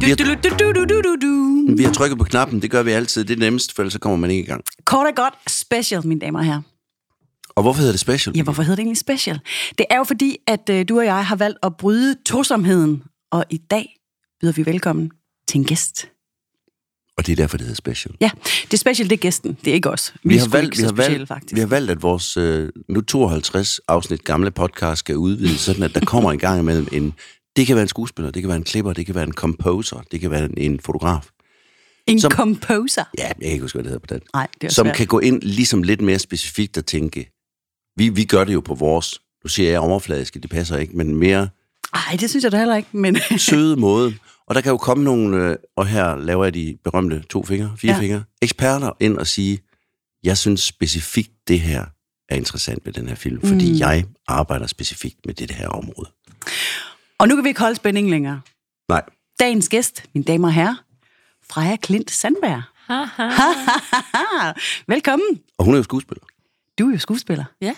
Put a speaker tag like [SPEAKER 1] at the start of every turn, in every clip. [SPEAKER 1] Vi har-
[SPEAKER 2] Du-du-du-du-du-du-du-du.
[SPEAKER 1] Vi har trykket på knappen, det gør vi altid. Det er nemmest, for ellers så kommer man ikke i gang.
[SPEAKER 2] Kort og godt special, mine damer og herrer.
[SPEAKER 1] Og hvorfor hedder det special?
[SPEAKER 2] Ja, hvorfor hedder det egentlig special? Det er jo fordi, at øh, du og jeg har valgt at bryde tosomheden, og i dag byder vi velkommen til en gæst.
[SPEAKER 1] Og det er derfor, det hedder special.
[SPEAKER 2] Ja, det special, det er gæsten, det er ikke os.
[SPEAKER 1] Vi, har
[SPEAKER 2] er sgu
[SPEAKER 1] valgt,
[SPEAKER 2] ikke
[SPEAKER 1] vi,
[SPEAKER 2] så
[SPEAKER 1] har
[SPEAKER 2] specielle,
[SPEAKER 1] valgt,
[SPEAKER 2] faktisk.
[SPEAKER 1] vi har valgt, at vores øh, nu 52 afsnit gamle podcast skal udvides, sådan at der kommer en gang imellem en... Det kan være en skuespiller, det kan være en klipper, det kan være en composer, det kan være en, en fotograf.
[SPEAKER 2] En
[SPEAKER 1] som-
[SPEAKER 2] som... composer.
[SPEAKER 1] Ja, jeg kan ikke huske, hvad det hedder på den.
[SPEAKER 2] Nej, det er
[SPEAKER 1] Som
[SPEAKER 2] svært.
[SPEAKER 1] kan gå ind ligesom lidt mere specifikt og tænke, vi, vi gør det jo på vores, nu siger jeg overfladiske, det passer ikke, men mere
[SPEAKER 2] Ej, det synes jeg da heller ikke, men...
[SPEAKER 1] søde måde. Og der kan jo komme nogle, øh, og her laver jeg de berømte to fingre, fire ja.
[SPEAKER 2] Ja.
[SPEAKER 1] fingre, eksperter ind og sige, jeg synes specifikt det her er interessant ved den her film, fordi
[SPEAKER 2] Mm.
[SPEAKER 1] jeg arbejder specifikt med det her område.
[SPEAKER 2] Og nu kan vi ikke holde spændingen længere.
[SPEAKER 1] Nej,
[SPEAKER 2] Dagens gæst, mine damer og herrer, Freja Klint Sandberg. Velkommen.
[SPEAKER 1] og hun er jo skuespiller.
[SPEAKER 2] Du er jo skuespiller.
[SPEAKER 3] Ja.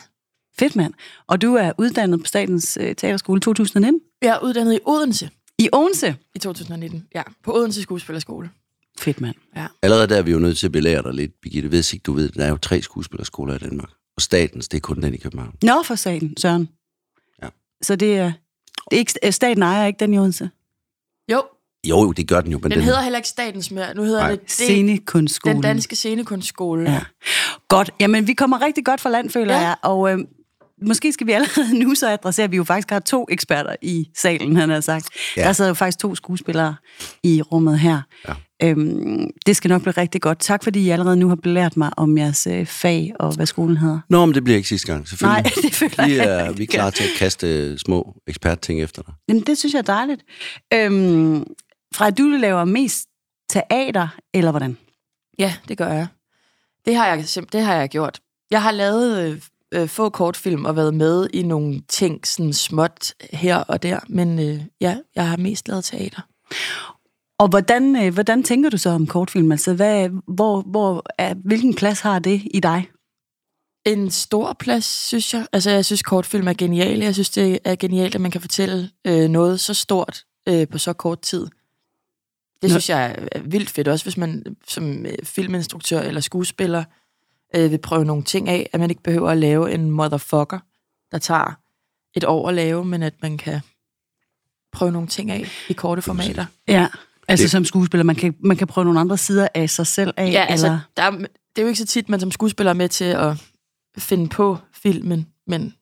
[SPEAKER 2] Fedt, mand. Og du er uddannet på Statens øh, Teaterskole 2019
[SPEAKER 3] Jeg er uddannet i Odense
[SPEAKER 2] i Odense.
[SPEAKER 3] i 2019. Ja, på Odense Skuespillerskole.
[SPEAKER 2] Fedt, mand.
[SPEAKER 1] Allerede der er vi jo nødt til at belære dig lidt, Birgitte. Hvis ikke du ved, der er jo tre skuespillerskoler i Danmark. Og statens, det er kun den i København.
[SPEAKER 2] Nå, for satan, Søren.
[SPEAKER 1] Ja.
[SPEAKER 2] Så det er... Det er ikke, øh, staten ejer ikke den i Odense.
[SPEAKER 3] Jo,
[SPEAKER 1] Jo, jo, det gør den jo, men
[SPEAKER 3] den,
[SPEAKER 1] den,
[SPEAKER 3] den hedder heller ikke Statens mere. Nu hedder
[SPEAKER 1] Nej.
[SPEAKER 3] det, det
[SPEAKER 2] Scenekunstskolen.
[SPEAKER 3] den danske scenekunstskole.
[SPEAKER 2] Ja. Godt. Jamen, vi kommer rigtig godt fra land, føler ja.
[SPEAKER 3] Ja.
[SPEAKER 2] jeg. Og øh, måske skal vi allerede nu så adressere, at vi jo faktisk har to eksperter i salen, han har sagt.
[SPEAKER 1] Ja.
[SPEAKER 2] Ja. Der sidder jo faktisk to skuespillere i rummet her.
[SPEAKER 1] Ja.
[SPEAKER 2] Øhm, det skal nok blive rigtig godt. Tak, fordi I allerede nu har belært mig om jeres øh, fag og hvad skolen hedder.
[SPEAKER 1] Nå, men det bliver ikke sidste gang,
[SPEAKER 2] Nej,
[SPEAKER 1] selvfølgelig.
[SPEAKER 2] det føler
[SPEAKER 1] Vi
[SPEAKER 2] jeg
[SPEAKER 1] er, vi er klar til at kaste øh, små ekspertting efter dig.
[SPEAKER 2] Jamen, det synes jeg er dejligt. Øhm, fra du laver mest teater, eller hvordan?
[SPEAKER 3] ja, det gør jeg. Det har jeg, simp- det har jeg gjort. Jeg har lavet øh, øh, få kortfilm og været med i nogle ting, sådan småt her og der. Men øh, ja, jeg har mest lavet teater.
[SPEAKER 2] Og hvordan, øh, hvordan tænker du så om kortfilm? Altså, hvad, hvor, hvor, er, hvilken plads har det i dig?
[SPEAKER 3] en stor plads, synes jeg. Altså, jeg synes, kortfilm er geniale. Jeg synes, det er genialt, at man kan fortælle øh, noget så stort øh, på så kort tid. Det
[SPEAKER 2] Nå.
[SPEAKER 3] synes jeg er- er vildt fedt, også hvis man øh, som øh, filminstruktør eller skuespiller øh, vil prøve nogle ting af, at man ikke behøver at lave en motherfucker, der tager et år at lave, men at man kan prøve nogle ting af i korte formater.
[SPEAKER 2] Ja, altså
[SPEAKER 1] Det-
[SPEAKER 2] det. som skuespiller, man kan, man kan prøve nogle andre sider af sig selv af,
[SPEAKER 3] Ja, altså,
[SPEAKER 2] eller...
[SPEAKER 3] der er, det er jo ikke så tit, man som skuespiller er med til at finde på filmen, men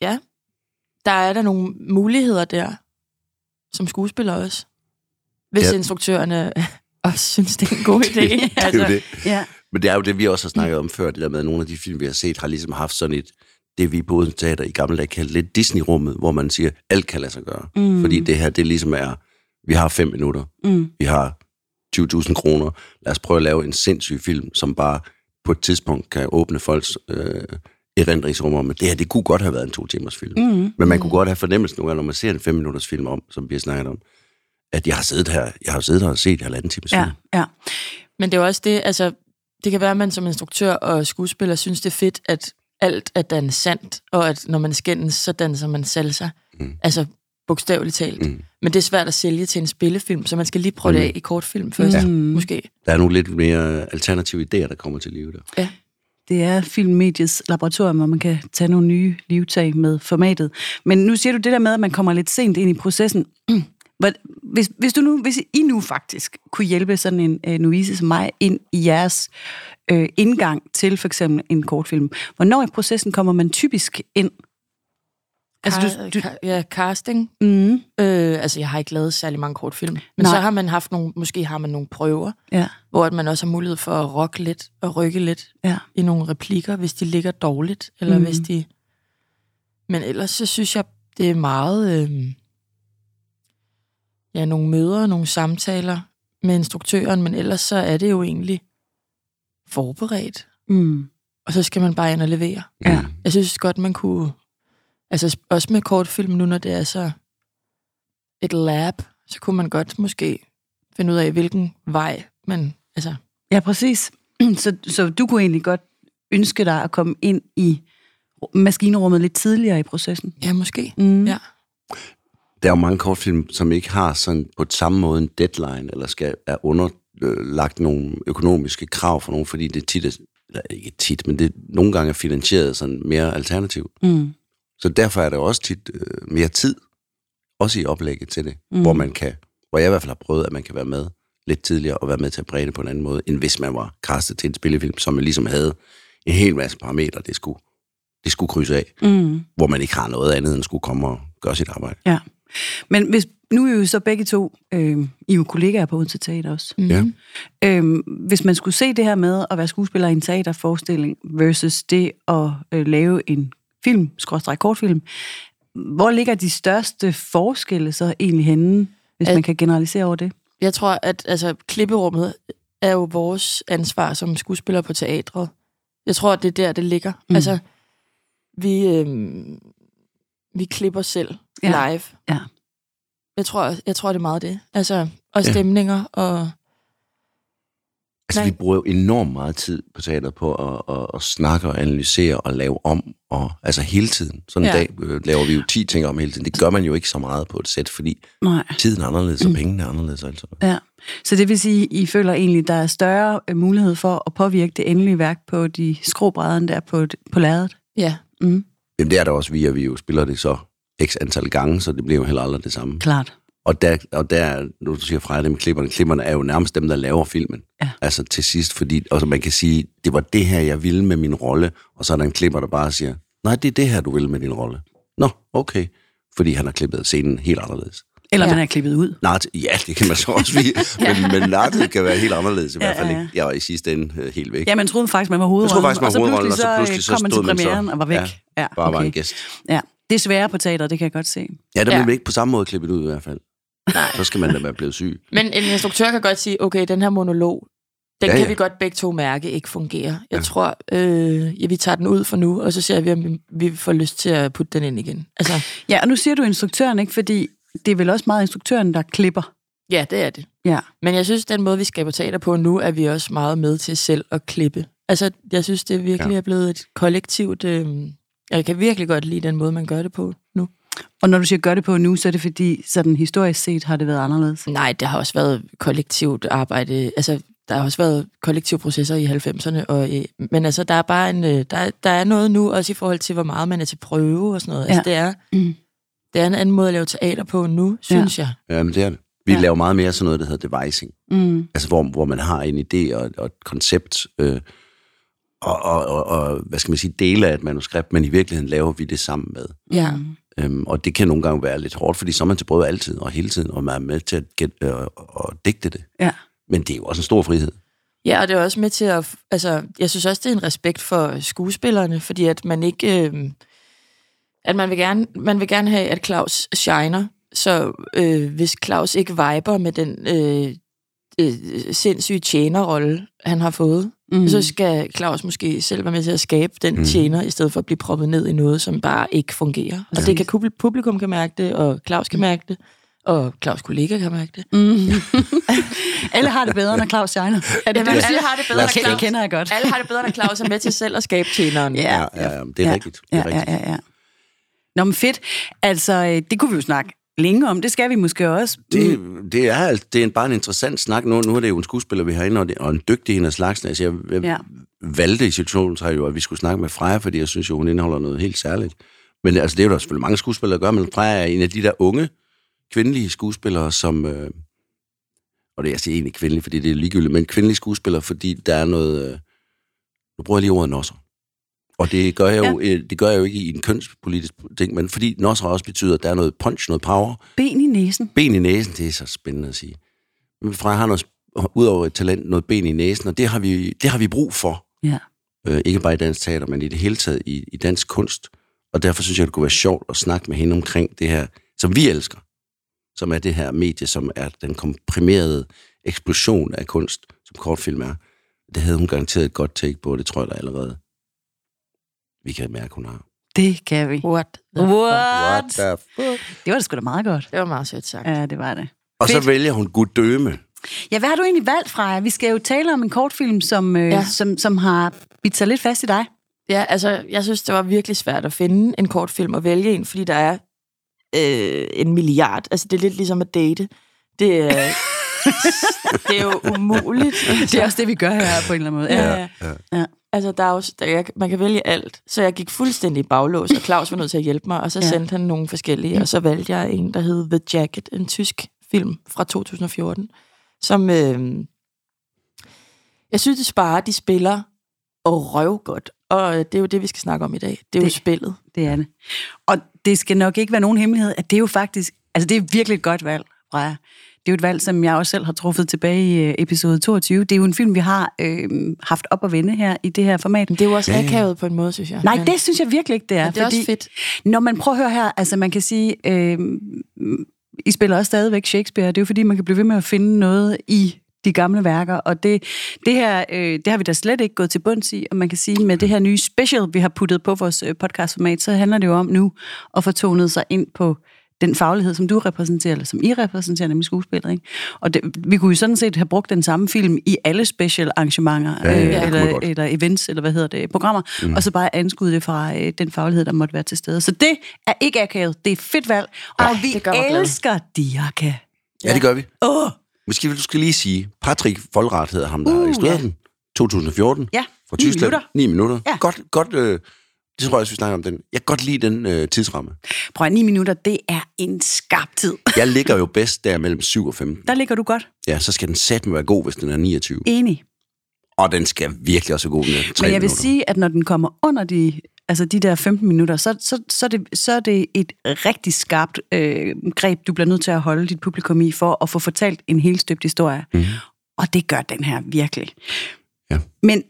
[SPEAKER 3] ja, der er der nogle muligheder der, som skuespiller også. Hvis
[SPEAKER 1] Ja.
[SPEAKER 3] ja. instruktørerne også synes, det er en god idé. Altså,
[SPEAKER 1] Det er jo det.
[SPEAKER 2] Ja. altså,
[SPEAKER 1] Men det er jo det, vi også har snakket om før, det der med, at nogle af de film, vi har set, har ligesom haft sådan et, det vi på Odense Teater i gamle dage kaldte lidt Disney-rummet, hvor man siger, alt kan lade sig gøre. Mm. Fordi det her, det ligesom er, vi har fem minutter,
[SPEAKER 2] Mm.
[SPEAKER 1] vi har 20.000 kroner, lad os prøve at lave en sindssyg film, som bare på et tidspunkt kan åbne folks øh, erindringsrum om, at det her, det kunne godt have været en to-timers film.
[SPEAKER 2] Mm.
[SPEAKER 1] Men man kunne godt have fornemmelsen nogle gange, når man ser en fem-minutters film om, som vi har snakket om, at jeg har siddet her, jeg har jo siddet her og set halvanden times
[SPEAKER 2] Ja,
[SPEAKER 1] film.
[SPEAKER 2] ja.
[SPEAKER 3] Men det er jo også det, altså, det kan være, at man som instruktør og skuespiller synes, det er fedt, at alt er dansandt, og at når man skændes, så danser man salsa.
[SPEAKER 1] Mm.
[SPEAKER 3] Mm. Altså, bogstaveligt talt.
[SPEAKER 1] Mm.
[SPEAKER 3] Mm. Men det er svært at sælge til en spillefilm, så man skal lige prøve mm. det af i kortfilm først,
[SPEAKER 2] Ja.
[SPEAKER 3] ja. måske.
[SPEAKER 1] Der er nogle lidt mere alternative idéer, der kommer til live der.
[SPEAKER 3] Ja.
[SPEAKER 2] Det er filmmediets laboratorium, hvor man kan tage nogle nye livtag med formatet. Men nu siger du det der med, at man kommer lidt sent ind i processen. Hvor- Hvis, hvis, du nu, hvis I nu faktisk kunne hjælpe sådan en øh, Louise som mig ind i jeres øh, indgang til for eksempel en kortfilm, hvornår i processen kommer man typisk ind?
[SPEAKER 3] Altså,
[SPEAKER 2] Car-
[SPEAKER 3] du, du, ja, casting.
[SPEAKER 2] Mm,
[SPEAKER 3] Øh, altså, jeg har ikke lavet særlig mange kortfilm. Men
[SPEAKER 2] Nej.
[SPEAKER 3] så har man haft nogle, måske har man nogle prøver,
[SPEAKER 2] ja,
[SPEAKER 3] hvor at man også har mulighed for at rokke lidt og rykke lidt
[SPEAKER 2] ja.
[SPEAKER 3] i nogle replikker, hvis de ligger dårligt, eller
[SPEAKER 2] Mm.
[SPEAKER 3] mm. hvis de... Men ellers så synes jeg, det er meget... Øh, ja, nogle møder, nogle samtaler med instruktøren, men ellers så er det jo egentlig forberedt.
[SPEAKER 2] Mm,
[SPEAKER 3] Og så skal man bare ind og levere.
[SPEAKER 2] ja.
[SPEAKER 3] Jeg synes godt, man kunne... Altså sp- også med kortfilm nu, når det er så et lab, så kunne man godt måske finde ud af, hvilken vej man... Altså,
[SPEAKER 2] Ja, præcis. Så, så du kunne egentlig godt ønske dig at komme ind i maskinerummet lidt tidligere i processen?
[SPEAKER 3] ja, måske.
[SPEAKER 2] Mm.
[SPEAKER 3] Ja.
[SPEAKER 1] der er jo mange kortfilm, som ikke har sådan på samme måde en deadline, eller skal er underlagt nogle økonomiske krav for nogen, fordi det tit er, eller ikke tit, men det nogle gange er finansieret sådan mere alternativt.
[SPEAKER 2] Mm.
[SPEAKER 1] Så derfor er der også tit øh, mere tid, også i oplægget til det, mm. hvor man kan, hvor jeg i hvert fald har prøvet, at man kan være med lidt tidligere og være med til at præge det på en anden måde, end hvis man var kastet til en spillefilm, som man ligesom havde en hel masse parametre, det skulle, det skulle krydse af,
[SPEAKER 2] Mm.
[SPEAKER 1] hvor man ikke har noget andet end skulle komme og gøre sit arbejde.
[SPEAKER 2] Ja. Men hvis, nu er I jo så begge to, øh, I er jo kollegaer på Odense Teater også.
[SPEAKER 1] Ja.
[SPEAKER 2] Øh, hvis man skulle se det her med at være skuespiller i en teaterforestilling versus det at øh, lave en film, skråstrej kortfilm, hvor ligger de største forskelle så egentlig henne, hvis
[SPEAKER 3] At-
[SPEAKER 2] man kan generalisere over det?
[SPEAKER 3] Jeg tror, at altså, klipperummet er jo vores ansvar som skuespillere på teatret. Jeg tror, at det er der, det ligger.
[SPEAKER 2] Mm.
[SPEAKER 3] Mm. Altså, vi, øh, vi klipper selv
[SPEAKER 2] Ja.
[SPEAKER 3] ja. live.
[SPEAKER 2] Ja.
[SPEAKER 3] Jeg tror, jeg tror, det er meget det. Altså, og
[SPEAKER 1] Ja.
[SPEAKER 3] stemninger, og
[SPEAKER 1] Altså, vi
[SPEAKER 3] Nej.
[SPEAKER 1] bruger jo enormt meget tid på teateret på at, at, at snakke og analysere og lave om, og altså hele tiden. Sådan en
[SPEAKER 3] Ja.
[SPEAKER 1] dag øh, laver vi jo 10 ting om hele tiden. Det gør man jo ikke så meget på et sæt, fordi
[SPEAKER 2] Nej.
[SPEAKER 1] tiden er anderledes, og
[SPEAKER 3] Mm.
[SPEAKER 1] pengene er anderledes. Altså.
[SPEAKER 2] Ja. Så det vil sige, I føler egentlig, der er større øh, mulighed for at påvirke det endelige værk på de skråbrædder end der på, på lærredet?
[SPEAKER 3] ja,
[SPEAKER 2] Mm.
[SPEAKER 1] Jamen, det er der også vi, at vi jo spiller det så x antal gange, så det bliver jo heller aldrig det samme.
[SPEAKER 2] Klart.
[SPEAKER 1] Og der, og der nu du siger Freja, det med klipperne, klipperne er jo nærmest dem, der laver filmen.
[SPEAKER 2] Ja.
[SPEAKER 1] Altså til sidst, fordi altså, man kan sige, det var det her, jeg ville med min rolle, og så er der en klipper, der bare siger, nej, det er det her, du vil med din rolle. Nå, okay. Fordi han har klippet scenen helt anderledes.
[SPEAKER 2] Eller ja.
[SPEAKER 3] Ja.
[SPEAKER 2] man er klippet ud.
[SPEAKER 1] Nart, ja, det kan man så også vide, men, men nartet kan være helt anderledes i
[SPEAKER 2] Ja,
[SPEAKER 1] hvert fald.
[SPEAKER 2] ja,
[SPEAKER 1] Ja,
[SPEAKER 2] ja.
[SPEAKER 1] ja. Jeg var i sidste ende øh, helt væk.
[SPEAKER 2] Ja, man troede faktisk, man var
[SPEAKER 1] jeg
[SPEAKER 2] hovedrollen.
[SPEAKER 1] tror faktisk, man
[SPEAKER 2] og så
[SPEAKER 1] hovedrollen, og
[SPEAKER 2] pludselig,
[SPEAKER 1] så pludselig
[SPEAKER 2] øh,
[SPEAKER 1] så
[SPEAKER 2] kom man til
[SPEAKER 1] stod man
[SPEAKER 2] premieren
[SPEAKER 1] så,
[SPEAKER 2] og var væk.
[SPEAKER 1] Ja, bare var en gæst.
[SPEAKER 2] Ja. Det er sværere på teater, det kan jeg godt se.
[SPEAKER 1] Ja, der
[SPEAKER 3] Ja.
[SPEAKER 1] blev ja. ikke på samme måde klippet ud i hvert fald. Nej. Så skal man da være blevet syg.
[SPEAKER 3] Men en instruktør kan godt sige, okay, den her monolog, den
[SPEAKER 1] Ja,
[SPEAKER 3] ja, ja.
[SPEAKER 1] ja.
[SPEAKER 3] kan vi godt begge to mærke ikke fungerer. Jeg ja. tror, øh, ja, vi tager den ud for nu, og så ser vi, om vi- vi får lyst til at putte den ind igen. Altså,
[SPEAKER 2] Ja, og nu siger du instruktøren, ikke? Fordi det er vel også meget instruktøren, der klipper.
[SPEAKER 3] ja, det er det.
[SPEAKER 2] Ja.
[SPEAKER 3] Men jeg synes, den måde, vi skaber teater på nu, er vi også meget med til selv at klippe. Altså, jeg synes, det virkelig
[SPEAKER 1] Ja.
[SPEAKER 3] ja. er blevet et kollektivt... Øh, jeg kan virkelig godt lide den måde, man gør det på nu.
[SPEAKER 2] Og når du siger gør det på nu, så er det fordi, sådan historisk set har det været anderledes.
[SPEAKER 3] Nej, der har også været kollektivt arbejde. Altså, der har også været kollektive processer i 90'erne. Og, i- men altså, der er bare en, øh, der, der er noget nu, også i forhold til, hvor meget man er til prøve og sådan noget. Ja. Altså, det er,
[SPEAKER 2] Mm.
[SPEAKER 3] det er en anden måde at lave teater på nu, synes ja. jeg.
[SPEAKER 1] Jamen, det er det. Vi
[SPEAKER 2] Ja.
[SPEAKER 1] ja. laver meget mere sådan noget, der hedder devising.
[SPEAKER 2] Mm.
[SPEAKER 1] Altså, hvor, hvor man har en idé og, og et koncept, øh, og, og, og, og, hvad skal man sige, dele af et manuskript, men i virkeligheden laver vi det sammen med.
[SPEAKER 3] Ja.
[SPEAKER 2] Mm.
[SPEAKER 1] Øhm, og det kan nogle gange være lidt hårdt, fordi så er man til prøve altid og hele tiden, og man er med til at get, øh, og digte det.
[SPEAKER 2] Ja.
[SPEAKER 1] Men det er jo også en stor frihed.
[SPEAKER 3] Ja, og det er også med til at... Altså, jeg synes også, det er en respekt for skuespillerne, fordi at man ikke... Øh, at man vil, gerne, man vil gerne have, at Claus shiner, så øh, hvis Claus ikke viber med den øh, øh, sindssyge tjenerrolle, han har fået,
[SPEAKER 2] Mm.
[SPEAKER 3] mm. så skal Claus måske selv være med til at skabe den
[SPEAKER 1] Mm.
[SPEAKER 3] mm. tjener, i stedet for at blive proppet ned i noget, som bare ikke fungerer. Ja. Og det kan publ- publikum kan mærke det, og Claus kan mærke det, og Claus kollega kan mærke det.
[SPEAKER 2] Mm. Alle har det bedre, når Claus shiner. Er det,
[SPEAKER 3] Jamen,
[SPEAKER 2] det, du
[SPEAKER 3] alle
[SPEAKER 2] siger?
[SPEAKER 3] har det bedre,
[SPEAKER 1] Lad
[SPEAKER 3] når
[SPEAKER 1] os
[SPEAKER 2] Okay, det
[SPEAKER 3] Claus...
[SPEAKER 2] kender jeg godt.
[SPEAKER 3] Alle har det bedre, når Claus er med til selv at skabe tjeneren.
[SPEAKER 2] Ja.
[SPEAKER 1] ja, ja det er
[SPEAKER 2] Ja.
[SPEAKER 1] rigtigt. Det er
[SPEAKER 2] ja,
[SPEAKER 1] rigtigt.
[SPEAKER 2] ja, ja, ja. Nå, men fedt. Altså, øh, det kunne vi jo snakke længe om. Det skal vi måske også.
[SPEAKER 1] Det, det er, alt- det er en, bare en interessant snak. Nu, nu er det jo en skuespiller, vi har inde, og, det, og en dygtig en af slagsen. Altså, jeg, jeg
[SPEAKER 2] Ja.
[SPEAKER 1] ja. valgte i situationen, så jo, at vi skulle snakke med Freja, fordi jeg synes jo, hun indeholder noget helt særligt. Men altså, det er jo der selvfølgelig mange skuespillere, der gør, men Freja er en af de der unge, kvindelige skuespillere, som... Øh, og det er jeg siger egentlig kvindelig, fordi det er ligegyldigt, men kvindelige skuespillere, fordi der er noget... Øh, nu bruger jeg lige ordet nosser. Og det gør, jeg jo, ja. det gør jeg jo ikke i en kønspolitisk ting, men fordi nosser også betyder, at der er noget punch, noget power,
[SPEAKER 2] Ben i næsen.
[SPEAKER 1] ben i næsen, det er så spændende at sige. Men Freja har noget, udover et talent, noget ben i næsen, og det har vi, det har vi brug for.
[SPEAKER 2] Ja.
[SPEAKER 1] Øh, ikke bare i dansk teater, men i det hele taget i, i dansk kunst. Og derfor synes jeg, det kunne være sjovt at snakke med hende omkring det her, som vi elsker. Som er det her medie, som er den komprimerede eksplosion af kunst, som kortfilm er. Det havde hun garanteret et godt take på, og det tror jeg da allerede. Vi kan mærke, hun har.
[SPEAKER 2] Det kan vi.
[SPEAKER 3] What? the fuck?
[SPEAKER 2] What?
[SPEAKER 1] the fuck?
[SPEAKER 2] Det var da sgu da meget godt.
[SPEAKER 3] Det var meget sødt sagt.
[SPEAKER 2] Ja, det var det.
[SPEAKER 1] Og så vælger hun Gudøme.
[SPEAKER 2] Ja, hvad har du egentlig valgt, Freja? Vi skal jo tale om en kortfilm, som, øh, ja.
[SPEAKER 3] Ja.
[SPEAKER 2] som, som har bidt sig lidt fast i dig.
[SPEAKER 3] Ja, altså, jeg synes, det var virkelig svært at finde en kortfilm og vælge en, fordi der er øh, en milliard. Altså, det er lidt ligesom at date. Det er, det er jo umuligt.
[SPEAKER 2] Det er også det, vi gør her på en eller anden måde. Ja.
[SPEAKER 3] Ja. ja. Altså, der er jo, der, jeg, man kan vælge alt. Så jeg gik fuldstændig i baglås, og Claus var nødt til at hjælpe mig, og så
[SPEAKER 2] Ja.
[SPEAKER 3] ja. sendte han nogle forskellige, og så valgte jeg en, der hed The Jacket, en tysk film fra 2014, som øh, jeg synes, det sparer, de spiller og røv godt. Og øh, det er jo det, vi skal snakke om i dag. Det er det. jo
[SPEAKER 2] Det-
[SPEAKER 3] spillet.
[SPEAKER 2] Det er det. Og det skal nok ikke være nogen hemmelighed, at det er jo faktisk, altså det er virkelig et godt valg, Freja. Det er jo et valg, som jeg også selv har truffet tilbage i øh, episode 22. Det er jo en film, vi har øh, haft op at vende her i det her format.
[SPEAKER 3] Men det er jo også
[SPEAKER 1] Ja,
[SPEAKER 3] ja,
[SPEAKER 1] ja.
[SPEAKER 3] akavet på en måde, synes jeg.
[SPEAKER 2] Nej,
[SPEAKER 3] Men-
[SPEAKER 2] det synes jeg virkelig ikke, det er.
[SPEAKER 3] Men det er også fedt.
[SPEAKER 2] Når man prøver at høre her, altså man kan sige, øh, I spiller også stadigvæk Shakespeare, det er jo fordi, man kan blive ved med at finde noget i de gamle værker, og det, det her, øh, det har vi da slet ikke gået til bunds i, og man kan sige, med det her nye special, vi har puttet på vores øh, podcastformat, så handler det jo om nu at få tonet sig ind på den faglighed, som du repræsenterer, eller som I repræsenterer, nemlig skuespillet, ikke? Og det, vi kunne jo sådan set have brugt den samme film i alle special arrangementer,
[SPEAKER 1] Ja, ja, ja, det kunne man
[SPEAKER 2] eller,
[SPEAKER 1] godt.
[SPEAKER 2] eller events, eller hvad hedder det, programmer, mm. og så bare anskude det fra øh, den faglighed, der måtte være til stede. Så det er ikke akavet, det er fedt valg, og ja, vi
[SPEAKER 3] det gør mig glad.
[SPEAKER 2] elsker Dirka.
[SPEAKER 1] Ja, det gør vi.
[SPEAKER 2] Åh, oh,
[SPEAKER 1] Måske vil du skal lige sige, Patrick Folrat hedder ham, der har instrueret
[SPEAKER 2] Uh, ja.
[SPEAKER 1] den. 2014.
[SPEAKER 2] ja,
[SPEAKER 1] Fra
[SPEAKER 2] ni
[SPEAKER 1] Tyskland.
[SPEAKER 2] minutter.
[SPEAKER 1] 9 minutter.
[SPEAKER 2] Ja.
[SPEAKER 1] Godt, godt, øh, det tror jeg også, vi snakker om den. Jeg kan godt lide den øh, tidsramme.
[SPEAKER 2] Prøv at, ni minutter, det er en skarp tid.
[SPEAKER 1] Jeg ligger jo bedst der mellem 7 og 15.
[SPEAKER 2] Der ligger du godt.
[SPEAKER 1] Ja, så skal den sætte være god, hvis den er 29.
[SPEAKER 2] Enig.
[SPEAKER 1] Og den skal virkelig også være god, den er 3
[SPEAKER 2] Men jeg vil
[SPEAKER 1] minutter.
[SPEAKER 2] sige, at når den kommer under de, altså de der 15 minutter, så, så, så, er, det, så er det et rigtig skarpt øh, greb, du bliver nødt til at holde dit publikum i, for at få fortalt en helt støbt historie.
[SPEAKER 1] Mhm.
[SPEAKER 2] Og det gør den her virkelig.
[SPEAKER 1] Ja.
[SPEAKER 2] Men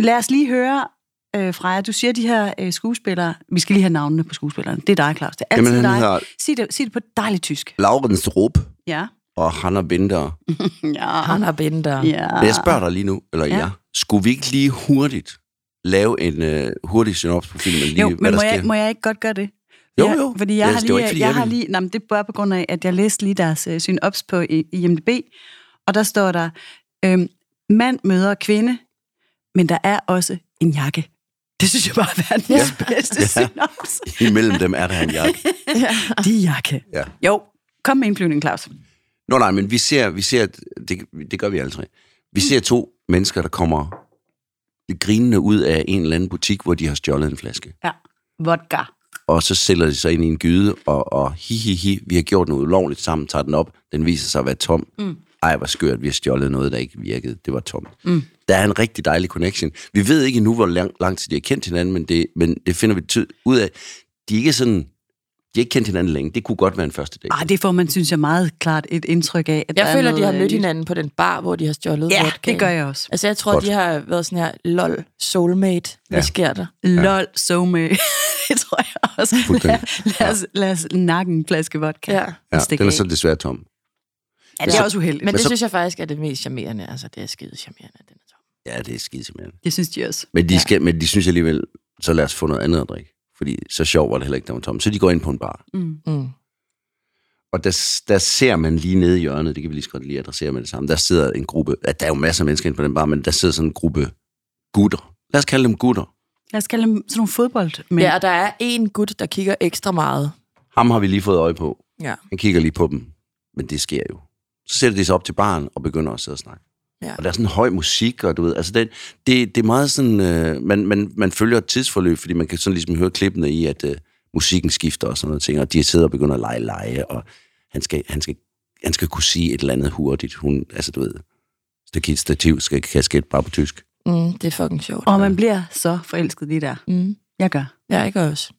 [SPEAKER 2] lad os lige høre, øh, Freja, du siger de her øh, skuespillere, vi skal lige have navnene på skuespillerne. Det er dig, Claus. Det er altid
[SPEAKER 1] Jamen,
[SPEAKER 2] dig.
[SPEAKER 1] han hedder
[SPEAKER 2] Sig, det, sig det på dejligt tysk.
[SPEAKER 1] Laurens Rup
[SPEAKER 2] Ja.
[SPEAKER 1] og Hanna Binder.
[SPEAKER 2] Ja.
[SPEAKER 3] Han har binder.
[SPEAKER 2] ja.
[SPEAKER 1] Men jeg spørger dig lige nu, eller
[SPEAKER 2] Ja.
[SPEAKER 1] ja. jeg, skulle vi ikke lige hurtigt lave en øh, hurtig synops på filmen, lige
[SPEAKER 2] jo,
[SPEAKER 1] hvad
[SPEAKER 2] men
[SPEAKER 1] der
[SPEAKER 2] må
[SPEAKER 1] sker?
[SPEAKER 2] jeg, må jeg ikke godt gøre det?
[SPEAKER 1] Jo,
[SPEAKER 2] Ja,
[SPEAKER 1] jo.
[SPEAKER 2] Fordi jeg
[SPEAKER 1] Ja,
[SPEAKER 2] har
[SPEAKER 1] det var
[SPEAKER 2] lige,
[SPEAKER 1] ikke, fordi
[SPEAKER 2] jeg
[SPEAKER 1] jeg
[SPEAKER 2] har
[SPEAKER 1] ville.
[SPEAKER 2] lige, nej, men det er bare på grund af, at jeg læste lige deres øh, synops på i- IMDb, og der står der, øhm, mand møder kvinde, men der er også en jakke. Det synes jeg bare er verdens ja. bedste ja.
[SPEAKER 1] Ja.
[SPEAKER 2] synops.
[SPEAKER 1] Imellem dem er der en jakke.
[SPEAKER 2] De jakke.
[SPEAKER 1] Ja.
[SPEAKER 2] Jo, kom med indflyvning, Claus.
[SPEAKER 1] Nå nej, men vi ser, vi ser det, det gør vi alle tre. Vi ser to mennesker, der kommer lidt grinende ud af en eller anden butik, hvor de har stjålet en flaske.
[SPEAKER 2] Ja. Vodka.
[SPEAKER 1] Og så sælger de sig ind i en gyde, og, og hi, hi, hi, vi har gjort noget ulovligt sammen, tager den op, den viser sig at være tom. Mm. Ej, hvor skørt, vi har stjålet noget, der ikke virkede. Det var tomt. Mm. Der er en rigtig dejlig connection. Vi ved ikke endnu, hvor lang, lang tid de har kendt hinanden, men det, men det finder vi ty- ud af. De er ikke sådan... De har ikke kendt hinanden længe. Det kunne godt være en første date.
[SPEAKER 2] Ej, det får man, synes jeg, meget klart et indtryk af. At
[SPEAKER 3] Jeg
[SPEAKER 2] der
[SPEAKER 3] føler,
[SPEAKER 2] er noget,
[SPEAKER 3] de har
[SPEAKER 2] øh, nyt.
[SPEAKER 3] mødt hinanden på den bar, hvor de har stjålet
[SPEAKER 2] Ja,
[SPEAKER 3] vodka.
[SPEAKER 2] det gør jeg også.
[SPEAKER 3] Altså, jeg tror,
[SPEAKER 1] Godt.
[SPEAKER 3] Godt. de har været sådan her, lol, soulmate, hvad
[SPEAKER 1] Ja.
[SPEAKER 3] ja. sker der?
[SPEAKER 2] Lol, so me. det tror jeg også.
[SPEAKER 1] Fuldstændig.
[SPEAKER 2] Lad, lad, os, lad os nakke en flaske vodka.
[SPEAKER 3] Ja.
[SPEAKER 2] og
[SPEAKER 1] ja,
[SPEAKER 2] stikke
[SPEAKER 1] den er
[SPEAKER 2] af.
[SPEAKER 1] så desværre tom.
[SPEAKER 2] Ja, det er også uheldigt.
[SPEAKER 3] Men det
[SPEAKER 1] så-
[SPEAKER 3] synes jeg faktisk er det mest charmerende. Altså, det er skide charmerende, den er tom.
[SPEAKER 1] Ja, det er skidsimmerende.
[SPEAKER 2] Det synes de også.
[SPEAKER 1] Men de, skal, ja. men de synes alligevel, så lad os få noget andet at drikke. Fordi så sjov var det heller ikke, der var tom. Så de går ind på en bar.
[SPEAKER 2] Mm.
[SPEAKER 3] Mm.
[SPEAKER 1] Og der, der ser man lige nede i hjørnet, det kan vi lige så godt lige adressere med det samme, der sidder en gruppe, ja, der er jo masser af mennesker inde på den bar, men der sidder sådan en gruppe gutter. Lad os kalde dem gutter.
[SPEAKER 2] Lad os kalde dem sådan nogle fodboldmænd.
[SPEAKER 3] Ja, og der er en gut, der kigger ekstra meget.
[SPEAKER 1] Ham har vi lige fået øje på.
[SPEAKER 3] Ja.
[SPEAKER 1] Han kigger lige på dem. Men det sker jo. Så sætter de sig op til baren og begynder at sidde og snakke.
[SPEAKER 3] Ja.
[SPEAKER 1] Og der er sådan høj musik, og du ved, altså det, det, det er meget sådan, øh, man, man, man følger et tidsforløb, fordi man kan sådan ligesom høre klippene i, at øh, musikken skifter og sådan noget ting, og de sidder og begynder at lege, lege, og han skal, han skal, han skal kunne sige et eller andet hurtigt. Hun, altså du ved, stakit, stativ, skal kasket bare på tysk.
[SPEAKER 3] Mm, det er fucking sjovt.
[SPEAKER 2] Og man bliver så forelsket lige der.
[SPEAKER 3] Mm.
[SPEAKER 2] Jeg gør.
[SPEAKER 3] Ja, ikke også.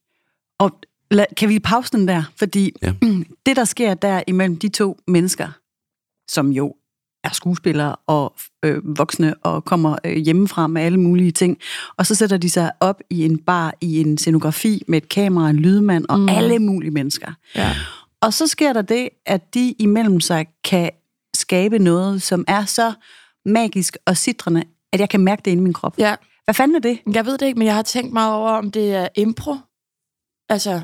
[SPEAKER 2] Og la- kan vi pause den der? Fordi ja.
[SPEAKER 1] Ja.
[SPEAKER 2] det, der sker der imellem de to mennesker, som jo er skuespillere og øh, voksne og kommer øh, hjemmefra med alle mulige ting, og så sætter de sig op i en bar, i en scenografi med et kamera, en lydmand og mm. alle mulige mennesker.
[SPEAKER 3] Ja.
[SPEAKER 2] Og så sker der det, at de imellem sig kan skabe noget, som er så magisk og sidrende, at jeg kan mærke det inde i min krop.
[SPEAKER 3] ja.
[SPEAKER 2] Hvad fanden er det?
[SPEAKER 3] Jeg ved det ikke, men jeg har tænkt meget over, om det er impro. Altså,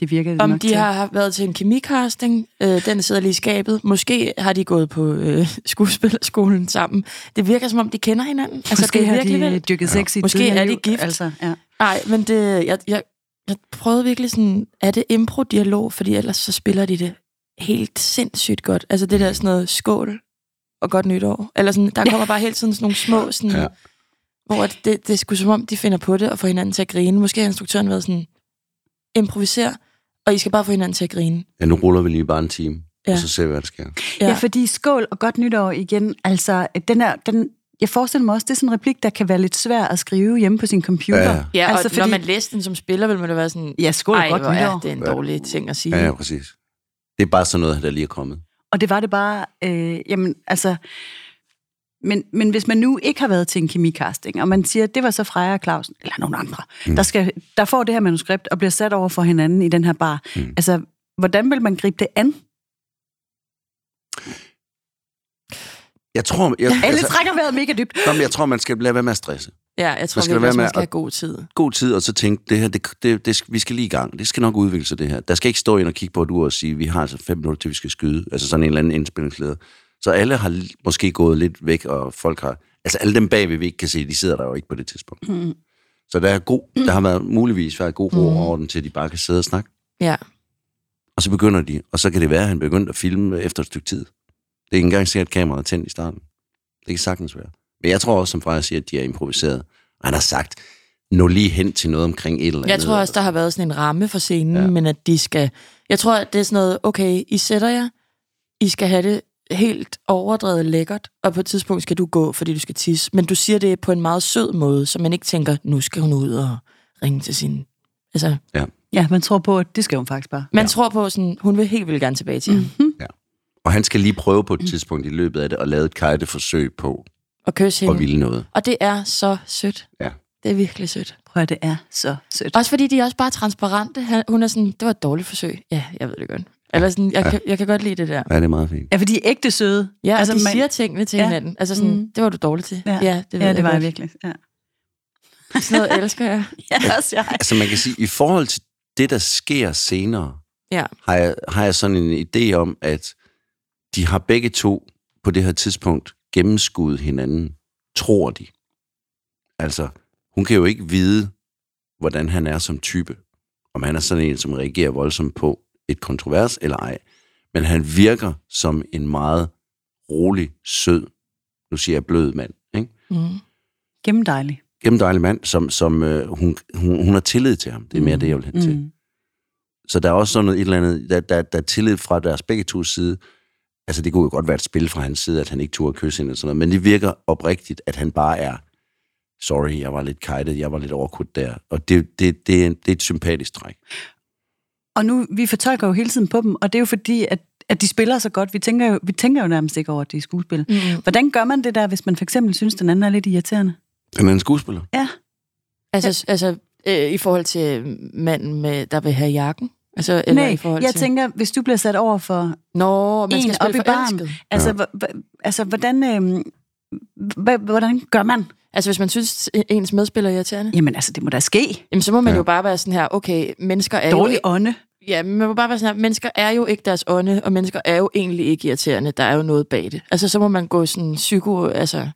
[SPEAKER 2] Det virker det
[SPEAKER 3] om
[SPEAKER 2] nok
[SPEAKER 3] de
[SPEAKER 2] til.
[SPEAKER 3] har har været til en kemikasting. Øh, den sidder lige i skabet. Måske har de gået på øh, skuespillerskolen sammen. Det virker, som om de kender hinanden. Altså,
[SPEAKER 2] Måske
[SPEAKER 3] det er
[SPEAKER 2] har
[SPEAKER 3] virkelig
[SPEAKER 2] de
[SPEAKER 3] vildt.
[SPEAKER 2] dykket sex i
[SPEAKER 3] Måske
[SPEAKER 2] tidligere
[SPEAKER 3] er de
[SPEAKER 2] liv,
[SPEAKER 3] gift.
[SPEAKER 2] Altså, ja.
[SPEAKER 3] Nej, men det, jeg, jeg, jeg prøvede virkelig sådan, er det impro-dialog, fordi ellers så spiller de det helt sindssygt godt. Altså det der sådan noget skål og godt nytår. Eller sådan, der kommer bare hele tiden sådan nogle små, sådan,
[SPEAKER 1] Ja.
[SPEAKER 3] ja. hvor det, det, det er sgu som om, de finder på det og får hinanden til at grine. Måske har instruktøren været sådan, improviser, og I skal bare få hinanden til at grine.
[SPEAKER 1] Ja, nu ruller vi lige bare en time, ja.
[SPEAKER 3] Ja.
[SPEAKER 1] og så ser vi, hvad der sker.
[SPEAKER 2] Ja. ja, fordi skål og godt nytår igen. Altså, den er, den, jeg forestiller mig også, det er sådan en replik, der kan være lidt svær at skrive hjemme på sin computer.
[SPEAKER 1] Ja.
[SPEAKER 3] Ja, og
[SPEAKER 2] altså,
[SPEAKER 3] altså, fordi... når man læste den som spiller, ville man da være sådan,
[SPEAKER 2] Ja, skål og
[SPEAKER 3] ej,
[SPEAKER 2] godt
[SPEAKER 3] hvor er
[SPEAKER 2] nytår.
[SPEAKER 3] det en dårlig ting at sige.
[SPEAKER 1] Ja, ja, præcis. Det er bare sådan noget, der lige er kommet.
[SPEAKER 2] Og det var det bare, øh, jamen altså... Men, men hvis man nu ikke har været til en kemikasting, og man siger, at det var så Freja og Clausen, eller nogen andre, mm. der, skal, der får det her manuskript og bliver sat over for hinanden i den her bar. Mm. Altså, hvordan vil man gribe det an?
[SPEAKER 1] Altså- Jeg tror, jeg,
[SPEAKER 2] Alle
[SPEAKER 1] altså,
[SPEAKER 2] trækker vejret mega dybt.
[SPEAKER 1] nå, men jeg tror, man skal lade være med at stresse.
[SPEAKER 3] Ja, jeg tror
[SPEAKER 1] skal der
[SPEAKER 3] virkelig,
[SPEAKER 1] være
[SPEAKER 3] også,
[SPEAKER 1] med
[SPEAKER 3] man skal
[SPEAKER 1] at-
[SPEAKER 3] have god tid.
[SPEAKER 1] God tid, og så tænke, det her, det, det, det, vi skal lige i gang. Det skal nok udvikle sig, det her. Der skal ikke stå ind og kigge på et ur og sige, vi har altså fem minutter, til vi skal skyde. Altså sådan en eller anden indspillingsleder. Så alle har l- måske gået lidt væk, og folk har... Altså alle dem bagved, vi ikke kan se, de sidder der jo ikke på det tidspunkt. Mm. Så der, er god, der har været muligvis været god ro og orden til, at de bare kan sidde og snakke.
[SPEAKER 3] Ja.
[SPEAKER 1] Og så begynder de, og så kan det være, at han begyndte at filme efter et stykke tid. Det er ikke engang sikkert, at kameraet er tændt i starten. Det kan sagtens være. Men jeg tror også, som Freja siger, at de er improviseret. Og han har sagt, nå lige hen til noget omkring et eller andet.
[SPEAKER 3] Jeg tror også, der har været sådan en ramme for scenen, altså. ja. men at de skal... Jeg tror, at det er sådan noget, okay, I sætter jer, I skal have det helt overdrevet lækkert, og på et tidspunkt skal du gå, fordi du skal tisse. Men du siger det på en meget sød måde, så man ikke tænker, nu skal hun ud og ringe til sin... Altså,
[SPEAKER 2] Ja, man tror på, at det skal hun faktisk bare.
[SPEAKER 3] man ja. tror på sådan, hun vil helt vildt gerne tilbage til ham.
[SPEAKER 1] Og han skal lige prøve på et tidspunkt i løbet af det, at lave et kajteforsøg på
[SPEAKER 3] Og kysse
[SPEAKER 1] at
[SPEAKER 3] hende.
[SPEAKER 1] ville noget.
[SPEAKER 3] Og det er så sødt.
[SPEAKER 1] Ja.
[SPEAKER 3] Det er virkelig sødt.
[SPEAKER 2] Prøv at det er så sødt.
[SPEAKER 3] Også fordi de er også bare transparente. Han- Hun er sådan, det var et dårligt forsøg. Ja, jeg ved det godt. Eller sådan, jeg, kan, jeg kan godt lide det der.
[SPEAKER 1] Ja, det er meget fint.
[SPEAKER 2] Ja, for de er ægte søde.
[SPEAKER 3] Ja, altså, de
[SPEAKER 2] man-
[SPEAKER 3] siger tingene til
[SPEAKER 2] Ja.
[SPEAKER 3] ja. hinanden. Altså sådan,
[SPEAKER 2] Mm.
[SPEAKER 3] mm. det var du dårlig til.
[SPEAKER 2] Ja, ja, det,
[SPEAKER 3] ved
[SPEAKER 2] ja, det var jeg
[SPEAKER 3] godt.
[SPEAKER 2] virkelig. Ja.
[SPEAKER 3] Sådan noget elsker jeg.
[SPEAKER 2] ja, også jeg.
[SPEAKER 1] Altså man kan sige, i forhold til det, der sker senere,
[SPEAKER 3] Ja.
[SPEAKER 1] har, jeg, har jeg sådan en idé om, at de har begge to på det her tidspunkt gennemskuddet hinanden, tror de. Altså, hun kan jo ikke vide, hvordan han er som type. Om han er sådan en, som reagerer voldsomt på et kontrovers eller ej. Men han virker som en meget rolig, sød, nu siger jeg blød mand, ikke?
[SPEAKER 3] Mm.
[SPEAKER 2] Gennemdejlig.
[SPEAKER 1] Gennemdejlig mand, som, som øh, hun, hun, hun har tillid til ham. Det er mere det, jeg vil hen til.
[SPEAKER 2] Mm.
[SPEAKER 1] Så der er også sådan noget et eller andet, der, der, der er tillid fra deres begge to side. Altså, det kunne jo godt være et spil fra hans side, at han ikke turde kysse hende og sådan noget, men det virker oprigtigt, at han bare er, sorry, jeg var lidt kajtet, jeg var lidt overkudt der. Og det, det, det, er, en- det er et sympatisk træk.
[SPEAKER 2] Og nu, vi fortolker jo hele tiden på dem, og det er jo fordi, at, at de spiller så godt. Vi tænker, jo, vi tænker jo nærmest ikke over, at de er skuespil.
[SPEAKER 3] Mm.
[SPEAKER 2] Hvordan gør man det der, hvis man for eksempel synes, den anden er lidt irriterende?
[SPEAKER 1] Han er en skuespiller.
[SPEAKER 2] Ja,
[SPEAKER 3] Altså, altså øh, i forhold til manden, med, der vil have jakken? Altså, eller
[SPEAKER 2] nej,
[SPEAKER 3] i forhold
[SPEAKER 2] jeg
[SPEAKER 3] til...
[SPEAKER 2] tænker, hvis du bliver sat over for
[SPEAKER 3] Nå, man
[SPEAKER 2] en
[SPEAKER 3] skal
[SPEAKER 2] op i
[SPEAKER 3] spille
[SPEAKER 2] barn,
[SPEAKER 3] forelsket.
[SPEAKER 2] altså, ja. altså hvordan, øh, hvordan gør man?
[SPEAKER 3] Altså, hvis man synes, ens medspiller er irriterende,
[SPEAKER 2] Jamen altså, det må da ske.
[SPEAKER 3] jamen, så må man ja. jo bare være sådan her, okay, mennesker er
[SPEAKER 2] Dårlig
[SPEAKER 3] jo...
[SPEAKER 2] ånde.
[SPEAKER 3] Ja, men man må bare være sådan her, mennesker er jo ikke deres ånde, og mennesker er jo egentlig ikke irriterende. Der er jo noget bag det. Altså, så må man gå sådan psyko, altså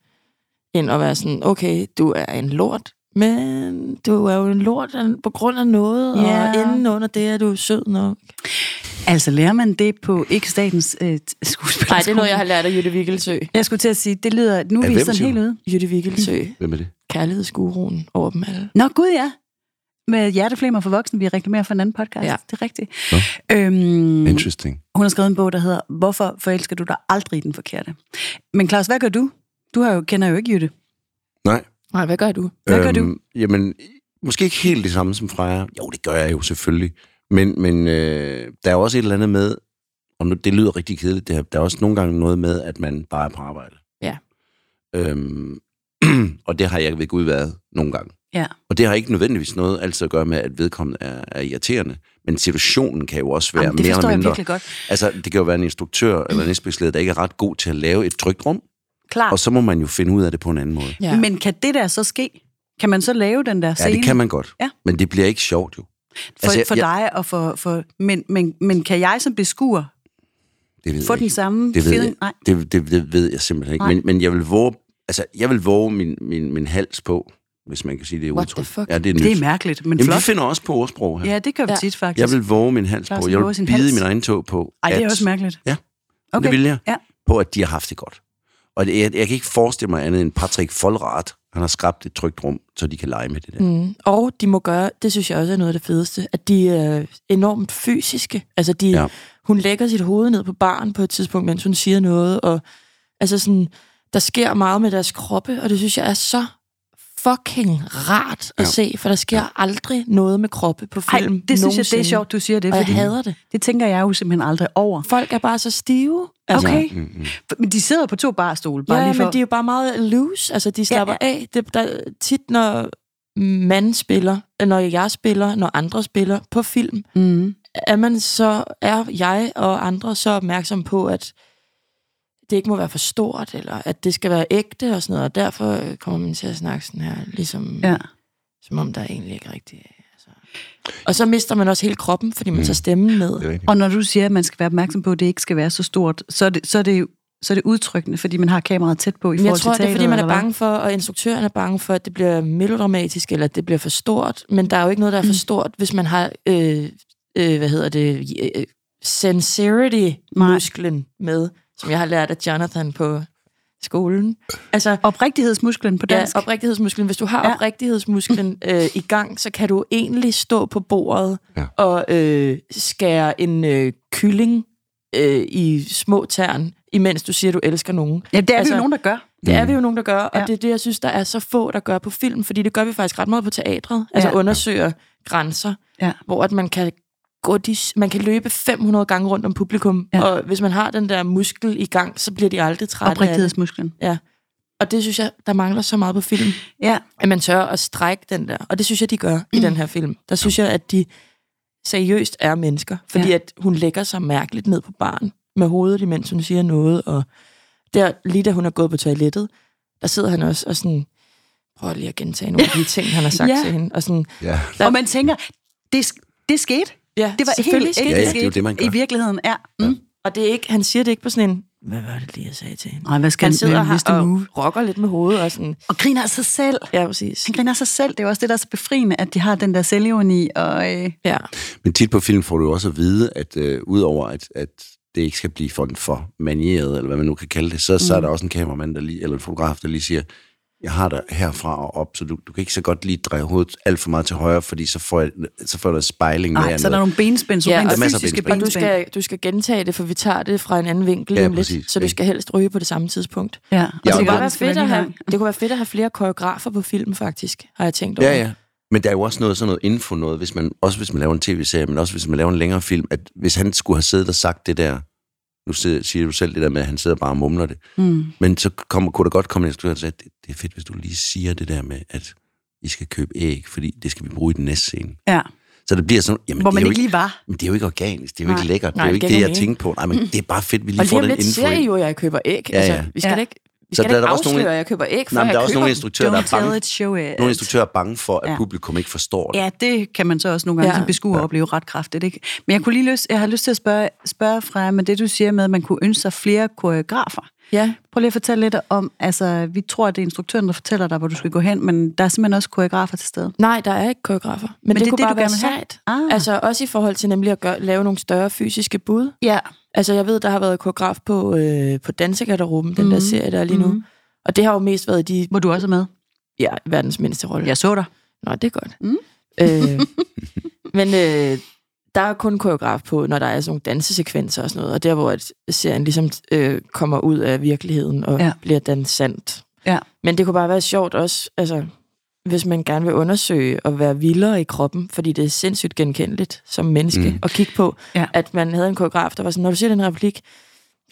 [SPEAKER 3] ind og være sådan, okay, du er en lort, men du er jo en lort på grund af noget,
[SPEAKER 2] Ja.
[SPEAKER 3] og inden under det er du sød nok.
[SPEAKER 2] Altså, lærer man det på ikke statens øh, skuespil?
[SPEAKER 3] Nej, det er noget, jeg har lært af Jytte Vigelsø.
[SPEAKER 2] Jeg skulle til at sige, det lyder, nu er
[SPEAKER 1] Af
[SPEAKER 2] vi
[SPEAKER 1] hvem,
[SPEAKER 2] sådan
[SPEAKER 1] siger
[SPEAKER 2] helt
[SPEAKER 1] du?
[SPEAKER 2] ude.
[SPEAKER 3] Jytte Vigelsø,
[SPEAKER 1] Hvem er det?
[SPEAKER 3] kærlighedsguruen over dem alle.
[SPEAKER 2] Nå, gud ja. Med hjerteflimmer for voksne, vi reklamerer for en anden podcast.
[SPEAKER 3] Ja.
[SPEAKER 2] Det er rigtigt.
[SPEAKER 1] Nå.
[SPEAKER 2] Øhm,
[SPEAKER 1] Mm. Interesting.
[SPEAKER 2] hun har skrevet en bog, der hedder Hvorfor forelsker du dig aldrig i den forkerte? Men Claus, hvad gør du? Du har jo, kender jo ikke Jytte.
[SPEAKER 1] Nej.
[SPEAKER 3] Nej, hvad gør du?
[SPEAKER 2] Hvad gør du?
[SPEAKER 1] Øhm, Jamen, måske ikke helt det samme som Freja. Jo, det gør jeg jo selvfølgelig. Men, men øh, der er jo også et eller andet med, og nu, det lyder rigtig kedeligt, det her, der er også nogle gange noget med, at man bare er på arbejde.
[SPEAKER 3] Ja.
[SPEAKER 1] Øhm, og det har jeg ved Gud været nogle gange.
[SPEAKER 2] Ja.
[SPEAKER 1] Og det har ikke nødvendigvis noget altid at gøre med, at vedkommende er, er irriterende. Men situationen kan jo også være
[SPEAKER 2] Jamen, det
[SPEAKER 1] mere
[SPEAKER 2] forstår
[SPEAKER 1] eller
[SPEAKER 2] jeg
[SPEAKER 1] mindre...
[SPEAKER 2] virkelig Mm. godt.
[SPEAKER 1] Altså, det kan jo være en instruktør eller en indspilsleder, der ikke er ret god til at lave et trygt rum.
[SPEAKER 2] Klart.
[SPEAKER 1] Og så må man jo finde ud af det på en anden måde.
[SPEAKER 3] Ja. Men,
[SPEAKER 2] Men kan det der så ske? Kan man så lave den der scene
[SPEAKER 1] Ja, det kan man godt.
[SPEAKER 2] Ja.
[SPEAKER 1] Men det bliver ikke sjovt jo.
[SPEAKER 2] for, altså,
[SPEAKER 1] altså, jeg-
[SPEAKER 2] for dig? Og for, for, men, men, men kan jeg som beskuer
[SPEAKER 1] Det ved
[SPEAKER 2] få
[SPEAKER 1] jeg
[SPEAKER 2] den
[SPEAKER 1] ikke.
[SPEAKER 2] samme
[SPEAKER 1] Det ved jeg,
[SPEAKER 2] feeling? Nej.
[SPEAKER 1] det, det, det ved jeg simpelthen ikke.
[SPEAKER 2] Nej.
[SPEAKER 1] Men, men jeg vil våge, altså, jeg vil våge min, min, min hals på, hvis man kan sige det
[SPEAKER 3] What
[SPEAKER 1] udtryk.
[SPEAKER 3] the fuck?
[SPEAKER 1] Ja, det er nyt.
[SPEAKER 2] Det er mærkeligt, men
[SPEAKER 1] Jamen, vi
[SPEAKER 2] flot.
[SPEAKER 1] finder også på ordsprog her.
[SPEAKER 2] Ja, det gør vi
[SPEAKER 3] Ja.
[SPEAKER 2] tit, faktisk.
[SPEAKER 1] jeg vil våge min hals
[SPEAKER 2] Clausen
[SPEAKER 1] på. Jeg
[SPEAKER 2] våger
[SPEAKER 1] vil
[SPEAKER 2] sin
[SPEAKER 1] bide
[SPEAKER 2] hals.
[SPEAKER 1] min egen tog på.
[SPEAKER 2] Ej, det er
[SPEAKER 1] at-
[SPEAKER 2] også mærkeligt.
[SPEAKER 1] Ja,
[SPEAKER 2] Okay.
[SPEAKER 1] det vil jeg.
[SPEAKER 2] Ja.
[SPEAKER 1] På, at de har haft det godt. Og det, jeg, jeg kan ikke forestille mig andet end Patrick Folrat. Han har skabt et trygt rum, så de kan lege med det der. Mm.
[SPEAKER 3] Mm. Og de må gøre, det synes jeg også er noget af det fedeste, at de er enormt fysiske. Altså, de,
[SPEAKER 1] Ja.
[SPEAKER 3] ja. hun lægger sit hoved ned på baren på et tidspunkt, mens hun siger noget, og altså sådan, der sker meget med deres kroppe, og det synes jeg er så fucking rart at
[SPEAKER 1] Ja.
[SPEAKER 3] ja. se, for der sker ja. aldrig noget med kroppe på
[SPEAKER 2] Ej,
[SPEAKER 3] film.
[SPEAKER 2] det synes jeg, det
[SPEAKER 3] nogensinde.
[SPEAKER 2] er sjovt, du siger det,
[SPEAKER 3] Og jeg
[SPEAKER 2] fordi
[SPEAKER 3] hader det.
[SPEAKER 2] det tænker jeg jo simpelthen aldrig over.
[SPEAKER 3] Folk er bare så stive.
[SPEAKER 2] Okay.
[SPEAKER 1] Mm, mm.
[SPEAKER 2] Men de sidder på to barstole, Altså, bare
[SPEAKER 3] Ja,
[SPEAKER 2] lige for...
[SPEAKER 3] men de er jo bare meget loose. Altså, de slapper ja, ja. af. Det, der, tit, når man spiller, når jeg spiller, når andre spiller på film,
[SPEAKER 2] mm.
[SPEAKER 3] er man så, er jeg og andre så opmærksom på, at det ikke må være for stort, eller at det skal være ægte og sådan noget, og derfor øh, kommer man til at snakke sådan her, ligesom, ja.
[SPEAKER 2] ja.
[SPEAKER 3] som om der egentlig ikke rigtig er. Altså. Og så mister man også hele kroppen, fordi man mm. tager stemmen med.
[SPEAKER 1] Det er rigtigt.
[SPEAKER 2] Og når du siger, at man skal være opmærksom på, at det ikke skal være så stort, så er det, så er det, jo- så er det udtrykkende, fordi man har kameraet tæt på i
[SPEAKER 3] Men
[SPEAKER 2] forhold
[SPEAKER 3] jeg tror,
[SPEAKER 2] til
[SPEAKER 3] det er,
[SPEAKER 2] teateret,
[SPEAKER 3] fordi man er
[SPEAKER 2] eller hvad?
[SPEAKER 3] bange for, og instruktøren er bange for, at det bliver melodramatisk, eller at det bliver for stort. Men der er jo ikke noget, der er
[SPEAKER 2] Mm.
[SPEAKER 3] for stort, hvis man har, øh, øh, hvad hedder det, øh, sincerity-musklen med, som jeg har lært af Jonathan på skolen. Altså,
[SPEAKER 2] Oprigtighedsmusklen på
[SPEAKER 3] ja,
[SPEAKER 2] dansk.
[SPEAKER 3] oprigtighedsmusklen. Hvis du har
[SPEAKER 2] Ja.
[SPEAKER 3] ja. oprigtighedsmusklen øh, i gang, så kan du egentlig stå på bordet
[SPEAKER 1] Ja.
[SPEAKER 3] ja. og øh, skære en øh, kylling øh, i små tern, imens du siger, du elsker nogen.
[SPEAKER 2] ja, det er altså,
[SPEAKER 3] altså-
[SPEAKER 2] jo nogen, der gør.
[SPEAKER 3] Det er vi jo nogen, der gør, og
[SPEAKER 2] Ja.
[SPEAKER 3] ja. det er det, jeg synes, der er så få, der gør på film, fordi det gør vi faktisk ret meget på teatret. Altså
[SPEAKER 2] Ja.
[SPEAKER 3] ja. undersøger grænser,
[SPEAKER 2] Ja.
[SPEAKER 3] hvor at man kan gå de, man kan løbe 500 gange rundt om publikum,
[SPEAKER 2] Ja.
[SPEAKER 3] ja. og hvis man har den der muskel i gang, så bliver de aldrig trætte af det.
[SPEAKER 2] Oprigtighedsmusklen.
[SPEAKER 3] Ja. Og det synes jeg, der mangler så meget på film,
[SPEAKER 2] Ja,
[SPEAKER 3] at man tør at strække den der. Og det synes jeg, de gør i den her film. Der synes jeg, at de seriøst er mennesker, fordi
[SPEAKER 2] Ja.
[SPEAKER 3] ja. at hun lægger sig mærkeligt ned på barn med hovedet, imens hun siger noget, og der, lige da hun er gået på toilettet, der sidder han også og sådan, prøver lige at gentage nogle af de ting, han har sagt
[SPEAKER 2] Ja.
[SPEAKER 3] ja. til hende, og sådan,
[SPEAKER 1] Ja.
[SPEAKER 3] Der-
[SPEAKER 2] og man tænker, det, sk- det skete. Det
[SPEAKER 3] ja,
[SPEAKER 2] var helt
[SPEAKER 3] selvfølgelig
[SPEAKER 2] ægte
[SPEAKER 1] Ja,
[SPEAKER 3] skete
[SPEAKER 1] ja, det er
[SPEAKER 2] skete
[SPEAKER 1] jo det, man gør.
[SPEAKER 2] i virkeligheden. Ja. Mm.
[SPEAKER 3] Og det er ikke, han siger det ikke på sådan en, hvad var det lige, jeg sagde til hende?
[SPEAKER 2] Nej, hvad skal
[SPEAKER 3] Han sidder
[SPEAKER 2] her
[SPEAKER 3] her
[SPEAKER 2] og, move?
[SPEAKER 3] og rokker lidt med hovedet, og sådan,
[SPEAKER 2] og griner af sig selv.
[SPEAKER 3] ja, præcis.
[SPEAKER 2] Han griner af sig selv. Det er jo også det, der er så befriende, at de har den der selvironi. Og, øh,
[SPEAKER 3] Ja.
[SPEAKER 1] Men tit på film får du jo også at vide, at øh, udover at, at det ikke skal blive for, for manieret, eller hvad man nu kan kalde det, så, mm. så er der også en kameramand, der lige, eller en fotograf, der lige siger, jeg har dig herfra og op, så du, du kan ikke så godt lige dreje hovedet alt for meget til højre, fordi så får, jeg, så får der spejling med.
[SPEAKER 2] ej, så er der
[SPEAKER 1] andet.
[SPEAKER 2] nogle benspænd, så
[SPEAKER 3] Ja,
[SPEAKER 2] rent
[SPEAKER 3] og
[SPEAKER 1] masser af
[SPEAKER 2] fysiske
[SPEAKER 1] benspænd.
[SPEAKER 3] Og du
[SPEAKER 2] benspænd.
[SPEAKER 3] skal, du skal gentage det, for vi tager det fra en anden vinkel
[SPEAKER 1] Ja,
[SPEAKER 3] ja, om lidt,
[SPEAKER 1] præcis,
[SPEAKER 3] så du
[SPEAKER 1] ikke?
[SPEAKER 3] skal helst ryge på det samme tidspunkt.
[SPEAKER 2] Ja,
[SPEAKER 1] Ja,
[SPEAKER 3] Og det,
[SPEAKER 1] og
[SPEAKER 3] kunne
[SPEAKER 1] det-
[SPEAKER 3] være fedt at
[SPEAKER 2] have.
[SPEAKER 3] have, det kunne være fedt at have flere koreografer på film, faktisk, har jeg tænkt over.
[SPEAKER 1] Ja, ja. Men der er jo også noget, sådan noget info, noget, hvis man, også hvis man laver en tv-serie, men også hvis man laver en længere film, at hvis han skulle have siddet og sagt det der, nu sidder- siger du selv det der med, at han sidder bare og mumler det,
[SPEAKER 2] Mm.
[SPEAKER 1] Men så kommer, kunne der godt komme en instruktør og sige, at det, det er fedt, hvis du lige siger det der med, at I skal købe æg, fordi det skal vi bruge i den næste scene.
[SPEAKER 2] Ja,
[SPEAKER 1] Så det bliver sådan, jamen,
[SPEAKER 2] hvor
[SPEAKER 1] det,
[SPEAKER 2] man
[SPEAKER 1] er jo
[SPEAKER 2] ikke lige var.
[SPEAKER 1] men det er jo ikke organisk, det er jo
[SPEAKER 2] Nej.
[SPEAKER 1] ikke lækkert, det
[SPEAKER 3] Nej,
[SPEAKER 1] er jo
[SPEAKER 3] det
[SPEAKER 1] ikke
[SPEAKER 3] giver
[SPEAKER 1] det, jeg
[SPEAKER 3] ikke
[SPEAKER 1] tænkte på. Nej, men det er bare fedt, vi lige
[SPEAKER 3] Og
[SPEAKER 1] får
[SPEAKER 3] lige
[SPEAKER 1] den
[SPEAKER 3] om lidt
[SPEAKER 1] info
[SPEAKER 3] ser I
[SPEAKER 1] ind.
[SPEAKER 3] jo, at jeg køber æg.
[SPEAKER 1] Ja, ja.
[SPEAKER 3] Altså, vi skal
[SPEAKER 2] Ja.
[SPEAKER 3] da ikke, vi
[SPEAKER 1] Så
[SPEAKER 3] skal da
[SPEAKER 1] der er
[SPEAKER 3] ikke
[SPEAKER 1] der også nogle-
[SPEAKER 3] afsløre, at jeg køber æg, for
[SPEAKER 1] Nej, men
[SPEAKER 3] jeg
[SPEAKER 1] der er også
[SPEAKER 3] køber
[SPEAKER 1] nogle
[SPEAKER 3] dem.
[SPEAKER 1] instruktører, der er
[SPEAKER 2] Don't tell
[SPEAKER 1] bange,
[SPEAKER 2] it, show it.
[SPEAKER 1] nogle instruktører er bange for, at
[SPEAKER 2] Ja.
[SPEAKER 1] publikum ikke forstår det.
[SPEAKER 2] Ja, det kan man så også nogle gange ja.
[SPEAKER 3] Ja.
[SPEAKER 2] som beskuer ja. opleve ret kraftigt. Ikke? Men jeg, kunne lige lyst, jeg har lyst til at spørge, spørge fra med det, du siger med, at man kunne ønske sig flere koreografer.
[SPEAKER 3] Ja,
[SPEAKER 2] Prøv lige at fortælle lidt om, altså vi tror, at det er instruktøren, der fortæller dig, hvor du skal gå hen, men der er simpelthen også koreografer til stede.
[SPEAKER 3] nej, der er ikke koreografer. Men, Men
[SPEAKER 2] det
[SPEAKER 3] det,
[SPEAKER 2] er
[SPEAKER 3] det kunne
[SPEAKER 2] det,
[SPEAKER 3] det,
[SPEAKER 2] du
[SPEAKER 3] bare være
[SPEAKER 2] gerne vil have?
[SPEAKER 3] sejt.
[SPEAKER 2] Ah.
[SPEAKER 3] Altså også i forhold til nemlig at gøre, lave nogle større fysiske bud.
[SPEAKER 2] Ja.
[SPEAKER 3] Altså jeg ved, der har været koreograf på, øh, på Dansegarderoben, den
[SPEAKER 2] Mm.
[SPEAKER 3] der serie, der er lige nu. Og det har jo mest været i de
[SPEAKER 2] Hvor du også er med.
[SPEAKER 3] ja, verdens mindste rolle.
[SPEAKER 2] Jeg så dig.
[SPEAKER 3] Nå, det er godt. Mm. Øh, men øh, der er kun koreograf på, når der er sådan nogle dansesekvenser og sådan noget, og der, hvor at serien ligesom øh, kommer ud af virkeligheden og
[SPEAKER 2] Ja.
[SPEAKER 3] ja. bliver dansant.
[SPEAKER 2] Ja.
[SPEAKER 3] Men det kunne bare være sjovt også, altså, hvis man gerne vil undersøge og være vildere i kroppen, fordi det er sindssygt genkendeligt som menneske mm. at kigge på,
[SPEAKER 2] Ja.
[SPEAKER 3] at man havde en koreograf, der var sådan, når du siger den replik,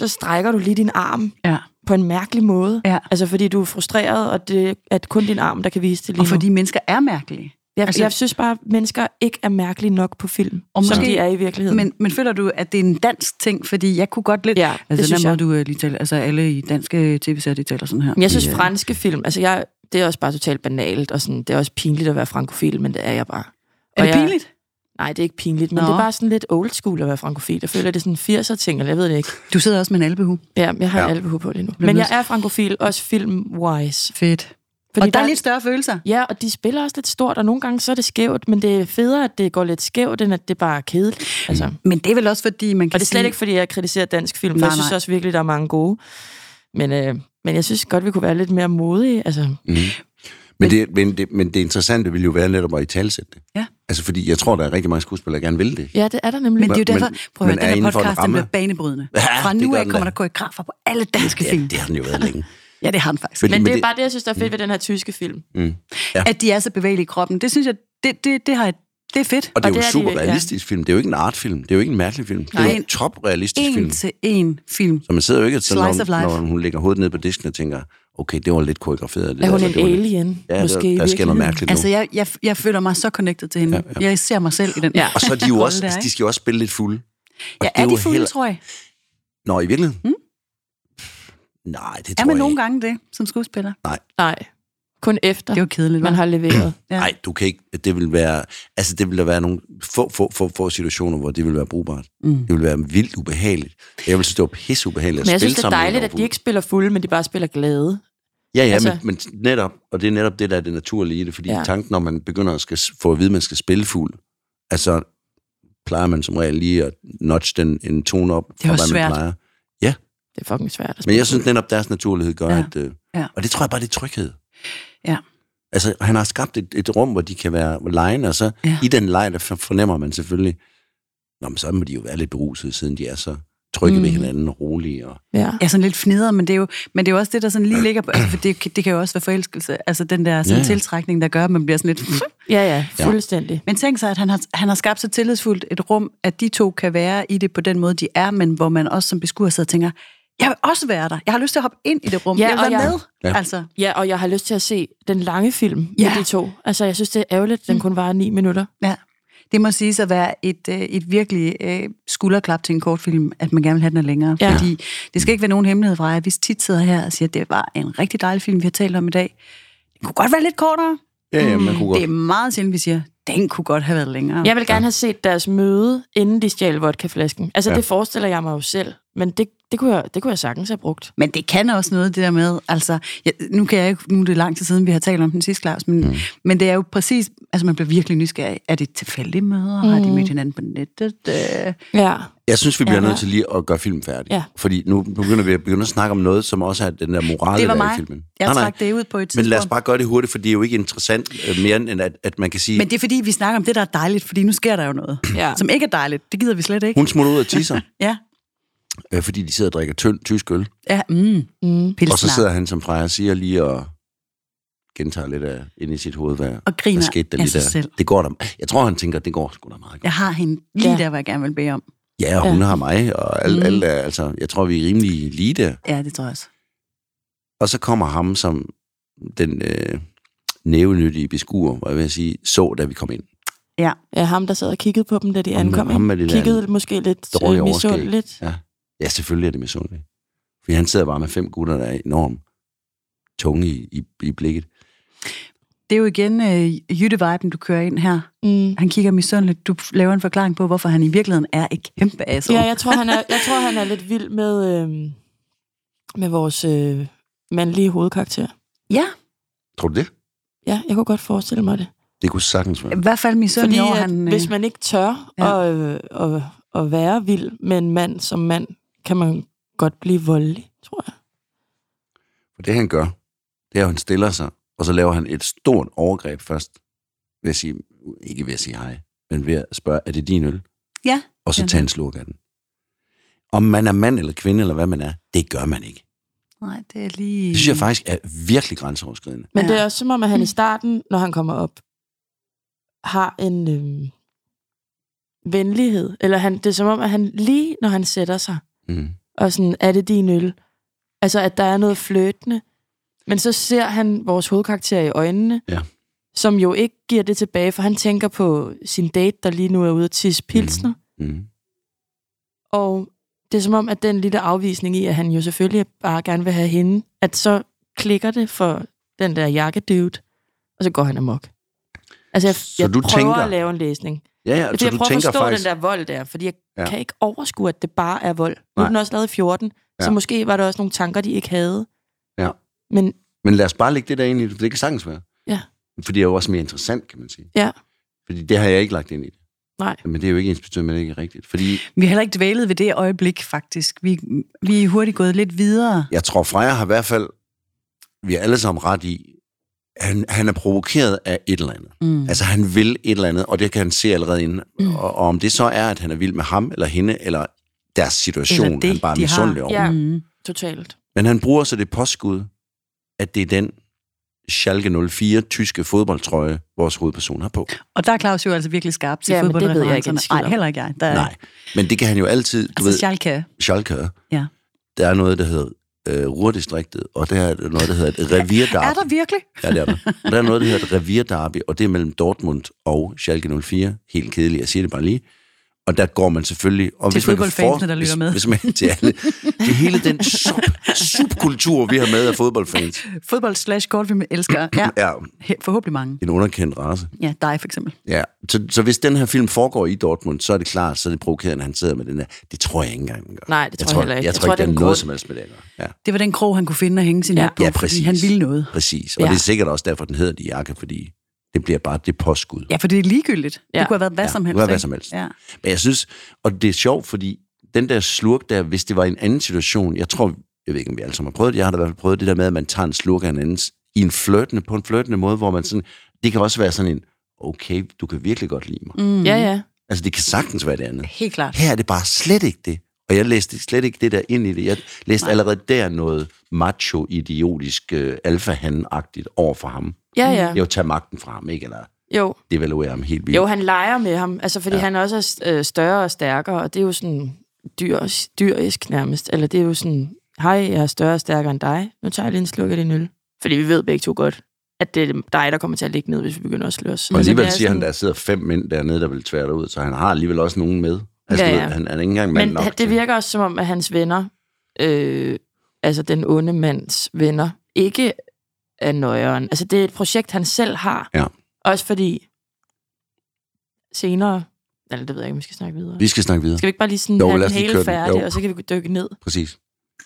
[SPEAKER 3] så strækker du lige din arm
[SPEAKER 2] Ja.
[SPEAKER 3] på en mærkelig måde.
[SPEAKER 2] Ja.
[SPEAKER 3] Altså fordi du er frustreret, og det er kun din arm, der kan vise det lige
[SPEAKER 2] Og
[SPEAKER 3] nu.
[SPEAKER 2] fordi mennesker er mærkelige.
[SPEAKER 3] Jeg,
[SPEAKER 2] Altså-
[SPEAKER 3] altså, jeg synes bare, at mennesker ikke er mærkelige nok på film,
[SPEAKER 2] Og
[SPEAKER 3] og som
[SPEAKER 2] måske-
[SPEAKER 3] de er i virkeligheden.
[SPEAKER 2] Men, men føler du, at det er en dansk ting? Fordi jeg kunne godt lidt...
[SPEAKER 3] Ja,
[SPEAKER 2] altså,
[SPEAKER 3] det
[SPEAKER 2] den
[SPEAKER 3] synes
[SPEAKER 2] der
[SPEAKER 3] jeg.
[SPEAKER 2] måde, du øh, lige taler, altså alle i danske tv-serier, de taler sådan her.
[SPEAKER 3] jeg synes, franske film, altså jeg, det er også bare totalt banalt, og sådan, det er også pinligt at være frankofil, men det er jeg bare.
[SPEAKER 2] er
[SPEAKER 3] Og
[SPEAKER 2] det
[SPEAKER 3] jeg-
[SPEAKER 2] pinligt?
[SPEAKER 3] Nej, det er ikke pinligt, men
[SPEAKER 2] Nå.
[SPEAKER 3] Nå. det er bare sådan lidt old school at være frankofil. Jeg føler, det er sådan en 80'er ting, eller jeg ved det ikke.
[SPEAKER 2] Du sidder også med en albehu.
[SPEAKER 3] Ja, jeg har
[SPEAKER 1] Ja.
[SPEAKER 3] ja. albehu på lige nu. Men
[SPEAKER 2] nødt
[SPEAKER 3] jeg er frankofil, også film-wise.
[SPEAKER 2] Fedt. Fordi og der, der er lidt større følelser.
[SPEAKER 3] Ja, og de spiller også lidt stort, og nogle gange så er det skævt, men det er federe, at det går lidt skævt, end at det bare er kedeligt. Altså. Og
[SPEAKER 2] Men det er vel også, fordi man kan
[SPEAKER 3] det er slet
[SPEAKER 2] sige-
[SPEAKER 3] ikke, fordi jeg kritiserer dansk film, for
[SPEAKER 2] Nej,
[SPEAKER 3] jeg synes
[SPEAKER 2] nej.
[SPEAKER 3] også virkelig, der er mange gode. Men, øh, men jeg synes godt, vi kunne være lidt mere modige. Altså,
[SPEAKER 1] Mm. Men det, men, det, men det interessante ville jo være netop at i talsætte det.
[SPEAKER 2] Ja.
[SPEAKER 1] Altså, fordi jeg tror, der er rigtig mange skuespillere, der gerne vil det.
[SPEAKER 3] ja, det er der nemlig.
[SPEAKER 2] Men
[SPEAKER 3] Men,
[SPEAKER 2] det er jo
[SPEAKER 1] Men-
[SPEAKER 2] derfor, prøv at
[SPEAKER 1] men er
[SPEAKER 2] høre, den her
[SPEAKER 1] inden for en
[SPEAKER 2] podcast, den
[SPEAKER 1] ramme.
[SPEAKER 2] bliver banebrydende.
[SPEAKER 1] Ja,
[SPEAKER 2] Fra
[SPEAKER 1] det
[SPEAKER 2] nu
[SPEAKER 1] gør
[SPEAKER 2] af
[SPEAKER 1] den
[SPEAKER 2] kommer
[SPEAKER 1] da.
[SPEAKER 2] der koreografer på alle danske
[SPEAKER 1] Ja,
[SPEAKER 2] film.
[SPEAKER 1] det har den jo været længe.
[SPEAKER 2] Ja, det har den faktisk.
[SPEAKER 1] Fordi-
[SPEAKER 3] men det
[SPEAKER 1] men
[SPEAKER 3] er
[SPEAKER 1] det-
[SPEAKER 3] bare det, jeg synes, der er fedt ved den her tyske film.
[SPEAKER 1] Mm. Ja.
[SPEAKER 2] At de er så bevægelige i kroppen, det synes jeg, det, det, det, har jeg, det er fedt.
[SPEAKER 1] Og det er
[SPEAKER 3] Og
[SPEAKER 1] jo
[SPEAKER 3] det
[SPEAKER 1] en
[SPEAKER 3] er
[SPEAKER 1] super
[SPEAKER 3] de- ja.
[SPEAKER 1] realistisk film. Det er jo ikke en artfilm. Det er jo ikke en mærkelig film. Det
[SPEAKER 2] Nej,
[SPEAKER 1] er jo
[SPEAKER 2] en-
[SPEAKER 1] en toprealistisk
[SPEAKER 2] En
[SPEAKER 1] film.
[SPEAKER 2] til en film.
[SPEAKER 1] Så man sidder jo ikke, sådan,
[SPEAKER 2] Slice
[SPEAKER 1] når,
[SPEAKER 2] of life.
[SPEAKER 1] når hun lægger hovedet ned på disken og tænker, okay, det var lidt koreograferet. Det
[SPEAKER 3] Er
[SPEAKER 1] der,
[SPEAKER 3] hun
[SPEAKER 1] eller
[SPEAKER 3] en
[SPEAKER 1] altså det var lidt-
[SPEAKER 3] alien?
[SPEAKER 1] Ja,
[SPEAKER 3] måske i
[SPEAKER 1] der, der sker noget
[SPEAKER 3] virkeligheden?
[SPEAKER 1] mærkeligt
[SPEAKER 2] Altså,
[SPEAKER 1] nu.
[SPEAKER 2] jeg, jeg, jeg føler mig så connected til hende. Ja, ja. Jeg ser mig selv i den.
[SPEAKER 3] Ja.
[SPEAKER 1] Og så er de jo
[SPEAKER 2] rolle
[SPEAKER 1] også, altså,
[SPEAKER 2] der, ikke?
[SPEAKER 1] de skal jo også spille lidt fulde. Og
[SPEAKER 2] ja,
[SPEAKER 1] det
[SPEAKER 2] er
[SPEAKER 1] jo
[SPEAKER 2] de fulde,
[SPEAKER 1] heller-
[SPEAKER 2] tror jeg?
[SPEAKER 1] Nå, i virkeligheden? Mm? Nej, det tror
[SPEAKER 2] Er man
[SPEAKER 1] jeg
[SPEAKER 2] nogle
[SPEAKER 1] ikke.
[SPEAKER 2] gange det, som skuespiller?
[SPEAKER 3] Nej, kun efter,
[SPEAKER 2] Det er jo kedeligt,
[SPEAKER 3] man
[SPEAKER 2] hva'?
[SPEAKER 3] har leveret.
[SPEAKER 2] Ja.
[SPEAKER 1] Nej, du kan ikke. Det vil være, altså det vil der være nogle få, få, få, få situationer, hvor det vil være brugbart.
[SPEAKER 2] Mm.
[SPEAKER 1] Det vil være vildt ubehageligt. Jeg vil synes, det var pisse ubehageligt at
[SPEAKER 3] Men jeg
[SPEAKER 1] spille
[SPEAKER 3] synes, det er
[SPEAKER 1] sammen med en,
[SPEAKER 3] dejligt,
[SPEAKER 1] der
[SPEAKER 3] at de
[SPEAKER 1] var
[SPEAKER 3] ikke spiller fulde, men de bare spiller glade.
[SPEAKER 1] fuld. Ja, ja,
[SPEAKER 3] altså-
[SPEAKER 1] altså... men, men, netop, og det er netop det, der er det naturlige i det, fordi
[SPEAKER 3] Ja.
[SPEAKER 1] ja. tanken, når man begynder at skal, s- få at vide, at man skal spille fuld, altså plejer man som regel lige at notch den en tone op,
[SPEAKER 2] Det er
[SPEAKER 1] fra,
[SPEAKER 2] også
[SPEAKER 1] hvad
[SPEAKER 2] svært.
[SPEAKER 1] man plejer.
[SPEAKER 3] Det er fucking svært at spille
[SPEAKER 1] Men jeg synes netop, deres naturlighed gør,
[SPEAKER 2] Ja.
[SPEAKER 1] ja. at... Øh,
[SPEAKER 2] Ja.
[SPEAKER 1] ja. Og det tror jeg bare, det er tryghed.
[SPEAKER 2] Ja.
[SPEAKER 1] Altså, han har skabt et, et rum, hvor de kan være lejende, og så
[SPEAKER 2] Ja.
[SPEAKER 1] ja. i den leg, der for- fornemmer man selvfølgelig, Nå, men så må de jo være lidt berusede, siden de er så trygge mm. ved
[SPEAKER 3] Mhm.
[SPEAKER 1] hinanden og rolige. Og...
[SPEAKER 3] fulde. Ja.
[SPEAKER 2] Ja, sådan lidt fnider, men det, er jo, men det er jo også det, der sådan lige ligger på... Altså, for det, det kan jo også være forelskelse. Altså den der sådan
[SPEAKER 1] Ja, ja.
[SPEAKER 2] tiltrækning, der gør, at man bliver sådan lidt...
[SPEAKER 3] Ja, ja,
[SPEAKER 1] Ja.
[SPEAKER 3] fuldstændig.
[SPEAKER 2] Men tænk sig, at han har, han har skabt så tillidsfuldt et rum, at de to kan være i det på den måde, de er, men hvor man også som beskuer sidder og tænker, jeg vil også være der. Jeg har lyst til at hoppe ind i det rum.
[SPEAKER 3] Ja,
[SPEAKER 2] jeg vil
[SPEAKER 3] og
[SPEAKER 2] være
[SPEAKER 3] jeg-
[SPEAKER 2] med.
[SPEAKER 1] Ja.
[SPEAKER 2] Altså,
[SPEAKER 3] Ja, og jeg har lyst til at se den lange film ja.
[SPEAKER 2] Ja.
[SPEAKER 3] med de to. Altså, jeg synes, det er ærgerligt, at den kun varer ni minutter.
[SPEAKER 2] ja. Det må sige at være et, øh, et virkelig øh, skulderklap til en kortfilm, at man gerne vil have den er længere.
[SPEAKER 3] Ja.
[SPEAKER 2] Fordi det skal ikke være nogen hemmelighed fra jer. Vi tit sidder her og siger, at det var en rigtig dejlig film, vi har talt om i dag. Den kunne godt være lidt kortere.
[SPEAKER 1] Ja, ja, man kunne
[SPEAKER 2] Mm. Det er
[SPEAKER 1] godt.
[SPEAKER 2] meget sjældent, vi siger, den kunne godt have været
[SPEAKER 1] Mm.
[SPEAKER 2] længere.
[SPEAKER 3] Jeg vil gerne have set deres møde, inden de stjal vodkaflasken. Altså, ja.
[SPEAKER 1] Ja.
[SPEAKER 3] det forestiller jeg mig jo selv. Men det, det, kunne jeg, det kunne jeg sagtens have brugt.
[SPEAKER 2] Men det kan også noget, det der med, altså, jeg, nu, kan jeg ikke, nu er det lang tid siden, vi har talt om den sidste, Claus, men, mm. men det er jo præcis, altså man bliver virkelig nysgerrig. Er det tilfældige møder? Mm. Har de mødt hinanden på nettet? Øh,
[SPEAKER 3] Ja.
[SPEAKER 1] Jeg synes, vi bliver
[SPEAKER 3] Ja.
[SPEAKER 1] ja, nødt til lige at gøre filmen færdig.
[SPEAKER 3] Ja.
[SPEAKER 1] Fordi nu begynder vi at begynde at snakke om noget, som også er den der morale,
[SPEAKER 2] det var
[SPEAKER 1] der er
[SPEAKER 2] mig.
[SPEAKER 1] i filmen.
[SPEAKER 2] Jeg
[SPEAKER 1] Nej, nej.
[SPEAKER 2] trak det ud på et tidspunkt.
[SPEAKER 1] Men lad os bare gøre det hurtigt, for det er jo ikke interessant øh, mere end, at, at man kan sige,
[SPEAKER 2] men det er fordi, vi snakker om det, der er dejligt, fordi nu sker der jo noget,
[SPEAKER 3] Ja.
[SPEAKER 2] som ikke er dejligt. Det gider vi slet ikke.
[SPEAKER 1] hun smutter ud og tisser,
[SPEAKER 2] Ja,
[SPEAKER 1] øh, fordi de sidder og drikker tynd tysk øl.
[SPEAKER 2] ja, mm,
[SPEAKER 3] Mm.
[SPEAKER 2] pilsner.
[SPEAKER 1] Og så sidder han som Freja siger lige og gentager lidt af, inde i sit hoved, hvad,
[SPEAKER 2] og
[SPEAKER 1] hvad
[SPEAKER 2] griner
[SPEAKER 1] skete der
[SPEAKER 2] af
[SPEAKER 1] lige
[SPEAKER 2] sig
[SPEAKER 1] der.
[SPEAKER 2] selv.
[SPEAKER 1] Det går der. Jeg tror, han tænker, det går sgu da meget godt.
[SPEAKER 2] Jeg har hende lige
[SPEAKER 3] Ja.
[SPEAKER 2] ja. der, hvor jeg gerne vil bede om.
[SPEAKER 1] Ja, og hun
[SPEAKER 3] Ja.
[SPEAKER 1] har mig, og alt,
[SPEAKER 2] Mm.
[SPEAKER 1] mm. alt er, altså, jeg tror, vi er rimelig lige der.
[SPEAKER 2] Ja, det tror jeg også.
[SPEAKER 1] Og så kommer ham som den øh, nævenyttige beskuer, hvor jeg vil sige, så da vi kom ind.
[SPEAKER 2] Ja.
[SPEAKER 3] ja, ham, der sad og kiggede på dem, da de
[SPEAKER 1] Ham-
[SPEAKER 3] ankom.
[SPEAKER 1] ham med
[SPEAKER 3] ikke?
[SPEAKER 1] det der
[SPEAKER 3] kiggede måske lidt
[SPEAKER 1] dårlige
[SPEAKER 3] øh,
[SPEAKER 1] overskæg.
[SPEAKER 3] misundeligt.
[SPEAKER 1] Ja, selvfølgelig er det misundeligt. Fordi han sidder bare med fem gutter, der er enormt tunge i, i, i blikket.
[SPEAKER 2] Det er jo igen øh, jytte-viben, du kører ind her.
[SPEAKER 3] Mm.
[SPEAKER 2] Han kigger misundeligt. Du laver en forklaring på, hvorfor han i virkeligheden er et kæmpe asshole.
[SPEAKER 3] Ja, jeg tror, han er, jeg tror, han er lidt vild med, øh, med vores øh, mandlige hovedkarakter.
[SPEAKER 2] ja.
[SPEAKER 1] Tror du det?
[SPEAKER 3] Ja, jeg kunne godt forestille mig det.
[SPEAKER 1] Det kunne sagtens være.
[SPEAKER 2] I hvert fald misundelig
[SPEAKER 3] Fordi
[SPEAKER 2] over,
[SPEAKER 3] at,
[SPEAKER 2] han... øh,
[SPEAKER 3] hvis man ikke tør
[SPEAKER 2] Ja.
[SPEAKER 3] ja. at, øh, at, at være vild med en mand som mand, kan man godt blive voldelig, tror jeg.
[SPEAKER 1] For det han gør, det er, at han stiller sig, og så laver han et stort overgreb først. Ved at sige, ikke ved at sige hej, men ved at spørge, er det din øl?
[SPEAKER 2] Ja.
[SPEAKER 1] Og så
[SPEAKER 2] Ja.
[SPEAKER 1] tage en slurk af den. Om man er mand eller kvinde, eller hvad man er, det gør man ikke.
[SPEAKER 2] Nej, det er lige...
[SPEAKER 1] Det synes jeg faktisk er virkelig grænseoverskridende.
[SPEAKER 3] Men ja. det
[SPEAKER 2] Ja.
[SPEAKER 3] er også som om, at han i starten, når han kommer op, har en øh, venlighed. Eller han, det er som om, at han lige når han sætter sig,
[SPEAKER 1] Mm.
[SPEAKER 3] og sådan, er det din øl? Altså, at der er noget fløtende. Men så ser han vores hovedkarakter i øjnene,
[SPEAKER 1] Ja.
[SPEAKER 3] som jo ikke giver det tilbage, for han tænker på sin date, der lige nu er ude til pilsner.
[SPEAKER 1] Mm.
[SPEAKER 3] Og det er som om, at den lille afvisning i, at han jo selvfølgelig bare gerne vil have hende, at så klikker det for den der jakkedude, og så går han amok. Altså, jeg,
[SPEAKER 1] Så
[SPEAKER 3] jeg
[SPEAKER 1] du
[SPEAKER 3] prøver
[SPEAKER 1] tænker-
[SPEAKER 3] at lave en læsning.
[SPEAKER 1] Ja, ja,
[SPEAKER 3] Altså,
[SPEAKER 1] så
[SPEAKER 3] jeg
[SPEAKER 1] du
[SPEAKER 3] prøver at
[SPEAKER 1] tænker
[SPEAKER 3] forstå
[SPEAKER 1] faktisk...
[SPEAKER 3] den der vold der, fordi jeg
[SPEAKER 1] Ja.
[SPEAKER 3] ja. kan ikke overskue, at det bare er vold. Nu er
[SPEAKER 1] Nej.
[SPEAKER 3] den også lavet i 14, ja. så
[SPEAKER 1] Ja.
[SPEAKER 3] måske var der også nogle tanker, de ikke havde.
[SPEAKER 1] Ja.
[SPEAKER 3] Men
[SPEAKER 1] Men lad os bare lægge det der ind i det, for det kan sagtens være.
[SPEAKER 3] Ja.
[SPEAKER 1] For det er jo også mere interessant, kan man sige.
[SPEAKER 3] Ja.
[SPEAKER 1] Fordi det har jeg ikke lagt ind i det.
[SPEAKER 3] Nej.
[SPEAKER 1] Men det er jo ikke ens betydning, at det ikke er rigtigt. Fordi
[SPEAKER 2] Vi har heller ikke dvælet ved det øjeblik, faktisk. Vi, vi er hurtigt gået lidt videre.
[SPEAKER 1] jeg tror, Freja har i hvert fald, vi er alle sammen ret i, han, han er provokeret af et eller andet.
[SPEAKER 2] Mm.
[SPEAKER 1] Altså, han vil et eller andet, og det kan han se allerede inden. Mm. Og, og om det så er, at han er vild med ham, eller hende, eller deres situation,
[SPEAKER 2] Eller det,
[SPEAKER 1] han bare er
[SPEAKER 2] de har.
[SPEAKER 1] misundelig over.
[SPEAKER 3] Ja.
[SPEAKER 2] Mm.
[SPEAKER 3] Totalt.
[SPEAKER 1] Men han bruger så det påskud, at det er den Schalke 04 tyske fodboldtrøje, vores hovedperson har på.
[SPEAKER 2] Og der er Claus jo altså virkelig skarp til
[SPEAKER 3] Ja, men det ved jeg ikke en skid
[SPEAKER 2] Nej,
[SPEAKER 3] om.
[SPEAKER 2] heller ikke jeg. Der, er-
[SPEAKER 1] Nej, men det kan han jo altid, du
[SPEAKER 2] Øh. Altså,
[SPEAKER 1] ved,
[SPEAKER 2] Schalke.
[SPEAKER 1] Schalke,
[SPEAKER 2] Ja.
[SPEAKER 1] der er noget, der hedder øh, Ruhrdistriktet, og der er noget, der hedder et revirdarby.
[SPEAKER 2] Er der virkelig?
[SPEAKER 1] Ja, det er der. Og der er noget, der hedder et revirderby, og det er mellem Dortmund og Schalke 04. Helt kedeligt, jeg siger det bare lige. Og der går man selvfølgelig... Og
[SPEAKER 2] Til
[SPEAKER 1] hvis man kan
[SPEAKER 2] fodboldfansene, der lytter
[SPEAKER 1] hvis,
[SPEAKER 2] med.
[SPEAKER 1] Hvis man, til alle. Det er hele den sub, subkultur, vi har med af fodboldfans.
[SPEAKER 2] Fodbold slash kortfilm elsker. Ja,
[SPEAKER 1] Ja,
[SPEAKER 2] he- forhåbentlig mange.
[SPEAKER 1] en underkendt race.
[SPEAKER 2] Ja, dig for eksempel.
[SPEAKER 1] Ja. Så, så hvis den her film foregår i Dortmund, så er det klart, så er det provokerende, at han sidder med den der. Det tror jeg ikke engang, den gør.
[SPEAKER 3] Nej, det tror jeg heller ikke.
[SPEAKER 1] Jeg, jeg tror, ikke,
[SPEAKER 3] det er
[SPEAKER 1] der er
[SPEAKER 3] en
[SPEAKER 1] noget
[SPEAKER 3] grund.
[SPEAKER 1] som helst med det, at gøre. Ja.
[SPEAKER 2] Det var den krog, han kunne finde og hænge sin
[SPEAKER 3] Ja.
[SPEAKER 2] ja. hat på,
[SPEAKER 1] Ja,
[SPEAKER 2] fordi
[SPEAKER 1] præcis.
[SPEAKER 2] han ville noget.
[SPEAKER 1] Præcis. Og ja.
[SPEAKER 3] Ja.
[SPEAKER 1] det er sikkert også derfor, den hedder de jakke, fordi det bliver bare det påskud.
[SPEAKER 2] Ja, for det er ligegyldigt. Ja.
[SPEAKER 3] Ja.
[SPEAKER 2] Det kunne have været hvad
[SPEAKER 1] Ja,
[SPEAKER 2] som
[SPEAKER 1] det
[SPEAKER 2] helst.
[SPEAKER 1] kunne have været
[SPEAKER 2] ikke?
[SPEAKER 1] som helst.
[SPEAKER 2] Ja.
[SPEAKER 1] Men jeg synes, og det er sjovt, fordi den der slurk der, hvis det var i en anden situation, jeg tror, jeg ved ikke, om vi alle sammen har prøvet det, jeg har da i hvert fald prøvet det der med, at man tager en slurk af en andens, i en flirtende, på en flirtende måde, hvor man sådan, det kan også være sådan en, okay, du kan virkelig godt lide mig. Mm.
[SPEAKER 2] Mm.
[SPEAKER 3] Ja, ja.
[SPEAKER 1] Altså, det kan sagtens være det andet.
[SPEAKER 2] Helt klart.
[SPEAKER 1] Her er det bare slet ikke det. Og jeg læste slet ikke det der ind i det. Jeg læste Nej. allerede der noget macho-idiotisk, øh, alfahan-agtigt over for ham.
[SPEAKER 3] Ja, ja.
[SPEAKER 1] Jeg vil tage magten fra ham, ikke? Eller
[SPEAKER 3] Jo.
[SPEAKER 1] devaluere ham helt vildt.
[SPEAKER 3] Jo, han leger med ham, altså fordi ja. han også er øh, større og stærkere, og det er jo sådan dyr, dyrisk nærmest. Eller det er jo sådan, hej, jeg er større og stærkere end dig, nu tager jeg lige en sluk af din øl. Fordi vi ved begge to godt, at det er dig, der kommer til at ligge ned, hvis vi begynder at slås.
[SPEAKER 1] Og
[SPEAKER 3] Altså, det
[SPEAKER 1] alligevel
[SPEAKER 3] er
[SPEAKER 1] siger han,
[SPEAKER 3] sådan-
[SPEAKER 1] der sidder fem mænd dernede, der vil tvære dig ud, så han har alligevel også nogen med. Altså, ja,
[SPEAKER 3] Ja,
[SPEAKER 1] ja.
[SPEAKER 3] ja.
[SPEAKER 1] Ved, han han er ikke engang mand
[SPEAKER 3] Men
[SPEAKER 1] nok.
[SPEAKER 3] han- det
[SPEAKER 1] til-
[SPEAKER 3] virker også som om, at hans venner, øh, altså den onde mands venner, ikke er nøjeren. Altså det er et projekt, han selv har.
[SPEAKER 1] Ja.
[SPEAKER 3] Også fordi senere, eller det ved jeg ikke, om vi skal snakke videre.
[SPEAKER 1] Vi skal snakke videre.
[SPEAKER 3] Skal vi ikke bare lige sådan
[SPEAKER 1] Jo,
[SPEAKER 3] jo, have
[SPEAKER 1] lad
[SPEAKER 3] den
[SPEAKER 1] os lige
[SPEAKER 3] hele
[SPEAKER 1] køre den.
[SPEAKER 3] færdig,
[SPEAKER 1] Jo.
[SPEAKER 3] og så kan vi dykke ned?
[SPEAKER 1] Præcis.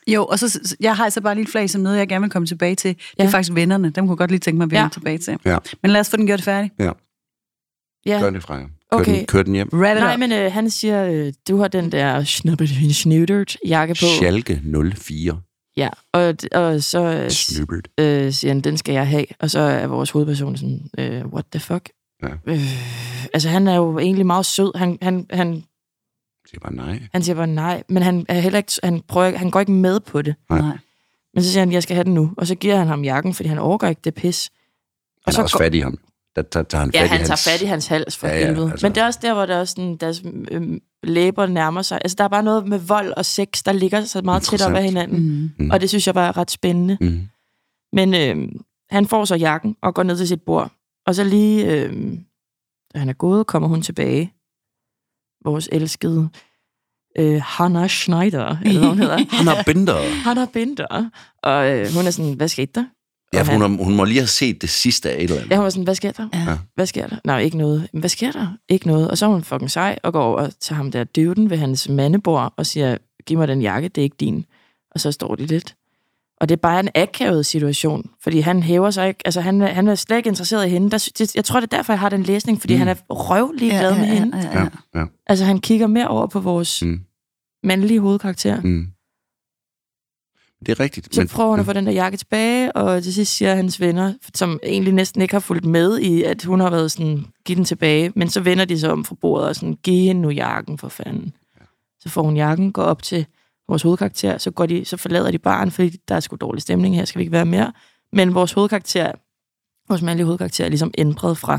[SPEAKER 2] Jo, og så, så- jeg har altså bare lige et flag som noget, jeg gerne vil komme tilbage til. Ja. Det er
[SPEAKER 3] Ja.
[SPEAKER 2] faktisk vennerne. Dem kunne jeg godt lige tænke mig at vende
[SPEAKER 3] Ja.
[SPEAKER 2] tilbage til.
[SPEAKER 1] Ja.
[SPEAKER 2] Men lad os få den gjort færdig.
[SPEAKER 3] Ja.
[SPEAKER 1] Gør det, Freja. Kør,
[SPEAKER 3] Okay.
[SPEAKER 1] den, kør den hjem.
[SPEAKER 2] Wrap it
[SPEAKER 3] Nej,
[SPEAKER 2] up.
[SPEAKER 3] men øh, han siger, øh, du har den der schnubbert jakke på.
[SPEAKER 1] Schalke 04.
[SPEAKER 3] Ja, og, og så øh,
[SPEAKER 1] Snubbert.
[SPEAKER 3] øh, siger han, den skal jeg have. Og så er vores hovedperson sådan, øh, what the fuck?
[SPEAKER 1] Ja.
[SPEAKER 3] Øh, altså, han er jo egentlig meget sød. Han, han, han,
[SPEAKER 1] Det er bare nej.
[SPEAKER 3] han siger bare nej, men han, er heller ikke, han, prøver, ikke- han går ikke med på det.
[SPEAKER 1] Nej.
[SPEAKER 2] Nej.
[SPEAKER 3] Men så siger han, jeg skal have den nu. Og så giver han ham jakken, fordi han overgår ikke det pis.
[SPEAKER 1] Han er
[SPEAKER 3] så
[SPEAKER 1] også
[SPEAKER 3] går-
[SPEAKER 1] fat i ham. Der tager, tager han fat
[SPEAKER 3] Ja,
[SPEAKER 1] i
[SPEAKER 3] han
[SPEAKER 1] hans...
[SPEAKER 3] tager fat i hans hals for
[SPEAKER 1] Ja, ja,
[SPEAKER 3] ja, helvede.
[SPEAKER 1] altså.
[SPEAKER 3] Altså. Men det er også der, hvor der er sådan, deres øh, læber nærmer sig. Altså, der er bare noget med vold og sex, der ligger så meget tæt op ad
[SPEAKER 1] Interessant.
[SPEAKER 3] hinanden.
[SPEAKER 2] Mm.
[SPEAKER 1] Mm.
[SPEAKER 3] Mm. Og det synes jeg bare er ret spændende.
[SPEAKER 1] Mm.
[SPEAKER 3] Men øh, han får så jakken og går ned til sit bord. Og så lige, øh, da han er gået, kommer hun tilbage. Vores elskede øh, Hanna Schneider, eller hvad hun hedder.
[SPEAKER 1] Han har binder.
[SPEAKER 3] Hanna Binder. Og øh, hun er sådan, hvad skete der?
[SPEAKER 1] Ja,
[SPEAKER 3] Og
[SPEAKER 1] for
[SPEAKER 3] han-
[SPEAKER 1] hun, har, hun må lige have set det sidste af et eller andet.
[SPEAKER 3] Ja, hun var sådan, hvad sker der?
[SPEAKER 2] Ja.
[SPEAKER 1] Ja.
[SPEAKER 3] Hvad sker der? Nej, ikke noget. Men hvad sker der? Ikke noget. Og så er hun fucking sej og går over til ham der døden ved hans mandebord og siger, giv mig den jakke, det er ikke din. Og så står de lidt. Og det er bare en akavet situation, fordi han hæver sig ikke. Altså, han, er- han er slet ikke interesseret i hende. Der, sy- det, jeg tror, det er derfor, jeg har den læsning, fordi
[SPEAKER 1] Mm.
[SPEAKER 3] mm. han er røvlig glad med hende.
[SPEAKER 2] ja,
[SPEAKER 1] Ja,
[SPEAKER 2] ja.
[SPEAKER 1] ja.
[SPEAKER 3] Altså, han kigger mere over på vores
[SPEAKER 1] Mm.
[SPEAKER 3] mm. mandlige hovedkarakter. Mm.
[SPEAKER 1] Mm. Det er rigtigt. mm,
[SPEAKER 3] Så prøver hun at få den der jakke tilbage, og til sidst siger hans venner, som egentlig næsten ikke har fulgt med i, at hun har været sådan, giv den tilbage, men så vender de sig om fra bordet og sådan, giv hende nu jakken for fanden. Så får hun jakken, går op til vores hovedkarakter, så, går de, så forlader de baren, fordi der er sgu dårlig stemning her, skal vi ikke være mere. Men vores hovedkarakter, vores mandlige hovedkarakter, er ligesom ændret fra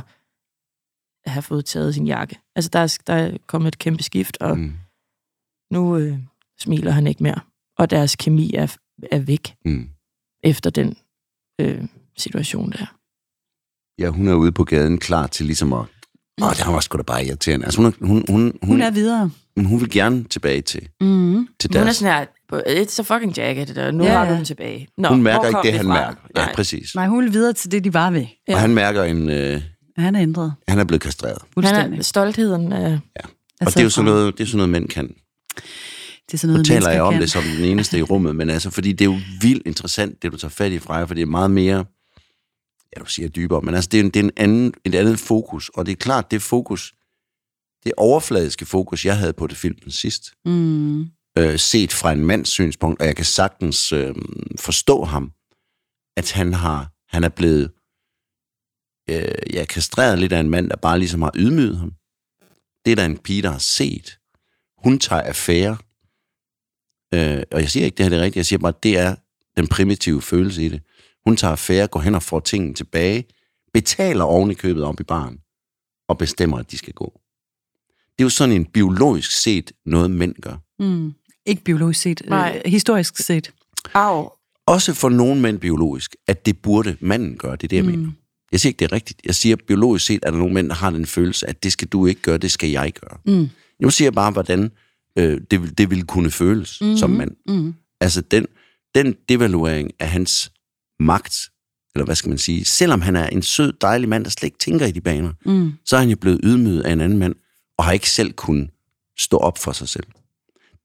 [SPEAKER 3] at have fået taget sin jakke. Altså, der er, der er kommet et kæmpe skift, og
[SPEAKER 1] Mm.
[SPEAKER 3] nu øh, smiler han ikke mere. Og deres kemi er, er væk
[SPEAKER 1] Mm.
[SPEAKER 3] efter den øh, situation der.
[SPEAKER 1] Ja, hun er ude på gaden klar til ligesom at... Åh, det var sgu da bare irriterende. Altså, hun, er- hun, hun,
[SPEAKER 2] Hun
[SPEAKER 1] hun,
[SPEAKER 2] er videre.
[SPEAKER 1] hun, hun vil gerne tilbage til,
[SPEAKER 2] Mm.
[SPEAKER 1] til
[SPEAKER 3] Hun er
[SPEAKER 1] deres...
[SPEAKER 3] sådan her, på- it's a fucking jacket, det der. nu
[SPEAKER 2] Ja,
[SPEAKER 3] ja, har du
[SPEAKER 2] ja.
[SPEAKER 3] den tilbage. Nå,
[SPEAKER 1] Hun
[SPEAKER 3] hvor
[SPEAKER 1] mærker ikke
[SPEAKER 3] kom
[SPEAKER 1] det,
[SPEAKER 3] vi
[SPEAKER 1] han
[SPEAKER 3] fra?
[SPEAKER 1] mærker. Ja,
[SPEAKER 3] Nej.
[SPEAKER 1] præcis.
[SPEAKER 2] Nej, hun er videre til det, de var ved.
[SPEAKER 1] Og han mærker en... Øh,
[SPEAKER 2] Han er ændret.
[SPEAKER 1] han er blevet kastreret.
[SPEAKER 3] Han
[SPEAKER 2] Fuldstændig. Altså,
[SPEAKER 3] er stoltheden. Øh,
[SPEAKER 1] Og det er jo sådan noget, det er sådan noget mænd kan.
[SPEAKER 2] Det er sådan noget,
[SPEAKER 1] nu taler jeg
[SPEAKER 2] mennesker
[SPEAKER 1] om
[SPEAKER 2] kan.
[SPEAKER 1] det som den eneste i rummet, men altså, fordi det er jo vildt interessant, det du tager fat i, Freja, for det er meget mere, ja, du siger dybere, men altså, det er, en, det er en anden, et andet fokus, og det er klart, det fokus, det overfladiske fokus, jeg havde på det filmen sidst,
[SPEAKER 2] Mm.
[SPEAKER 1] øh, set fra en mands synspunkt, og jeg kan sagtens øh, forstå ham, at han har han er blevet øh, ja, kastreret lidt af en mand, der bare ligesom har ydmyget ham. Det er der en pige, der har set. Hun tager affære. Øh, og jeg siger ikke, det her er det rigtige. Jeg siger bare, at det er den primitive følelse i det. Hun tager affære, går hen og får tingene tilbage, betaler oven i købet op i baren, og bestemmer, at de skal gå. Det er jo sådan en biologisk set noget, mænd gør.
[SPEAKER 2] Mm. Ikke biologisk set, øh,
[SPEAKER 3] Nej.
[SPEAKER 2] historisk set.
[SPEAKER 3] Au.
[SPEAKER 1] også for nogle mænd biologisk, at det burde manden gøre, det er det, jeg mm. mener. Jeg siger ikke, det er rigtigt. Jeg siger, biologisk set er der nogle mænd, der har den følelse, at det skal du ikke gøre, det skal jeg gøre.
[SPEAKER 2] Mm.
[SPEAKER 1] Nu siger jeg bare, hvordan øh, det, vil- det ville kunne føles mm-hmm. som mand.
[SPEAKER 2] Mm.
[SPEAKER 1] Altså den, den devaluering af hans magt, eller hvad skal man sige, selvom han er en sød, dejlig mand, der slet ikke tænker i de baner,
[SPEAKER 2] Mm.
[SPEAKER 1] så er han jo blevet ydmyget af en anden mand, og har ikke selv kunnet stå op for sig selv.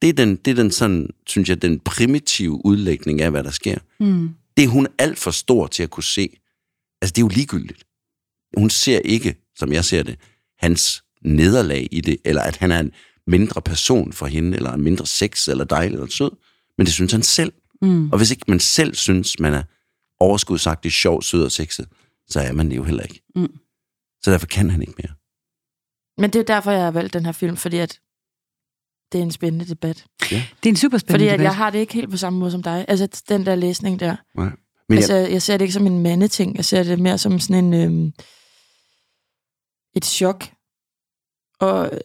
[SPEAKER 1] Det er den, det er den sådan, synes jeg, den primitive udlægning af, hvad der sker
[SPEAKER 2] Mm.
[SPEAKER 1] det er hun alt for stor til at kunne se. Altså, det er jo ligegyldigt. Hun ser ikke, som jeg ser det, hans nederlag i det, eller at han er en mindre person for hende, eller en mindre sex, eller dejlig, eller sød. Men det synes han selv.
[SPEAKER 2] Mm.
[SPEAKER 1] Og hvis ikke man selv synes, man er overskudsagtig, sjov, sød og sexet, så er man det jo heller ikke.
[SPEAKER 2] Mm.
[SPEAKER 1] Så derfor kan han ikke mere.
[SPEAKER 3] Men det er derfor, jeg har valgt den her film, fordi at det er en spændende debat.
[SPEAKER 2] Det er en super
[SPEAKER 3] Fordi
[SPEAKER 2] spændende
[SPEAKER 3] at jeg
[SPEAKER 2] debat.
[SPEAKER 3] har det ikke helt på samme måde som dig. Altså den der læsning der.
[SPEAKER 1] Nej.
[SPEAKER 3] Men
[SPEAKER 1] Men
[SPEAKER 3] altså, jeg... jeg ser det ikke som en mandeting. Jeg ser det mere som sådan en... Øhm, et chok. Og øh,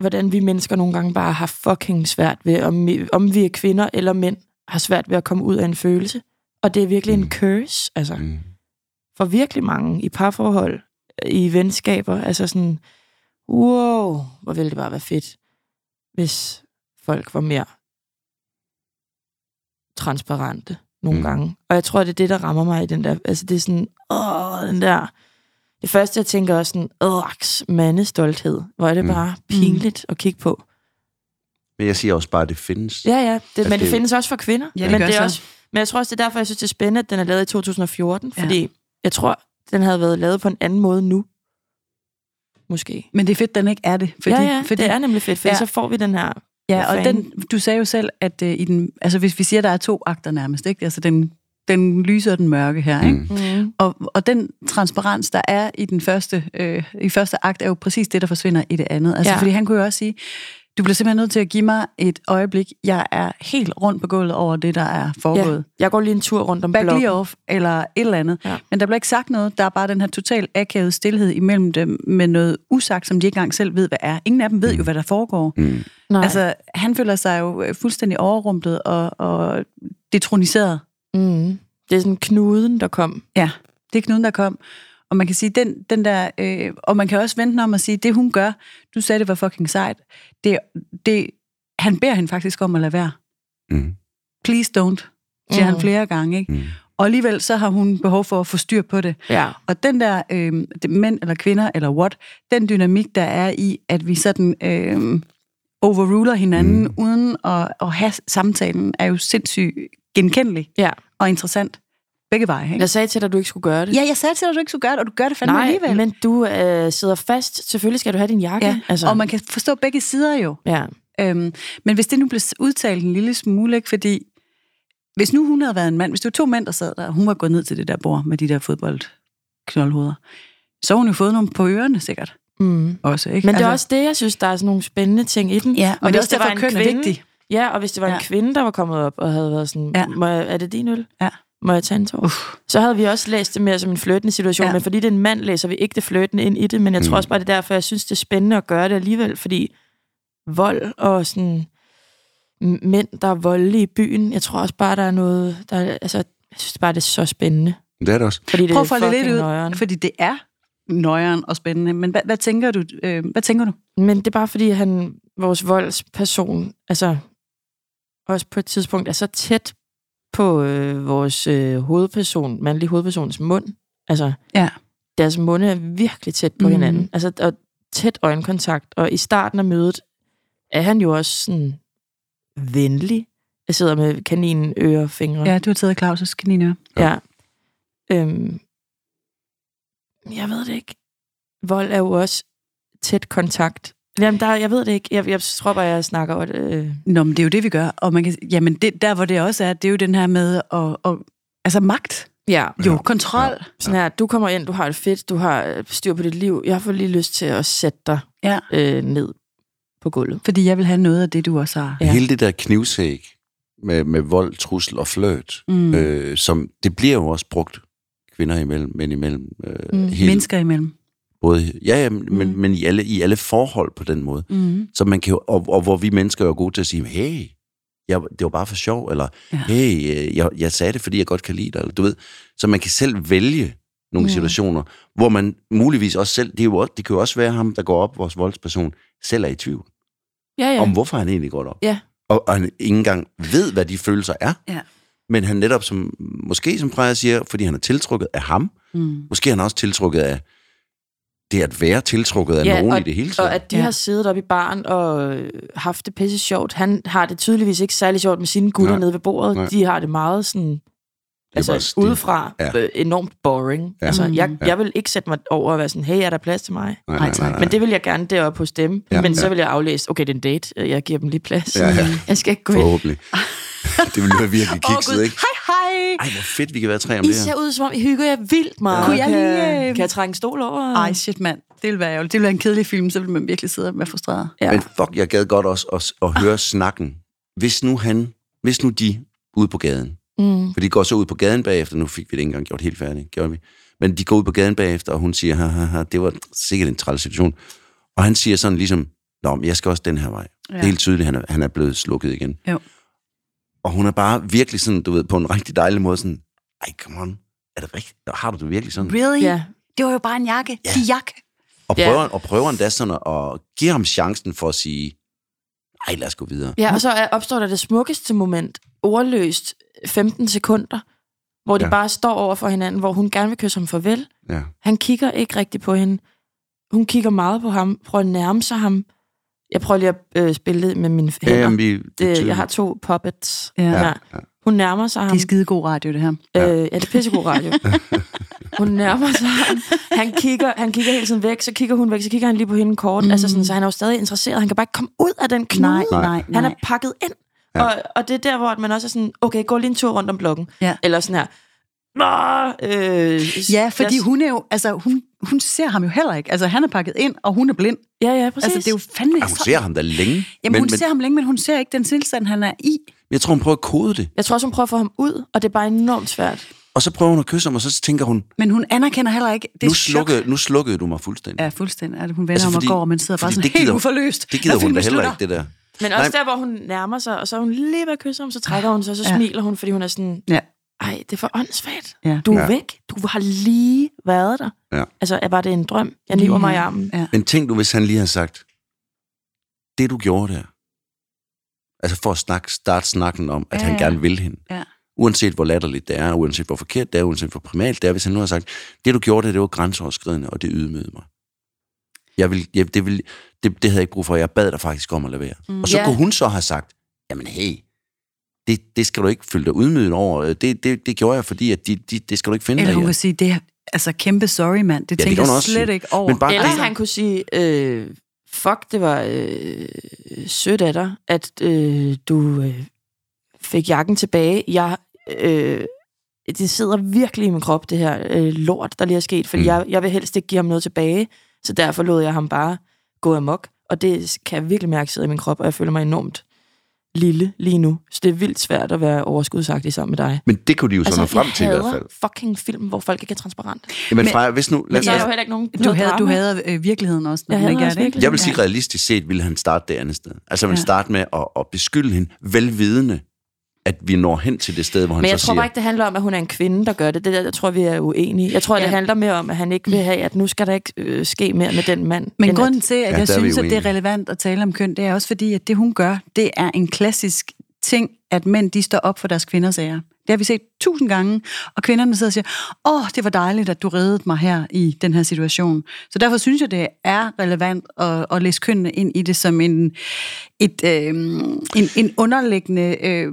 [SPEAKER 3] hvordan vi mennesker nogle gange bare har fucking svært ved, om, vi- om vi er kvinder eller mænd, har svært ved at komme ud af en følelse. Og det er virkelig en
[SPEAKER 1] Mm.
[SPEAKER 3] curse, altså.
[SPEAKER 1] Mm.
[SPEAKER 3] For virkelig mange i parforhold, i venskaber, altså sådan, wow, hvor ville det bare være fedt, hvis folk var mere transparente nogle
[SPEAKER 1] Mm.
[SPEAKER 3] mm. gange. Og jeg tror, det er det, der rammer mig i den der, altså det er sådan, åh, den der, det første, jeg tænker også sådan, åh, mandestolthed, hvor er det
[SPEAKER 1] Mm.
[SPEAKER 3] mm. bare pinligt at kigge på.
[SPEAKER 1] Men jeg siger også bare, at det findes.
[SPEAKER 3] Ja, ja, det, men
[SPEAKER 1] Altså det
[SPEAKER 3] det,
[SPEAKER 1] er jo-
[SPEAKER 3] findes også for kvinder.
[SPEAKER 2] Ja, det
[SPEAKER 3] men,
[SPEAKER 2] gør
[SPEAKER 3] det
[SPEAKER 2] så.
[SPEAKER 3] er også, men jeg tror også, det er derfor, jeg synes, det er spændende, at den er lavet i 2014,
[SPEAKER 2] Ja.
[SPEAKER 3] fordi jeg tror, den havde været lavet på en anden måde nu. Måske.
[SPEAKER 2] Men det er fedt, den ikke er det.
[SPEAKER 3] Fordi, ja, ja,
[SPEAKER 2] fordi
[SPEAKER 3] det er nemlig fedt, for
[SPEAKER 2] Ja.
[SPEAKER 3] ja. så får vi den her...
[SPEAKER 2] Ja,
[SPEAKER 3] Hvad
[SPEAKER 2] og
[SPEAKER 3] fanden?
[SPEAKER 2] den, du sagde jo selv, at øh, i den, altså hvis vi siger, der er to akter nærmest, ikke? Altså den, den lyse og den mørke her, ikke?
[SPEAKER 1] Mm.
[SPEAKER 3] Mm.
[SPEAKER 2] Og, og den transparens, der er i den første, øh, i første akt, er jo præcis det, der forsvinder i det andet. Altså, ja.
[SPEAKER 3] Ja.
[SPEAKER 2] fordi han kunne jo også sige, du bliver simpelthen nødt til at give mig et øjeblik. Jeg er helt rundt på gulvet over det, der er
[SPEAKER 3] Ja,
[SPEAKER 2] foregået.
[SPEAKER 3] jeg går lige en tur rundt om
[SPEAKER 2] Back
[SPEAKER 3] blokken.
[SPEAKER 2] lige off, eller et eller andet.
[SPEAKER 3] Ja.
[SPEAKER 2] Men der bliver ikke sagt noget. Der er bare den her total akavede stillhed imellem dem, med noget usagt, som de ikke engang selv ved, hvad er. Ingen af dem ved jo, hvad der foregår.
[SPEAKER 1] Mm.
[SPEAKER 3] Nej. Altså,
[SPEAKER 2] Altså, han føler sig jo øh, fuldstændig overrumplet og, og detroniseret.
[SPEAKER 3] mm. Det er sådan knuden, der kom.
[SPEAKER 2] Ja, det er knuden, der kom. Og man kan sige, den, den der, øh, og man kan også vente den om at sige, det hun gør, du sagde, det var fucking sejt. Det, det, han beder hende faktisk om at lade være.
[SPEAKER 1] Mm.
[SPEAKER 2] Please don't, siger mm.
[SPEAKER 3] Mm.
[SPEAKER 2] han flere gange. Ikke?
[SPEAKER 1] Mm.
[SPEAKER 2] Og alligevel så har hun behov for at få styr på det.
[SPEAKER 3] Ja.
[SPEAKER 2] Og den der øh, det- mænd eller kvinder eller what, den dynamik, der er i, at vi sådan øh, overruler hinanden mm. uden at, at have samtalen, er jo sindssygt genkendelig
[SPEAKER 3] ja.
[SPEAKER 2] og interessant begge veje. Ikke?
[SPEAKER 3] Jeg sagde til dig, at du ikke skulle gøre det.
[SPEAKER 2] Ja, jeg sagde til dig, at du ikke skulle gøre det, og du gør det fandme
[SPEAKER 3] Nej,
[SPEAKER 2] alligevel.
[SPEAKER 3] men du øh, sidder fast. Selvfølgelig skal du have din jakke.
[SPEAKER 2] Ja, altså.
[SPEAKER 3] altså.
[SPEAKER 2] og man kan forstå begge sider jo.
[SPEAKER 3] ja.
[SPEAKER 2] Øhm, men hvis det nu blev udtalt en lille smule, ikke? fordi hvis nu hun havde været en mand, hvis det var to mænd, der sad der, og hun var gået ned til det der bord med de der fodboldknoldhoveder, så har hun jo fået nogle på ørerne sikkert
[SPEAKER 3] Mm.
[SPEAKER 2] også, ikke?
[SPEAKER 3] Men det er også det, jeg synes, der er sådan nogle spændende ting i den.
[SPEAKER 2] Altså- Ja, men det er
[SPEAKER 3] hvis
[SPEAKER 2] også derfor, køn er vigtigt.
[SPEAKER 3] Ja, og hvis det var en
[SPEAKER 2] Ja.
[SPEAKER 3] kvinde, der var kommet op og havde været sådan,
[SPEAKER 2] Ja.
[SPEAKER 3] ja. Må jeg, er det din øl?
[SPEAKER 2] Ja.
[SPEAKER 3] Må jeg tage en tår? Så havde vi også læst det mere som en flirtende situation,
[SPEAKER 2] Ja.
[SPEAKER 3] ja. men fordi det er en mand, læser vi ikke det flirtende ind i det, men jeg tror også bare, det er derfor, jeg synes, det er spændende at gøre det alligevel, fordi vold og sådan m- mænd, der er voldelige i byen, jeg tror også bare, der er noget, der er, altså, jeg synes bare, det er så spændende.
[SPEAKER 1] Det er det også.
[SPEAKER 3] Fordi det
[SPEAKER 2] Prøv
[SPEAKER 3] er
[SPEAKER 2] at få det lidt
[SPEAKER 3] fucking
[SPEAKER 2] ud,
[SPEAKER 3] nøjeren.
[SPEAKER 2] fordi det er nøjeren og spændende, men hvad, hvad tænker du? Øh, hvad tænker du?
[SPEAKER 3] Men det er bare fordi, han, vores voldsperson, altså også på et tidspunkt er så tæt på øh, vores øh, hovedperson, mandlig hovedpersons mund. Altså,
[SPEAKER 2] Ja.
[SPEAKER 3] deres munde er virkelig tæt på
[SPEAKER 2] Mhm.
[SPEAKER 3] mm. hinanden. Altså, og tæt øjenkontakt. Og i starten af mødet er han jo også sådan venlig. Jeg sidder med kaninørefingre.
[SPEAKER 2] Ja, du har taget Claus' kaninører.
[SPEAKER 3] Ja. Øhm, jeg ved det ikke. Vold er jo også tæt kontakt. Jamen, der, jeg ved det ikke. Jeg, jeg tror bare, jeg snakker over det. Øh.
[SPEAKER 2] Nå, men det er jo det, vi gør. Og man kan, jamen, det, der hvor det også er, det er jo den her med at, at altså magt.
[SPEAKER 3] Ja.
[SPEAKER 2] Jo, kontrol.
[SPEAKER 3] Sådan her, du kommer ind, du har det fedt, du har øh, styr på dit liv. Jeg får lige lyst til at sætte dig
[SPEAKER 2] Ja.
[SPEAKER 3] øh, ned på gulvet.
[SPEAKER 2] Fordi jeg vil have noget af det, du også har.
[SPEAKER 3] Ja.
[SPEAKER 1] Ja. Hele det der knivsæk med, med vold, trussel og fløjt,
[SPEAKER 2] Mm.
[SPEAKER 1] mm.
[SPEAKER 2] Øh,
[SPEAKER 1] øh, som det bliver jo også brugt kvinder imellem, mænd imellem. Øh,
[SPEAKER 3] Mm.
[SPEAKER 1] mm.
[SPEAKER 2] Mennesker imellem.
[SPEAKER 1] Både, ja, ja, men,
[SPEAKER 2] Mm.
[SPEAKER 1] mm. men i, alle, i alle forhold på den måde.
[SPEAKER 2] Mm.
[SPEAKER 1] Så man kan jo, og, og hvor vi mennesker er gode til at sige, hey, jeg, det var bare for sjov, eller
[SPEAKER 2] Ja.
[SPEAKER 1] ja. hey, øh, jeg, jeg sagde det, fordi jeg godt kan lide dig, eller du ved. Så man kan selv vælge nogle
[SPEAKER 2] Ja.
[SPEAKER 1] ja. situationer, hvor man muligvis også selv, det, er jo, også- det kan jo også være ham, der går op, vores voldsperson, selv er i tvivl
[SPEAKER 3] Ja, ja.
[SPEAKER 1] ja. om, hvorfor han egentlig går op.
[SPEAKER 3] Ja.
[SPEAKER 1] Og, og han ikke engang ved, hvad de følelser er.
[SPEAKER 2] Ja.
[SPEAKER 1] Men han netop, som, måske som Freja siger, fordi han er tiltrukket af ham,
[SPEAKER 2] Mm.
[SPEAKER 1] måske er han også tiltrukket af det at være tiltrukket af
[SPEAKER 3] Ja,
[SPEAKER 1] nogen
[SPEAKER 3] og-
[SPEAKER 1] i det hele taget.
[SPEAKER 3] Og at de
[SPEAKER 2] Ja.
[SPEAKER 3] ja. har siddet oppe i baren og øh, haft det pisse sjovt. Han har det tydeligvis ikke særlig sjovt med sine gutter
[SPEAKER 1] Nej.
[SPEAKER 3] nede ved bordet.
[SPEAKER 1] Nej.
[SPEAKER 3] De har det meget sådan... Altså,
[SPEAKER 1] bare stil.
[SPEAKER 3] udefra ja.
[SPEAKER 1] Ja.
[SPEAKER 3] øh, enormt boring. Ja.
[SPEAKER 1] Ja.
[SPEAKER 3] Altså, jeg,
[SPEAKER 2] Mm.
[SPEAKER 3] jeg vil ikke sætte mig over og være sådan, hey, er der plads til mig?
[SPEAKER 1] nej,
[SPEAKER 2] Ej,
[SPEAKER 1] nej,
[SPEAKER 2] tak.
[SPEAKER 1] nej, nej.
[SPEAKER 3] Men det vil jeg gerne deroppe hos dem. Ja,
[SPEAKER 1] Ja,
[SPEAKER 3] men ja. så
[SPEAKER 1] ja.
[SPEAKER 3] vil jeg aflæse, okay, det er en date. øh, Jeg giver dem lige plads.
[SPEAKER 1] Ja, ja.
[SPEAKER 3] Jeg skal ikke gå ind.
[SPEAKER 1] Forhåbentlig. det ville være virkelig
[SPEAKER 3] Åh,
[SPEAKER 1] kikset,
[SPEAKER 3] Gud.
[SPEAKER 1] ikke?
[SPEAKER 3] Hej, hej.
[SPEAKER 1] Ej, hvor fedt, vi kan være tre om
[SPEAKER 3] I
[SPEAKER 1] det
[SPEAKER 3] ser
[SPEAKER 1] her.
[SPEAKER 3] ud, som om I hygger jer vildt meget.
[SPEAKER 2] Kunne jeg
[SPEAKER 3] Kan-
[SPEAKER 2] lige, øh,
[SPEAKER 3] Kan jeg trække en stol over?
[SPEAKER 2] Ej, shit mand. Det ville være ærgerligt. Det ville være en kedelig film, så ville man virkelig sidde og være frustreret.
[SPEAKER 3] Ja.
[SPEAKER 1] Men fuck, jeg gad godt også at, at høre snakken. Hvis nu han, hvis nu de ude på gaden,
[SPEAKER 3] Mm.
[SPEAKER 1] for de går så ud på gaden bagefter, nu fik vi det ikke engang gjort helt færdigt, gjorde vi. Men de går ud på gaden bagefter, og hun siger, ha, ha, ha, det var sikkert en træls situation. Og han siger sådan ligesom, nå, men jeg skal også den her vej. Ja. Det er helt tydeligt, han er, han er blevet slukket igen.
[SPEAKER 2] Jo.
[SPEAKER 1] Og hun er bare virkelig sådan, du ved, på en rigtig dejlig måde sådan, ej, come on, er det rigtigt? Har du det virkelig sådan?
[SPEAKER 2] Really?
[SPEAKER 3] Ja.
[SPEAKER 2] Det var jo bare en jakke. Ja. De jakke.
[SPEAKER 1] Og
[SPEAKER 3] Ja.
[SPEAKER 1] prøver, og prøver endda sådan at, at give ham chancen for at sige, ej, lad os gå videre.
[SPEAKER 3] Ja, og så er- opstår der det smukkeste moment, ordløst 15 sekunder, hvor de ja.
[SPEAKER 1] Ja.
[SPEAKER 3] bare står over for hinanden, hvor hun gerne vil kysse ham farvel.
[SPEAKER 1] Ja.
[SPEAKER 3] Han kigger ikke rigtigt på hende. Hun kigger meget på ham, prøver at nærme sig ham. Jeg prøver lige at øh, spille lidt med mine hænder.
[SPEAKER 1] Ja, jamen, Øhm, vi,
[SPEAKER 3] det, jeg har to puppets.
[SPEAKER 2] Ja.
[SPEAKER 3] Ja. Hun nærmer sig ham.
[SPEAKER 2] Det er skidegod radio, det her.
[SPEAKER 3] Øh, ja, det er pissegod radio. hun nærmer sig ham. Han kigger, han kigger hele tiden væk, så kigger hun væk, så kigger han lige på hende kort. Mm. Altså sådan, så han er jo stadig interesseret. Han kan bare ikke komme ud af den knude.
[SPEAKER 2] Nej, nej, nej.
[SPEAKER 3] Han er pakket ind. Ja.
[SPEAKER 1] Ja.
[SPEAKER 3] Og, og det er der, hvor man også er sådan, okay, gå lige en tur rundt om blokken.
[SPEAKER 2] Ja.
[SPEAKER 3] Eller sådan her. Nå, øh,
[SPEAKER 2] Ja, fordi
[SPEAKER 3] jeg-
[SPEAKER 2] hun er jo, altså hun, hun ser ham jo heller ikke. Altså han er pakket ind, og hun er blind.
[SPEAKER 3] Ja, ja, præcis.
[SPEAKER 2] Altså det er jo fandme
[SPEAKER 1] Ej, hun ser ham da længe.
[SPEAKER 2] Jamen men, hun men... ser ham længe, men hun ser ikke den tilstand, han er i.
[SPEAKER 1] men jeg tror, hun prøver at kode det.
[SPEAKER 3] Jeg tror også, hun prøver at få ham ud, og det er bare enormt svært.
[SPEAKER 1] Og så prøver hun at kysse ham, og så tænker hun,
[SPEAKER 2] Men hun anerkender heller ikke det
[SPEAKER 1] nu
[SPEAKER 2] er chok.
[SPEAKER 1] slukkede, nu slukkede du mig fuldstændig.
[SPEAKER 2] Ja, fuldstændig. Altså, hun vender altså, om
[SPEAKER 1] Altså,
[SPEAKER 2] og
[SPEAKER 1] fordi-
[SPEAKER 2] går, og man sidder bare
[SPEAKER 1] fordi
[SPEAKER 2] sådan
[SPEAKER 1] det
[SPEAKER 2] helt
[SPEAKER 1] gider-
[SPEAKER 2] uforløst.
[SPEAKER 1] Det gider
[SPEAKER 2] når
[SPEAKER 1] hun da
[SPEAKER 2] filmen
[SPEAKER 1] heller
[SPEAKER 2] slutter.
[SPEAKER 1] ikke, det der.
[SPEAKER 3] Men også
[SPEAKER 1] Nej.
[SPEAKER 3] der, hvor hun nærmer sig, og så er hun lige ved at kysse ham, så trækker hun sig, så
[SPEAKER 2] Ja.
[SPEAKER 3] smiler hun, fordi hun er sådan,
[SPEAKER 2] Ja.
[SPEAKER 3] ej, det er for åndssvagt.
[SPEAKER 2] Ja.
[SPEAKER 3] Du er ja.
[SPEAKER 1] Ja.
[SPEAKER 3] væk. Du har lige været der.
[SPEAKER 1] Ja.
[SPEAKER 3] Altså, er var det en drøm? Jeg lever mig i armen.
[SPEAKER 2] Ja.
[SPEAKER 1] Men tænk du, hvis han lige havde sagt, det du gjorde der, altså for at snak, starte snakken om, at
[SPEAKER 2] Ja,
[SPEAKER 1] ja, han
[SPEAKER 2] ja.
[SPEAKER 1] gerne vil hende,
[SPEAKER 2] Ja.
[SPEAKER 1] uanset hvor latterligt det er, uanset hvor forkert det er, uanset hvor primalt det er, hvis han nu har sagt, det du gjorde der, det var grænseoverskridende, og det ydmygede mig. Jeg vil, jeg, det, vil, det, det havde jeg ikke brug for, jeg bad dig faktisk om at lade være.
[SPEAKER 2] Mm.
[SPEAKER 1] Mm. Og så
[SPEAKER 3] Ja.
[SPEAKER 1] ja. kunne hun så have sagt, jamen hey, det, det skal du ikke føle dig udmyden over. Øh, Det, det, det gjorde jeg, fordi at de, de, det skal du ikke finde
[SPEAKER 2] Eller
[SPEAKER 1] dig
[SPEAKER 2] hun
[SPEAKER 1] i.
[SPEAKER 2] kan sige, det er altså kæmpe sorry, mand. Det
[SPEAKER 1] det
[SPEAKER 2] tænker
[SPEAKER 1] kan hun
[SPEAKER 2] jeg
[SPEAKER 1] også
[SPEAKER 2] slet
[SPEAKER 1] sige.
[SPEAKER 2] ikke over.
[SPEAKER 1] Men bare
[SPEAKER 3] Eller
[SPEAKER 1] det-
[SPEAKER 3] han kunne sige, øh, fuck, det var øh, sødt af dig, at øh, du øh, fik jakken tilbage. Jeg, øh, det sidder virkelig i min krop, det her øh, lort, der lige er sket, fordi mm.
[SPEAKER 1] Mm.
[SPEAKER 3] jeg, jeg vil helst ikke give ham noget tilbage, så derfor lod jeg ham bare gå amok. Og det kan jeg virkelig mærke sidder i min krop, og jeg føler mig enormt lille lige nu. Så det er vildt svært at være overskudsagtig sammen med dig.
[SPEAKER 1] Men det kunne de jo så altså, nå frem
[SPEAKER 3] jeg
[SPEAKER 1] til i hvert
[SPEAKER 3] hader
[SPEAKER 1] fald.
[SPEAKER 3] fucking film, hvor folk ikke er transparente.
[SPEAKER 1] Jamen
[SPEAKER 2] Men-
[SPEAKER 1] Freja, hvis nu... Lad
[SPEAKER 3] Men
[SPEAKER 1] os,
[SPEAKER 3] så er der jo heller ikke nogen
[SPEAKER 2] Du
[SPEAKER 3] noget
[SPEAKER 2] havde, du
[SPEAKER 3] drama.
[SPEAKER 2] havde øh, virkeligheden også, når
[SPEAKER 3] Jeg
[SPEAKER 2] den
[SPEAKER 3] havde
[SPEAKER 2] ikke er
[SPEAKER 3] også
[SPEAKER 2] det. ikke?
[SPEAKER 3] virkelig-
[SPEAKER 1] jeg vil sige, realistisk set ville han starte det andet sted. Altså, han
[SPEAKER 2] Ja.
[SPEAKER 1] ja. starte med at, at beskylde hende, velvidende, at vi når hen til det sted, hvor han
[SPEAKER 3] Men jeg
[SPEAKER 1] så
[SPEAKER 3] tror
[SPEAKER 1] siger...
[SPEAKER 3] bare ikke, det handler om, at hun er en kvinde, der gør det. Det der, jeg tror, vi er uenige. Jeg tror, ja.
[SPEAKER 2] Ja.
[SPEAKER 3] det handler mere om, at han ikke vil have, at nu skal der ikke øh, ske mere med den mand.
[SPEAKER 2] Men
[SPEAKER 3] end at-
[SPEAKER 2] grunden til, at
[SPEAKER 1] Ja,
[SPEAKER 2] ja, jeg
[SPEAKER 1] der er vi
[SPEAKER 2] synes, at det er
[SPEAKER 1] uenige.
[SPEAKER 2] relevant at tale om køn, det er også fordi, at det hun gør, det er en klassisk ting, at mænd de står op for deres kvinders ære. Det har vi set tusind gange, og kvinderne sidder og siger, åh, det var dejligt, at du reddede mig her i den her situation. Så derfor synes jeg, det er relevant at, at læse kønnene ind i det som en, et, øh, en, en underliggende øh,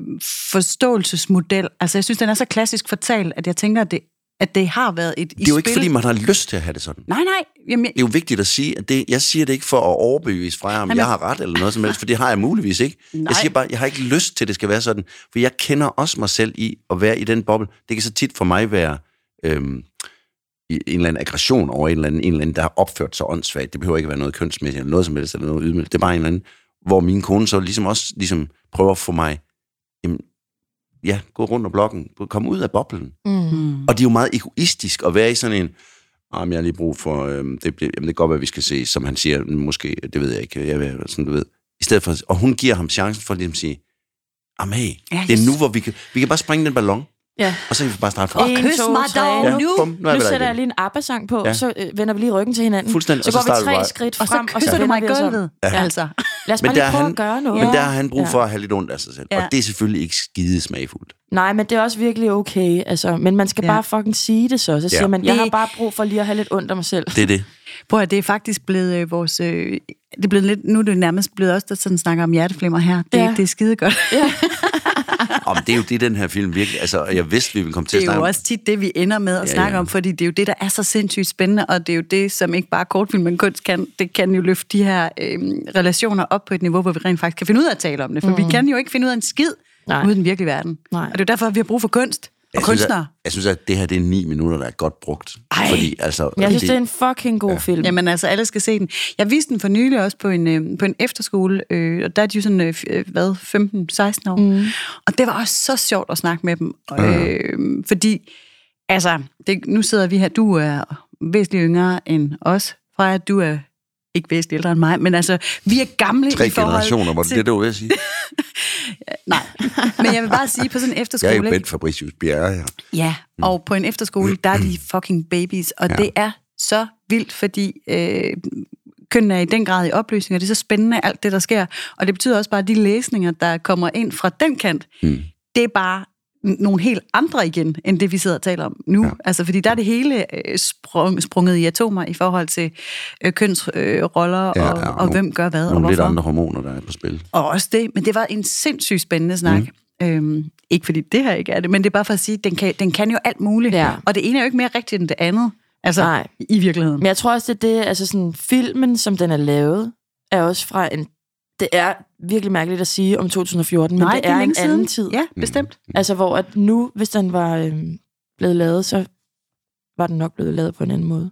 [SPEAKER 2] forståelsesmodel. Altså, jeg synes, den er så klassisk fortalt, at jeg tænker, at det, at det har været et
[SPEAKER 1] Det er jo ikke, fordi man har lyst til at have det sådan.
[SPEAKER 2] Nej, nej. Jamen, jeg,
[SPEAKER 1] Det er jo vigtigt at sige, at det, jeg siger det ikke for at overbevise fra, om
[SPEAKER 2] Jamen-
[SPEAKER 1] jeg har ret eller noget som helst, for det har jeg muligvis ikke.
[SPEAKER 2] Nej.
[SPEAKER 1] Jeg siger bare, jeg har ikke lyst til, at det skal være sådan, for jeg kender også mig selv i at være i den boble. Det kan så tit for mig være øhm, i- en eller anden aggression over en eller anden, en eller anden, der har opført sig åndssvagt. Det behøver ikke være noget kønsmæssigt eller noget som helst, eller noget ydmygt. Det er bare en eller anden, hvor min kone så ligesom også ligesom prøver at få mig, jamen, ja, gå rundt om blokken, kom ud af boblen.
[SPEAKER 3] Mm.
[SPEAKER 2] hmm.
[SPEAKER 1] Og det er jo meget egoistisk at være i sådan en, ah, men jeg har lige brug for, øhm, det, bliver, jamen, det kan godt være, vi skal se, som han siger, måske, det ved jeg ikke, jeg ved, sådan du ved. I stedet for, og hun giver ham chancen for ligesom at sige, jamen hey,
[SPEAKER 2] Ja,
[SPEAKER 1] ja, det er
[SPEAKER 2] yes.
[SPEAKER 1] nu, hvor vi kan, vi kan bare springe den ballon,
[SPEAKER 3] Ja.
[SPEAKER 1] og så kan vi bare starte fra.
[SPEAKER 2] og
[SPEAKER 3] En,
[SPEAKER 2] kys
[SPEAKER 3] to,
[SPEAKER 2] mig
[SPEAKER 3] tre.
[SPEAKER 2] dog
[SPEAKER 3] Ja,
[SPEAKER 2] nu.
[SPEAKER 1] bum, nu er vi
[SPEAKER 3] Nu
[SPEAKER 1] der
[SPEAKER 3] sætter
[SPEAKER 1] igen.
[SPEAKER 3] jeg lige en ABBA-sang på,
[SPEAKER 1] Ja.
[SPEAKER 3] ja. så øh, vender vi lige ryggen til hinanden.
[SPEAKER 1] Fuldstændig,
[SPEAKER 3] Så,
[SPEAKER 1] og så
[SPEAKER 3] går vi
[SPEAKER 1] starter
[SPEAKER 3] tre
[SPEAKER 1] du bare-
[SPEAKER 3] skridt
[SPEAKER 2] Og
[SPEAKER 3] frem,
[SPEAKER 2] så
[SPEAKER 3] og så,
[SPEAKER 2] kysser du
[SPEAKER 3] vender
[SPEAKER 2] mig
[SPEAKER 3] vi
[SPEAKER 2] i
[SPEAKER 3] os om.
[SPEAKER 2] gulvet. Ja. Altså.
[SPEAKER 3] Lad os
[SPEAKER 1] Men
[SPEAKER 3] bare
[SPEAKER 1] der
[SPEAKER 3] lige
[SPEAKER 1] er
[SPEAKER 3] prøve
[SPEAKER 1] han-
[SPEAKER 3] at gøre noget.
[SPEAKER 1] Men der har han brug
[SPEAKER 3] Ja.
[SPEAKER 1] for at have lidt ondt af sig selv, ja.
[SPEAKER 2] Ja.
[SPEAKER 1] og det er selvfølgelig ikke skide smagfuldt.
[SPEAKER 3] Nej, men det er også virkelig okay. Altså, men man skal
[SPEAKER 2] Ja.
[SPEAKER 3] ja. bare fucking sige det så. Så siger
[SPEAKER 1] Ja.
[SPEAKER 3] man, jeg
[SPEAKER 2] Det-
[SPEAKER 3] har bare brug for lige at have lidt ondt af mig selv.
[SPEAKER 1] Det er det.
[SPEAKER 2] Prøv at høre, det er faktisk blevet øh, vores... Øh, det er blevet lidt, nu er det nærmest blevet os, der sådan snakker om hjerteflimmer her. Det, ja.
[SPEAKER 3] Ja.
[SPEAKER 2] det er skide godt.
[SPEAKER 1] Om det er jo det, den her film virkelig, altså, og jeg vidste, vi ville komme til at
[SPEAKER 2] Det er
[SPEAKER 1] snakke
[SPEAKER 2] jo
[SPEAKER 1] om.
[SPEAKER 2] også tit det, vi ender med at
[SPEAKER 1] Ja,
[SPEAKER 2] ja, snakke
[SPEAKER 1] ja.
[SPEAKER 2] ja. om, fordi det er jo det, der er så sindssygt spændende, og det er jo det, som ikke bare kortfilm, men kunst kan. Det kan jo løfte de her øh, relationer op på et niveau, hvor vi rent faktisk kan finde ud af at tale om det. For mm. vi kan jo ikke finde ud af en skid
[SPEAKER 3] Nej.
[SPEAKER 2] ude i den virkelige verden.
[SPEAKER 3] Nej.
[SPEAKER 2] Og det er jo derfor, vi har brug for kunst og
[SPEAKER 1] Jeg synes,
[SPEAKER 2] kunstnere.
[SPEAKER 1] at, jeg synes, at det her det er ni minutter, der er godt brugt. Ej. Fordi, altså,
[SPEAKER 3] Jeg synes, det er en fucking god ja. film.
[SPEAKER 2] Jamen altså, alle skal se den. Jeg viste den for nylig også på en, øh, på en efterskole, øh, og der er de jo sådan, øh, f- øh, hvad, 15-16 år. Mm. Og det var også så sjovt at snakke med dem, øh, fordi, altså, det, nu sidder vi her, du er væsentligt yngre end os, Freja, du er ikke væsentligt ældre end mig, men altså, vi er gamle
[SPEAKER 1] tre
[SPEAKER 2] i forhold
[SPEAKER 1] generationer, hvor det,
[SPEAKER 2] til...
[SPEAKER 1] det er det, du vil sige.
[SPEAKER 2] Nej, men jeg vil bare sige, på sådan en
[SPEAKER 1] Jeg
[SPEAKER 2] efterskole...
[SPEAKER 1] er jo
[SPEAKER 2] ikke?
[SPEAKER 1] Bent Fabricius Bjerre her.
[SPEAKER 2] Ja,
[SPEAKER 1] Mm.
[SPEAKER 2] og på en efterskole, der er de fucking babies, og ja. det er så vildt, fordi øh, kønnene er i den grad i opløsning, og det er så spændende alt det, der sker. Og det betyder også bare, at de læsninger, der kommer ind fra den kant, mm. det er bare n- nogle helt andre igen, end det vi sidder og taler om nu. Ja. Altså, fordi der er det hele øh, sprung, sprunget i atomer i forhold til øh, kønsroller øh, roller og,
[SPEAKER 1] Ja,
[SPEAKER 2] ja,
[SPEAKER 1] ja,
[SPEAKER 2] og, og
[SPEAKER 1] nogle-
[SPEAKER 2] hvem gør hvad og
[SPEAKER 1] Nogle lidt
[SPEAKER 2] hvorfor.
[SPEAKER 1] andre hormoner, der er på spil.
[SPEAKER 2] Og også det, men det var en sindssygt spændende snak. Mm. Øhm, ikke fordi det her ikke er det, men det er bare for at sige, at den kan, den kan jo alt muligt.
[SPEAKER 3] Ja.
[SPEAKER 2] Og det ene er jo ikke mere rigtigt end det andet. Altså, Nej.
[SPEAKER 3] Nej.
[SPEAKER 2] i virkeligheden.
[SPEAKER 3] Men jeg tror også, det er det, altså sådan, filmen, som den er lavet, er også fra en... Det er virkelig mærkeligt at sige om 2014, men det er, en anden tid.
[SPEAKER 2] Ja, bestemt.
[SPEAKER 3] Altså, hvor at nu, hvis den var øhm, blevet lavet, så var den nok blevet lavet på en anden måde.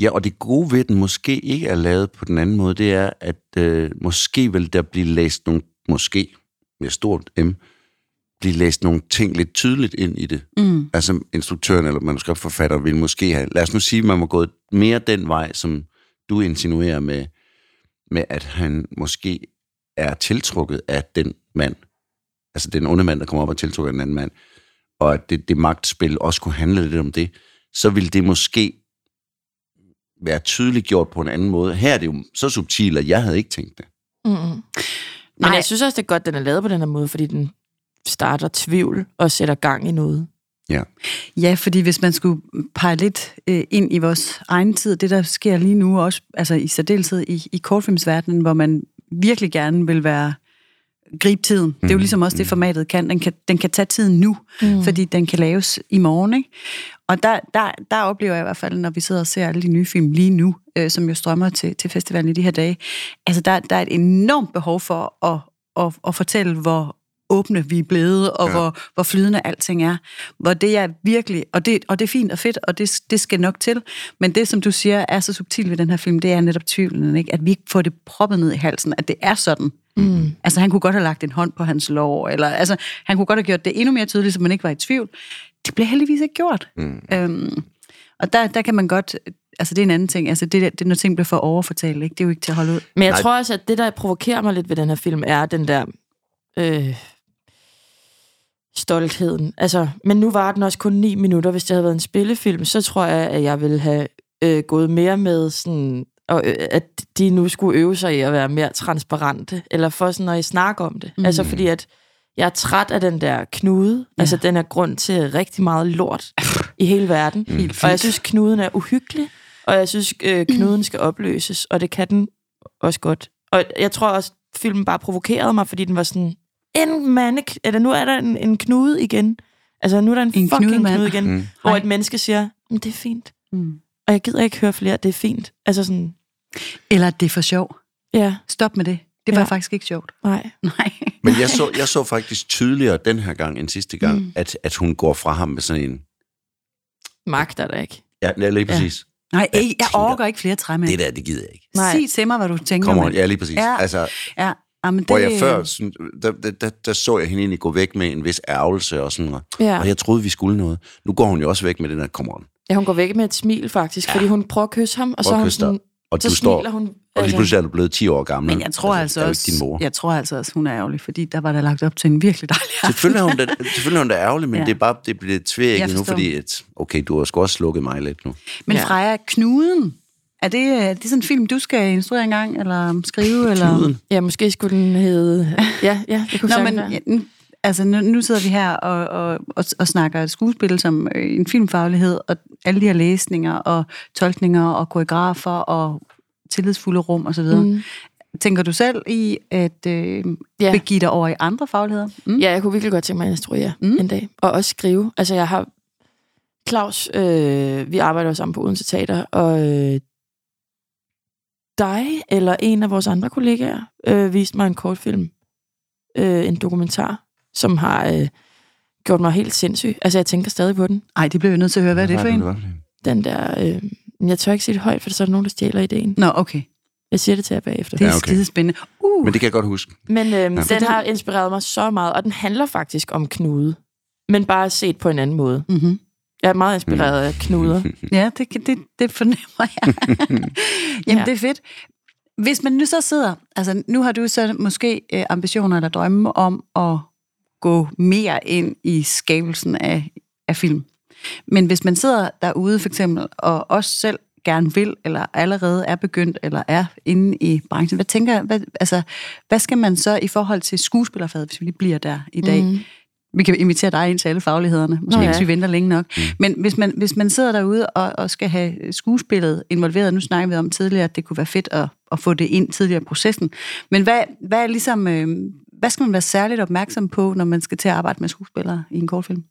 [SPEAKER 1] Ja, og det gode ved, at den måske ikke er lavet på den anden måde, det er, at øh, måske vil der blive læst nogle, måske med stort M, blive læst nogle ting lidt tydeligt ind i det.
[SPEAKER 2] Mm.
[SPEAKER 1] Altså instruktøren eller manuskriptforfatter vil måske have, lad os nu sige, at man var gået mere den vej, som du insinuerer med, med at han måske er tiltrukket af den mand. Altså den onde mand, der kommer op og tiltrukker den anden mand. Og at det, det magtspil også kunne handle lidt om det. Så ville det måske være tydeligt gjort på en anden måde. Her er det jo så subtilt, at jeg havde ikke tænkt det.
[SPEAKER 3] Mm-hmm. Men
[SPEAKER 2] Nej.
[SPEAKER 3] jeg synes også, det er godt, den er lavet på den her måde, fordi den starter tvivl og sætter gang i noget.
[SPEAKER 1] Ja.
[SPEAKER 2] Ja, fordi hvis man skulle pege lidt øh, ind i vores egen tid, det der sker lige nu, også altså i særdeleshed i, i kortfilmsverdenen, hvor man virkelig gerne vil være gribe tiden. Mm. Det er jo ligesom også det, formatet kan. Den kan, den kan tage tiden nu, mm. fordi den kan laves i morgen. Ikke? Og der, der, der oplever jeg i hvert fald, når vi sidder og ser alle de nye film lige nu, øh, som jo strømmer til, til festivalen i de her dage, altså der, der er et enormt behov for at, at, at fortælle, hvor åbne vi er blevet, og ja. hvor, hvor flydende alting er. Hvor det er virkelig, og det, og det er fint og fedt, og det, det skal nok til, men det, som du siger, er så subtilt ved den her film, det er netop tvivlen, ikke? at vi ikke får det proppet ned i halsen, at det er sådan. Mm. Altså, han kunne godt have lagt en hånd på hans lår, eller altså, han kunne godt have gjort det endnu mere tydeligt, så man ikke var i tvivl. Det bliver heldigvis ikke gjort. Mm. Øhm, og der, der kan man godt, altså det er en anden ting, altså det, der- det er, når ting bliver for overfortalt, ikke? det er jo ikke til at holde ud.
[SPEAKER 3] Men
[SPEAKER 1] Nej.
[SPEAKER 3] jeg Nej. tror også, at det, der provokerer mig lidt ved den her film, er den der øh, stoltheden. Altså, men nu var den også kun 9 minutter. Hvis det havde været en spillefilm, så tror jeg, at jeg ville have øh, gået mere med sådan og øh, at de nu skulle øve sig i at være mere transparente, eller for sådan at I snakke om det. Mm. Altså fordi at, Jeg er træt af den der knude. Ja. Altså, den er grund til rigtig meget lort i hele verden.
[SPEAKER 2] Helt
[SPEAKER 3] Og jeg
[SPEAKER 2] fint.
[SPEAKER 3] synes, knuden er uhyggelig, og jeg synes, øh, knuden skal opløses, og det kan den også godt. Og jeg tror også, filmen bare provokerede mig, fordi den var sådan, en mande, eller nu er der en, en knude igen. Altså, nu er der en,
[SPEAKER 2] En
[SPEAKER 3] en fucking
[SPEAKER 2] knudemand.
[SPEAKER 3] knude igen,
[SPEAKER 1] Mm.
[SPEAKER 3] mm. hvor
[SPEAKER 2] Ej.
[SPEAKER 3] et menneske siger, "Men det er fint,
[SPEAKER 2] Mm.
[SPEAKER 3] og jeg gider ikke høre flere, det er fint. Altså sådan,
[SPEAKER 2] Eller at det er for sjov.
[SPEAKER 3] ja,
[SPEAKER 2] Stop med det. Det var
[SPEAKER 3] Ja.
[SPEAKER 2] ja. faktisk ikke sjovt.
[SPEAKER 3] nej.
[SPEAKER 2] Nej.
[SPEAKER 1] Men jeg så, jeg så faktisk tydeligere den her gang end sidste gang, mm. at, at hun går fra ham med sådan en...
[SPEAKER 3] Magter der ikke.
[SPEAKER 1] Ja, ja lige præcis. Ja.
[SPEAKER 2] Nej, ikke, jeg
[SPEAKER 1] tænker-
[SPEAKER 2] orker ikke flere træmænd.
[SPEAKER 1] Det der, det gider jeg ikke.
[SPEAKER 3] Nej.
[SPEAKER 2] Sig til mig, hvad du tænker.
[SPEAKER 1] Kommer
[SPEAKER 2] mand.
[SPEAKER 1] on, ja, lige præcis.
[SPEAKER 2] Ja.
[SPEAKER 1] Ja. Altså,
[SPEAKER 2] Ja, ah, men det...
[SPEAKER 1] hvor jeg før, sådan, der, der, der, der, så jeg hende egentlig gå væk med en vis ærgelse og sådan noget.
[SPEAKER 3] Ja.
[SPEAKER 1] Og jeg troede, vi skulle noget. Nu går hun jo også væk med den her, come on.
[SPEAKER 3] ja, hun går væk med et smil faktisk, ja. fordi hun prøver at kysse ham, og så,
[SPEAKER 1] Prøv
[SPEAKER 3] er
[SPEAKER 1] at
[SPEAKER 3] hun
[SPEAKER 1] kysse dig.
[SPEAKER 3] sådan,
[SPEAKER 1] Og
[SPEAKER 3] så
[SPEAKER 1] du
[SPEAKER 3] smiler
[SPEAKER 1] står,
[SPEAKER 3] hun. Altså-
[SPEAKER 1] og lige pludselig er du blevet 10 år gammel.
[SPEAKER 2] Altså- Men jeg tror altså,
[SPEAKER 1] det er jo
[SPEAKER 2] altså
[SPEAKER 1] ikke din mor.
[SPEAKER 2] også, jeg tror altså også, hun er ærgerlig, fordi der var der lagt op til en virkelig dejlig aften.
[SPEAKER 1] Selvfølgelig er hun da, selvfølgelig er hun da ærgerlig, men
[SPEAKER 2] Ja.
[SPEAKER 1] ja. det er bare, det bliver
[SPEAKER 2] Jeg
[SPEAKER 1] tvækket nu,
[SPEAKER 2] forstår.
[SPEAKER 1] fordi at, okay, du har sgu også slukket mig lidt nu.
[SPEAKER 2] Men
[SPEAKER 3] Ja.
[SPEAKER 2] Freja, Knuden, er det, øh, er det sådan en film, du skal instruere engang, eller skrive? Eller?
[SPEAKER 1] Knuden?
[SPEAKER 3] Ja, måske skulle den hedde... Ja, ja, det kunne
[SPEAKER 2] Nå,
[SPEAKER 3] sagtens
[SPEAKER 2] men
[SPEAKER 3] være.
[SPEAKER 2] ja, nu- altså, nu, nu sidder vi her og, og, og, og snakker et skuespil som øh, en filmfaglighed, og alle de her læsninger og tolkninger og koreografer og tillidsfulde rum osv. Mm. Tænker du selv i at øh,
[SPEAKER 3] Ja.
[SPEAKER 2] ja. begive dig over i andre fagligheder? Mm?
[SPEAKER 3] Ja, jeg kunne virkelig godt tænke mig at instruere mm. en dag. Og også skrive. Altså, jeg har... Claus, øh, vi arbejder jo sammen på Odense Teater, og øh, dig eller en af vores andre kollegaer øh, viste mig en kortfilm, øh, en dokumentar, som har øh, gjort mig helt sindssyg. Altså, jeg tænker stadig på den.
[SPEAKER 2] Ej, det bliver jeg nødt til at høre. Hvad er det for en?
[SPEAKER 3] Den der... Øh, men jeg tør ikke sige det højt, for så er der nogen, der stjæler ideen.
[SPEAKER 2] Nå, okay.
[SPEAKER 3] Jeg siger det til jer bagefter.
[SPEAKER 2] Det er
[SPEAKER 1] Ja,
[SPEAKER 2] ja,
[SPEAKER 1] okay.
[SPEAKER 2] okay. skidespændende. Uh,
[SPEAKER 1] Men det kan jeg godt huske.
[SPEAKER 3] Men øhm, ja.
[SPEAKER 1] Så
[SPEAKER 3] den
[SPEAKER 2] den-
[SPEAKER 3] har inspireret mig så meget, og den handler faktisk om knude, men bare set på en anden måde.
[SPEAKER 2] mm-hmm.
[SPEAKER 3] Jeg er meget inspireret af knuder.
[SPEAKER 2] Ja, det, kan- det, det fornemmer jeg. Jamen,
[SPEAKER 3] Ja.
[SPEAKER 2] ja. det er fedt. Hvis man nu så sidder, altså nu har du så måske øh, ambitioner eller drømme om at gå mere ind i skabelsen af, af film. Men hvis man sidder derude for eksempel, og også selv gerne vil, eller allerede er begyndt, eller er inde i branchen, hvad tænker, hvad, altså, hvad skal man så i forhold til skuespillerfaget, hvis vi lige bliver der i dag? Mm. Vi kan invitere dig ind til alle faglighederne, måske
[SPEAKER 3] Nå
[SPEAKER 2] Nå,
[SPEAKER 3] ja.
[SPEAKER 2] ja. hvis vi venter længe nok. Mm. Men hvis man, hvis man sidder derude og, og skal have skuespillet involveret, nu snakker vi om tidligere, at det kunne være fedt at, at få det ind tidligere i processen. Men hvad, hvad, er ligesom, øh, hvad skal man være særligt opmærksom på, når man skal til at arbejde med skuespillere i en kortfilm?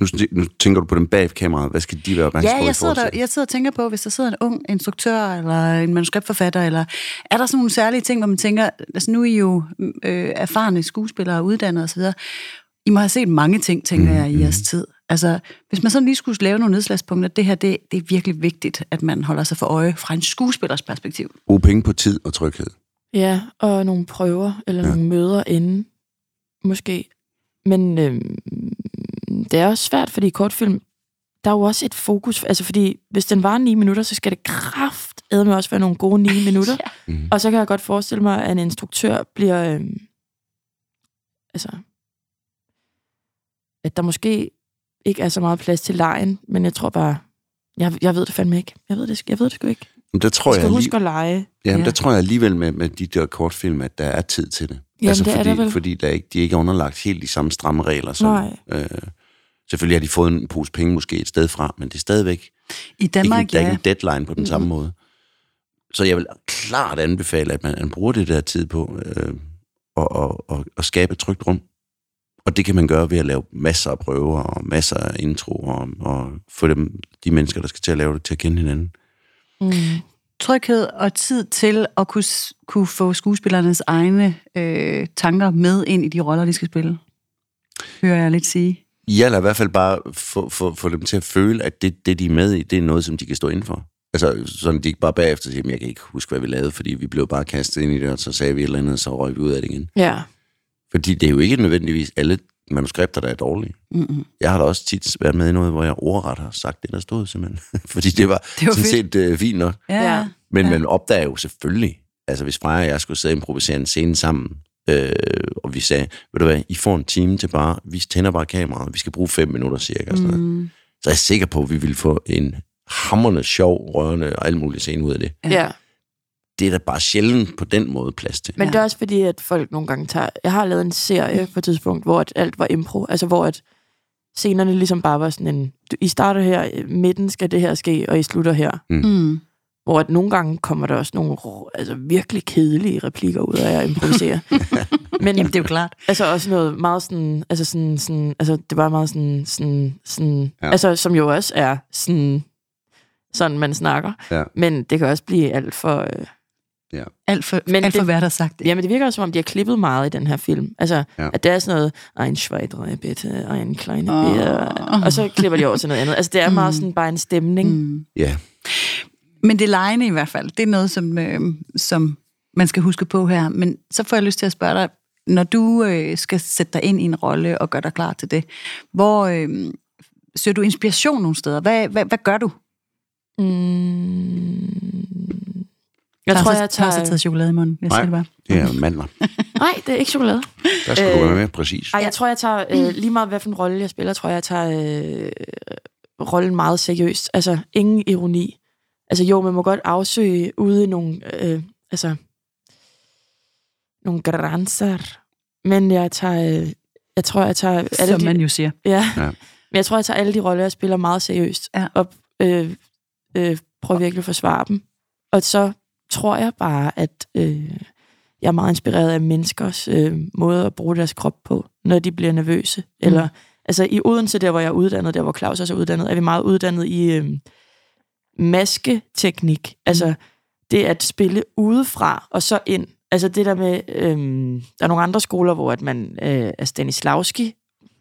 [SPEAKER 1] Nu, nu tænker du på dem bag kameraet. Hvad skal de være opmærksom på?
[SPEAKER 2] Ja,
[SPEAKER 1] i
[SPEAKER 2] jeg sidder, der,
[SPEAKER 1] forhold til-
[SPEAKER 2] jeg sidder og tænker på, hvis der sidder en ung instruktør, eller en manuskriptforfatter, eller er der sådan nogle særlige ting, hvor man tænker, altså nu er I jo øh, erfarne skuespillere, uddannede osv., I må have set mange ting, tænker jeg, i jeres tid. Altså, hvis man sådan lige skulle lave nogle nedslagspunkter, det her, det, det er virkelig vigtigt, at man holder sig for øje fra en skuespillers perspektiv.
[SPEAKER 1] Bruge penge på tid og tryghed.
[SPEAKER 3] Ja, og nogle prøver, eller ja.
[SPEAKER 1] Ja.
[SPEAKER 3] nogle møder inden, måske. Men øhm, det er også svært, fordi i kortfilm, der er jo også et fokus, altså fordi hvis den var 9 minutter, så skal det kraft med også være nogle gode 9 minutter. ja.
[SPEAKER 1] Mhm.
[SPEAKER 3] Og så kan jeg godt forestille mig, at en instruktør bliver, øhm, altså, at der måske ikke er så meget plads til lejen, men jeg tror bare, jeg, jeg ved det fandme ikke. Jeg ved det, jeg ved det sgu ikke.
[SPEAKER 1] Men der tror
[SPEAKER 3] Jeg skal
[SPEAKER 1] jeg,
[SPEAKER 3] huske
[SPEAKER 1] lige,
[SPEAKER 3] at lege.
[SPEAKER 1] jamen, der
[SPEAKER 2] Ja.
[SPEAKER 1] tror jeg alligevel med, med de der kortfilm, at der er tid til det. Altså,
[SPEAKER 3] Jamen, det er
[SPEAKER 1] fordi,
[SPEAKER 3] der vel.
[SPEAKER 1] fordi der er ikke, de er ikke underlagt helt de samme stramme regler. Som, øh, selvfølgelig har de fået en pose penge måske et sted fra, men det er stadigvæk
[SPEAKER 2] I Danmark,
[SPEAKER 1] ikke, en- der er
[SPEAKER 2] ja.
[SPEAKER 1] ikke en deadline på den samme måde. Så jeg vil klart anbefale, at man, man bruger det der tid på øh, og, og, og, og skabe et trygt rum. Og det kan man gøre ved at lave masser af prøver og masser af introer og, og få dem, de mennesker, der skal til at lave det, til at kende hinanden.
[SPEAKER 3] Mm.
[SPEAKER 2] Tryghed og tid til at kunne, s- kunne få skuespillernes egne øh, tanker med ind i de roller, de skal spille. Hører jeg lidt sige.
[SPEAKER 1] Ja, eller i hvert fald bare få, få, få dem til at føle, at det, det, de er med i, det er noget, som de kan stå inden for. Altså, sådan de ikke bare bagefter siger, "Jamen, jeg kan ikke huske, hvad vi lavede, fordi vi blev bare kastet ind i det, og så sagde vi et eller andet, og så røg vi ud af det igen.
[SPEAKER 3] Ja.
[SPEAKER 1] Fordi det er jo ikke nødvendigvis alle manuskripter, der er dårlige.
[SPEAKER 2] Mm-mm.
[SPEAKER 1] Jeg har da også tit været med i noget, hvor jeg ordret har sagt det, der stod simpelthen. Fordi det var,
[SPEAKER 2] Det var
[SPEAKER 1] sådan
[SPEAKER 2] fedt.
[SPEAKER 1] set øh, fint nok.
[SPEAKER 2] Ja,
[SPEAKER 3] Ja.
[SPEAKER 2] ja.
[SPEAKER 1] Men ja. man opdager jo selvfølgelig, altså hvis Freja og jeg skulle sidde og improvisere en scene sammen, øh, og vi sagde, ved du hvad, I får en time til bare, vi tænder bare kameraet, vi skal bruge fem minutter cirka. Mm. Sådan noget.
[SPEAKER 2] Mm,
[SPEAKER 1] Så er jeg sikker på, at vi ville få en hammerne sjov, rørende og alt muligt scene ud af det.
[SPEAKER 3] Ja.
[SPEAKER 1] det er der bare sjældent på den måde plads til.
[SPEAKER 3] Men ja. det er også fordi, at folk nogle gange tager... Jeg har lavet en serie på et tidspunkt, hvor at alt var impro. Altså, hvor at scenerne ligesom bare var sådan en... du- I starter her, midten skal det her ske, og I slutter her.
[SPEAKER 2] Mm.
[SPEAKER 3] Hvor at nogle gange kommer der også nogle rå- altså, virkelig kedelige replikker ud af at improvisere. Men
[SPEAKER 2] Jamen, det er jo klart.
[SPEAKER 3] Altså også noget meget sådan, altså sådan, sådan altså det var meget sådan, sådan, sådan
[SPEAKER 1] Ja.
[SPEAKER 3] ja. altså som jo også er sådan, sådan man snakker.
[SPEAKER 1] Ja.
[SPEAKER 3] Men det kan også blive alt for, øh,
[SPEAKER 2] Alt for,
[SPEAKER 3] Men
[SPEAKER 2] Men alt for
[SPEAKER 3] det-
[SPEAKER 2] hvad der er sagt.
[SPEAKER 3] jamen det virker også som om, de har klippet meget i den her film. Altså,
[SPEAKER 1] Ja.
[SPEAKER 3] ja. at det er sådan noget, ein Schweidre bitte, ein kleine
[SPEAKER 2] Åh.
[SPEAKER 3] oh. og så klipper de over til noget andet. Altså det er meget sådan bare en stemning. Mm.
[SPEAKER 1] Ja,
[SPEAKER 2] Men det lejende i hvert fald, det er noget, som, øh, som man skal huske på her. Men så får jeg lyst til at spørge dig, når du øh, skal sætte dig ind i en rolle og gøre dig klar til det, hvor øh, søger du inspiration nogle steder? Hvad, hvad, hvad gør du?
[SPEAKER 3] Mm. Jeg tror, jeg
[SPEAKER 2] har
[SPEAKER 3] tager...
[SPEAKER 2] taget chokolade i munden. Jeg
[SPEAKER 1] Nej.
[SPEAKER 2] siger det bare.
[SPEAKER 1] det er mandler.
[SPEAKER 3] Nej, det er ikke chokolade.
[SPEAKER 1] Der skal øh, du
[SPEAKER 3] Øh,
[SPEAKER 1] være med, præcis.
[SPEAKER 3] Ej, jeg tror, jeg tager,
[SPEAKER 2] Mm.
[SPEAKER 3] øh, lige meget hvad for en rolle jeg spiller, tror jeg, jeg tager øh, rollen meget seriøst. Altså, ingen ironi. Altså, jo, man må godt afsøge ude i nogle, øh, altså, nogle grænser. Men jeg tager, øh, jeg tror, jeg tager... alle
[SPEAKER 2] Som
[SPEAKER 3] de-
[SPEAKER 2] man jo siger.
[SPEAKER 3] Ja.
[SPEAKER 1] Ja.
[SPEAKER 3] ja. Men jeg tror, jeg tager alle de roller, jeg spiller meget seriøst.
[SPEAKER 2] Ja.
[SPEAKER 3] Og øh, øh, prøver virkelig at forsvare dem. Og så tror jeg bare, at øh, jeg er meget inspireret af menneskers øh, måde at bruge deres krop på, når de bliver nervøse. Mm. Eller, altså i Odense, der hvor jeg er uddannet, der hvor Claus også er uddannet, er vi meget uddannet i øh, masketeknik. Altså det at spille udefra og så ind. Altså det der med, øh, der er nogle andre skoler, hvor at man øh, er Stanislavski,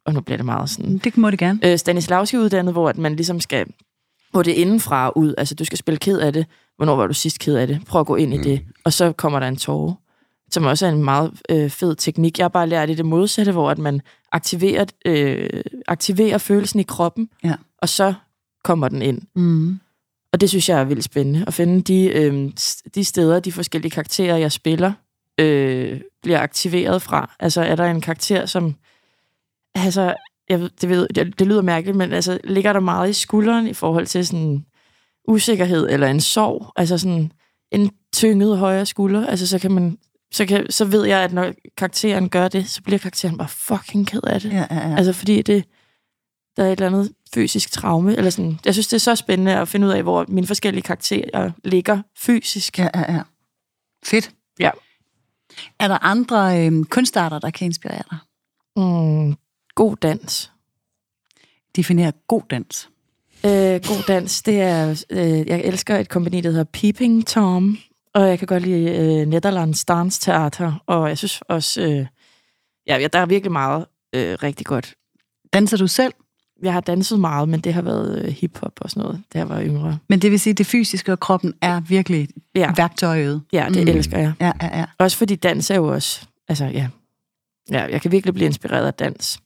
[SPEAKER 3] og nu bliver det meget sådan
[SPEAKER 2] Det må det gerne.
[SPEAKER 3] øh, Stanislavski uddannet, hvor at man ligesom skal, hvor det er indenfra og ud, altså du skal spille ked af det, hvornår var du sidst ked af det, prøv at gå ind i det, og så kommer der en tårer, som også er en meget øh, fed teknik. Jeg har bare lært i det modsatte, hvor at man aktiverer, øh, aktiverer følelsen i kroppen,
[SPEAKER 2] Ja.
[SPEAKER 3] og så kommer den ind.
[SPEAKER 2] Mm.
[SPEAKER 3] Og det synes jeg er vildt spændende, at finde de, øh, de steder, de forskellige karakterer, jeg spiller, øh, bliver aktiveret fra. Altså, er der en karakter, som... Altså, jeg, ved- det, ved, det, det lyder mærkeligt, men altså, ligger der meget i skulderen i forhold til sådan usikkerhed eller en sorg? Altså sådan en tynget højre skulder? Altså, så kan man... Så, kan, så ved jeg, at når karakteren gør det, så bliver karakteren bare fucking ked af det.
[SPEAKER 2] Ja, ja, ja.
[SPEAKER 3] Altså fordi det, der er et eller andet fysisk traume, eller sådan. Jeg synes, det er så spændende at finde ud af, hvor mine forskellige karakterer ligger fysisk.
[SPEAKER 2] ja, ja, ja. Fedt.
[SPEAKER 3] Ja.
[SPEAKER 2] Er der andre øh, kunstarter, der kan inspirere dig?
[SPEAKER 3] Mm, god dans.
[SPEAKER 2] Definere god dans.
[SPEAKER 3] Øh, god dans, det er... Øh, jeg elsker et kompagni, der hedder Peeping Tom, og jeg kan godt lide øh, Netherlands Dance Theater, og jeg synes også... Øh, ja, ja, der er virkelig meget øh, rigtig godt.
[SPEAKER 2] Danser du selv?
[SPEAKER 3] Jeg har danset meget, men det har været øh, hiphop og sådan noget, da jeg var yngre.
[SPEAKER 2] Men det vil sige, at det fysiske og kroppen er virkelig
[SPEAKER 3] Ja,
[SPEAKER 2] værktøjet.
[SPEAKER 3] ja det
[SPEAKER 2] Mm.
[SPEAKER 3] elsker jeg.
[SPEAKER 2] Ja, ja, ja.
[SPEAKER 3] Også fordi dans er jo også... Altså, ja. ja jeg kan virkelig blive inspireret af dans.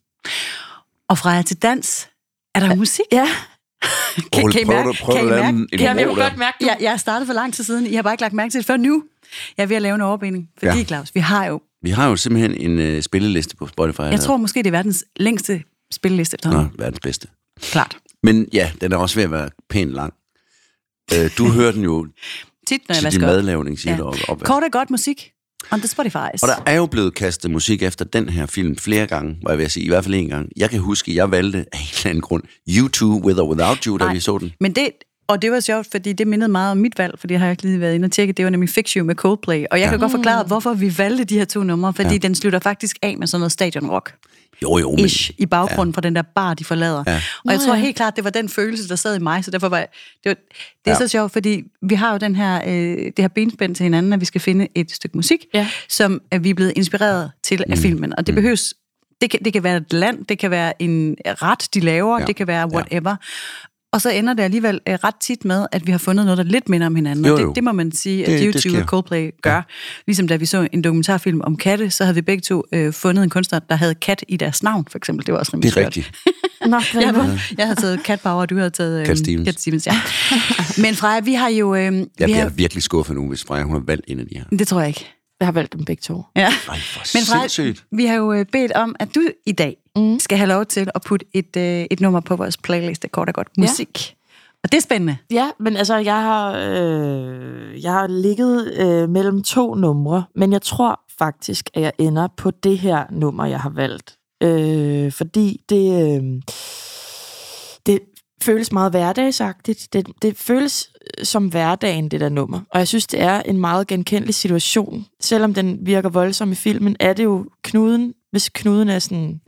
[SPEAKER 2] Og fra jer til dans, er der musik?
[SPEAKER 3] Ja,
[SPEAKER 2] Kan, kan I
[SPEAKER 1] prøv,
[SPEAKER 2] mærke?
[SPEAKER 1] at- prøv
[SPEAKER 2] Kan I
[SPEAKER 1] at lave en,
[SPEAKER 2] mærke?
[SPEAKER 1] en
[SPEAKER 3] ja jeg
[SPEAKER 1] bro
[SPEAKER 3] kunne
[SPEAKER 1] der.
[SPEAKER 3] godt mærke det.
[SPEAKER 2] Jeg, jeg startede for lang tid siden. I har bare ikke lagt mærke til det før nu. Jeg er ved at lave en overbinding. Fordi, ja.
[SPEAKER 1] Ja.
[SPEAKER 2] Claus, vi har jo...
[SPEAKER 1] Vi har jo simpelthen en øh, spilleliste på Spotify.
[SPEAKER 2] Jeg tror måske, det er verdens længste spilleliste efterhånden.
[SPEAKER 1] Nå, verdens bedste.
[SPEAKER 2] Klart.
[SPEAKER 1] Men ja, den er også ved at være pænt lang. Øh, du hører den jo
[SPEAKER 2] Tit, når jeg
[SPEAKER 1] til din
[SPEAKER 2] vasker op.
[SPEAKER 1] madlavning, siger
[SPEAKER 2] Ja.
[SPEAKER 1] ja. du. Op, op,
[SPEAKER 2] Kort og godt musik. On the Spotify.
[SPEAKER 1] og der er jo blevet kastet musik efter den her film flere gange, var jeg ved at sige, i hvert fald en gang. Jeg kan huske, jeg valgte af en eller anden grund U2 With or Without You, da
[SPEAKER 2] Nej.
[SPEAKER 1] vi så den.
[SPEAKER 2] Men det, og det var sjovt, fordi det mindede meget om mit valg, fordi jeg har ikke lige været inde og tjekke, det var nemlig Fix You med Coldplay. Og jeg ja. kan godt forklare, hvorfor vi valgte de her to numre, fordi ja. den slutter faktisk af med sådan noget stadionrock.
[SPEAKER 1] Jo, jo, men
[SPEAKER 2] ish i baggrunden ja. fra den der bar, de forlader. Ja. Og jeg
[SPEAKER 3] Nå,
[SPEAKER 2] tror
[SPEAKER 3] ja.
[SPEAKER 2] helt klart, det var den følelse, der sad i mig, så derfor var jeg, det, var, det er ja. så sjovt, fordi vi har jo den her, øh, det her benspænd til hinanden, at vi skal finde et stykke musik,
[SPEAKER 3] Ja.
[SPEAKER 2] som at vi er blevet inspireret til af filmen, og det behøves det kan, det kan være et land, det kan være en ret, de laver, ja. det kan være whatever. Og så ender det alligevel øh, ret tit med, at vi har fundet noget, der lidt minder om hinanden.
[SPEAKER 1] Jo,
[SPEAKER 2] og
[SPEAKER 1] jo.
[SPEAKER 2] det, det må man sige, at
[SPEAKER 1] Det- det
[SPEAKER 2] YouTube
[SPEAKER 1] sker.
[SPEAKER 2] og Coldplay gør. Ja. Ligesom da vi så en dokumentarfilm om katte, så havde vi begge to øh, fundet en kunstner, der havde kat i deres navn, for eksempel. Det var også rimelig
[SPEAKER 1] det er
[SPEAKER 2] skørt.
[SPEAKER 1] rigtigt.
[SPEAKER 3] Nå,
[SPEAKER 2] Jeg,
[SPEAKER 3] ja,
[SPEAKER 2] havde, jeg havde taget Cat Power, og du havde taget... Øh,
[SPEAKER 1] Cat Stevens.
[SPEAKER 2] Cat Stevens, ja. Men Freja, vi har jo... Øh,
[SPEAKER 1] Jeg
[SPEAKER 2] vi
[SPEAKER 1] bliver
[SPEAKER 2] har,
[SPEAKER 1] virkelig skuffet nu, hvis Freja hun har valgt en af de her.
[SPEAKER 2] det tror jeg ikke.
[SPEAKER 3] jeg har valgt dem begge to.
[SPEAKER 2] Ja.
[SPEAKER 1] Nej, for
[SPEAKER 2] Men Freja,
[SPEAKER 1] sindssygt.
[SPEAKER 2] vi har jo øh, bedt om, at du i dag mm. skal have lov til at putte et, øh, et nummer på vores playlist af kort og godt musik. Og det er spændende.
[SPEAKER 3] Ja, men altså, jeg har, øh, jeg har ligget øh, mellem to numre, men jeg tror faktisk, at jeg ender på det her nummer, jeg har valgt. Øh, fordi det, øh, det føles meget hverdagsagtigt. Det, det føles øh, som hverdagen, det der nummer. Og jeg synes, det er en meget genkendelig situation. Selvom den virker voldsom i filmen, er det jo knuden, hvis knuden er sådan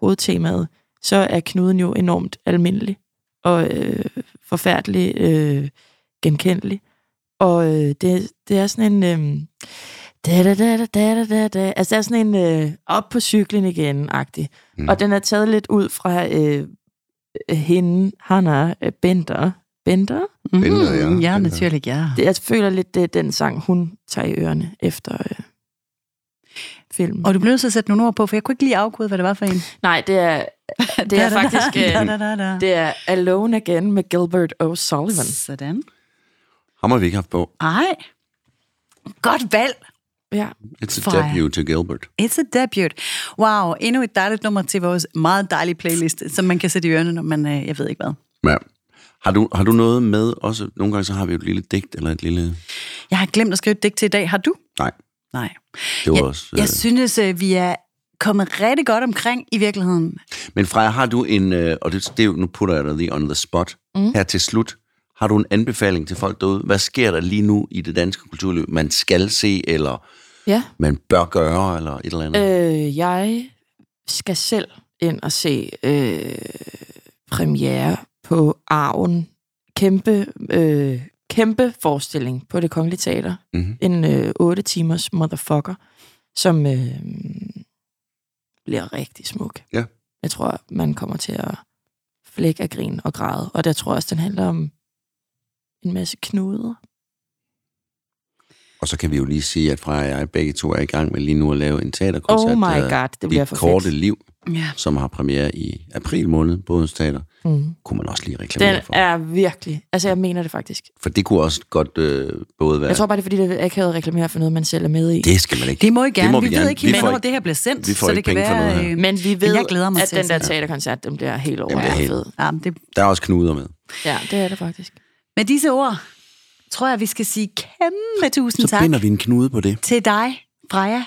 [SPEAKER 3] hovedtemaet, så er knuden jo enormt almindelig og øh, forfærdelig øh, genkendelig. Og øh, det, det er sådan en... Øh, da, da, da, da, da, da, da. Altså, der er sådan en øh, op på cyklen igen-agtig. Mm.
[SPEAKER 1] Mm.
[SPEAKER 3] Og den er taget lidt ud fra øh, hende, Hanna øh, Bender. Bender?
[SPEAKER 2] Mm-hmm.
[SPEAKER 1] Billeder, ja.
[SPEAKER 2] ja,
[SPEAKER 1] Billeder.
[SPEAKER 2] naturligt, ja.
[SPEAKER 3] Det, jeg føler lidt, det er den sang, hun tager i ørerne efter øh, filmen. Og,
[SPEAKER 2] Og du blev nødt til at sætte nogle ord på, for jeg kunne ikke lige afkode, hvad det var for en.
[SPEAKER 3] nej, det er, det er faktisk...
[SPEAKER 2] Da,
[SPEAKER 3] Øh,
[SPEAKER 2] da, da, da.
[SPEAKER 3] det er Alone Again med Gilbert O'Sullivan.
[SPEAKER 2] Sådan.
[SPEAKER 1] Ham har vi ikke haft på.
[SPEAKER 2] Ej. Godt valg.
[SPEAKER 3] Ja.
[SPEAKER 1] It's a
[SPEAKER 2] Freja.
[SPEAKER 1] debut to Gilbert.
[SPEAKER 2] It's a debut. Wow, endnu et dejligt nummer til vores meget dejlige playlist, som man kan sætte i ørerne, når man, øh, jeg ved ikke hvad.
[SPEAKER 1] Ja. Har du, har du noget med også? Nogle gange så har vi jo et lille digt eller et lille...
[SPEAKER 2] Jeg har glemt at skrive et digt til i dag. Har du?
[SPEAKER 1] Nej,
[SPEAKER 2] Nej.
[SPEAKER 1] det var
[SPEAKER 2] Jeg,
[SPEAKER 1] også... Øh...
[SPEAKER 2] jeg synes, øh, vi er kommet rigtig godt omkring i virkeligheden.
[SPEAKER 1] Men Freja, har du en... Øh, og det, det er jo, nu putter jeg dig lige on the spot. Mm. Her til slut. Har du en anbefaling til folk derude? Hvad sker der lige nu i det danske kulturliv, man skal se, eller
[SPEAKER 3] Ja.
[SPEAKER 1] man bør gøre, eller et eller andet? Øh.
[SPEAKER 3] Øh, jeg skal selv ind og se øh, premiere på Arven. Kæmpe, øh, kæmpe forestilling på det Kongelige Teater.
[SPEAKER 1] Mhm.
[SPEAKER 3] En øh, 8 timers motherfucker, som øh, bliver rigtig smuk.
[SPEAKER 1] Ja.
[SPEAKER 3] Jeg tror, man kommer til at flække af grin og græde. Og der tror jeg også, den handler om en masse knuder.
[SPEAKER 1] Og så kan vi jo lige sige, at Freja og jeg begge to er i gang med lige nu at lave en teaterkoncert.
[SPEAKER 3] Oh my
[SPEAKER 1] der
[SPEAKER 3] god, det
[SPEAKER 1] hedder
[SPEAKER 3] bliver
[SPEAKER 1] Dit
[SPEAKER 3] for
[SPEAKER 1] korte
[SPEAKER 3] fedt.
[SPEAKER 1] liv,
[SPEAKER 2] Ja.
[SPEAKER 1] som har premiere i april måned på Odense Teater.
[SPEAKER 2] Mhm.
[SPEAKER 3] Mm.
[SPEAKER 1] Kunne man også lige reklamere
[SPEAKER 3] Den
[SPEAKER 1] for.
[SPEAKER 3] er virkelig... Altså, jeg mener det faktisk.
[SPEAKER 1] For det kunne også godt øh, både være...
[SPEAKER 3] Jeg tror bare, det er fordi, det er akavet at reklamere for noget, man selv er med i.
[SPEAKER 1] Det skal man ikke.
[SPEAKER 2] Det må I gerne.
[SPEAKER 1] Det må
[SPEAKER 2] vi,
[SPEAKER 1] vi
[SPEAKER 2] vi
[SPEAKER 1] gerne.
[SPEAKER 2] ved ikke helt,
[SPEAKER 1] Vi får
[SPEAKER 2] hvornår
[SPEAKER 1] ikke-
[SPEAKER 2] det her bliver sendt,
[SPEAKER 1] vi får
[SPEAKER 2] så det
[SPEAKER 1] ikke
[SPEAKER 2] kan
[SPEAKER 1] penge for
[SPEAKER 2] være...
[SPEAKER 1] noget her.
[SPEAKER 2] øh,
[SPEAKER 3] Men vi ved,
[SPEAKER 2] jeg glæder mig
[SPEAKER 3] at
[SPEAKER 2] til
[SPEAKER 3] den
[SPEAKER 2] at
[SPEAKER 3] der
[SPEAKER 2] se
[SPEAKER 3] teaterkoncert, den bliver helt over.
[SPEAKER 1] Den bliver helt-
[SPEAKER 2] ja, men det,
[SPEAKER 1] Der er også knuder med.
[SPEAKER 3] Ja, det er det faktisk.
[SPEAKER 2] med disse ord, tror jeg, vi skal sige kæmpe tusind
[SPEAKER 1] Så
[SPEAKER 2] tak.
[SPEAKER 1] binder vi en knude på det.
[SPEAKER 2] til dig, Freja,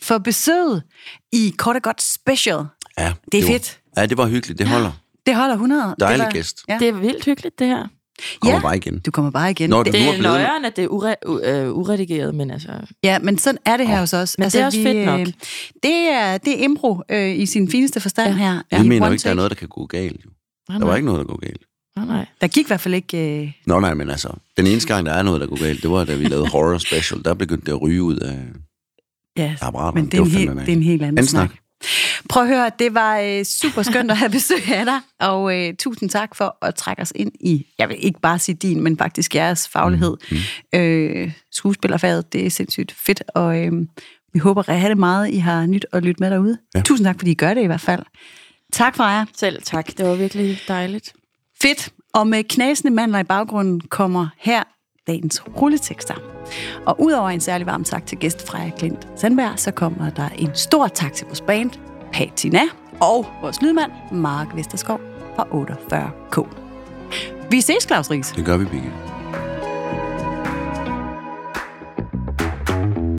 [SPEAKER 2] for besøget i Kort og Godt Special.
[SPEAKER 1] Ja,
[SPEAKER 2] Det er
[SPEAKER 1] var-
[SPEAKER 2] fedt.
[SPEAKER 1] Ja, det var hyggeligt. Det holder.
[SPEAKER 2] Det holder 100.
[SPEAKER 1] Dejlig
[SPEAKER 2] det var,
[SPEAKER 1] gæst.
[SPEAKER 2] Ja.
[SPEAKER 3] Det er vildt hyggeligt, det her.
[SPEAKER 1] Kommer
[SPEAKER 2] Ja.
[SPEAKER 1] bare igen.
[SPEAKER 2] Du kommer bare igen.
[SPEAKER 1] Nå,
[SPEAKER 2] det,
[SPEAKER 1] du-
[SPEAKER 3] Det
[SPEAKER 1] er
[SPEAKER 3] er
[SPEAKER 1] blevet-
[SPEAKER 3] nøjeren, at det er ure, u- øh, uredigeret, men altså...
[SPEAKER 2] ja, men sådan er det her hos os.
[SPEAKER 3] men det er også fedt nok.
[SPEAKER 2] øh, Det er, det er impro øh, i sin fineste forstand
[SPEAKER 3] Ja.
[SPEAKER 2] ja. her.
[SPEAKER 1] Jeg
[SPEAKER 2] i
[SPEAKER 1] mener jo
[SPEAKER 2] one
[SPEAKER 1] ikke, der er
[SPEAKER 2] take.
[SPEAKER 1] noget, der kan gå galt. Jo.
[SPEAKER 3] Nej,
[SPEAKER 1] Der var
[SPEAKER 3] nej,
[SPEAKER 1] ikke noget, der går galt.
[SPEAKER 3] nej, nej.
[SPEAKER 2] Der gik i hvert fald ikke... Øh,
[SPEAKER 1] Nå nej, men altså, den eneste gang, der er noget, der går galt, det var, da vi lavede Horror Special. Der begyndte det at ryge ud af
[SPEAKER 2] ja,
[SPEAKER 1] apparaterne.
[SPEAKER 2] men det er, en
[SPEAKER 1] var
[SPEAKER 2] helt,
[SPEAKER 1] fandme
[SPEAKER 2] det er en helt anden,
[SPEAKER 1] Anden
[SPEAKER 2] snak.
[SPEAKER 1] snak.
[SPEAKER 2] Prøv at høre, det var øh, super skønt at have besøg af dig, og øh, tusind tak for at trække os ind i, jeg vil ikke bare sige din, men faktisk jeres faglighed. Mm. Øh, skuespillerfaget, det er sindssygt fedt, og øh, vi håber at have det meget, I har nyt at lytte med derude. Ja. Tusind tak, fordi I gør det i hvert fald. Tak for jer.
[SPEAKER 3] Selv tak. Det var virkelig dejligt.
[SPEAKER 2] Fedt. Og med knasende mandler i baggrunden kommer her dagens rulletekster. Og udover en særlig varm tak til gæst Freja Klint Sandberg, så kommer der en stor tak til vores band, Patina, og vores lydmand, Mark Vesterskov fra 48K. Vi ses, Claus Ries.
[SPEAKER 1] Det gør vi begge.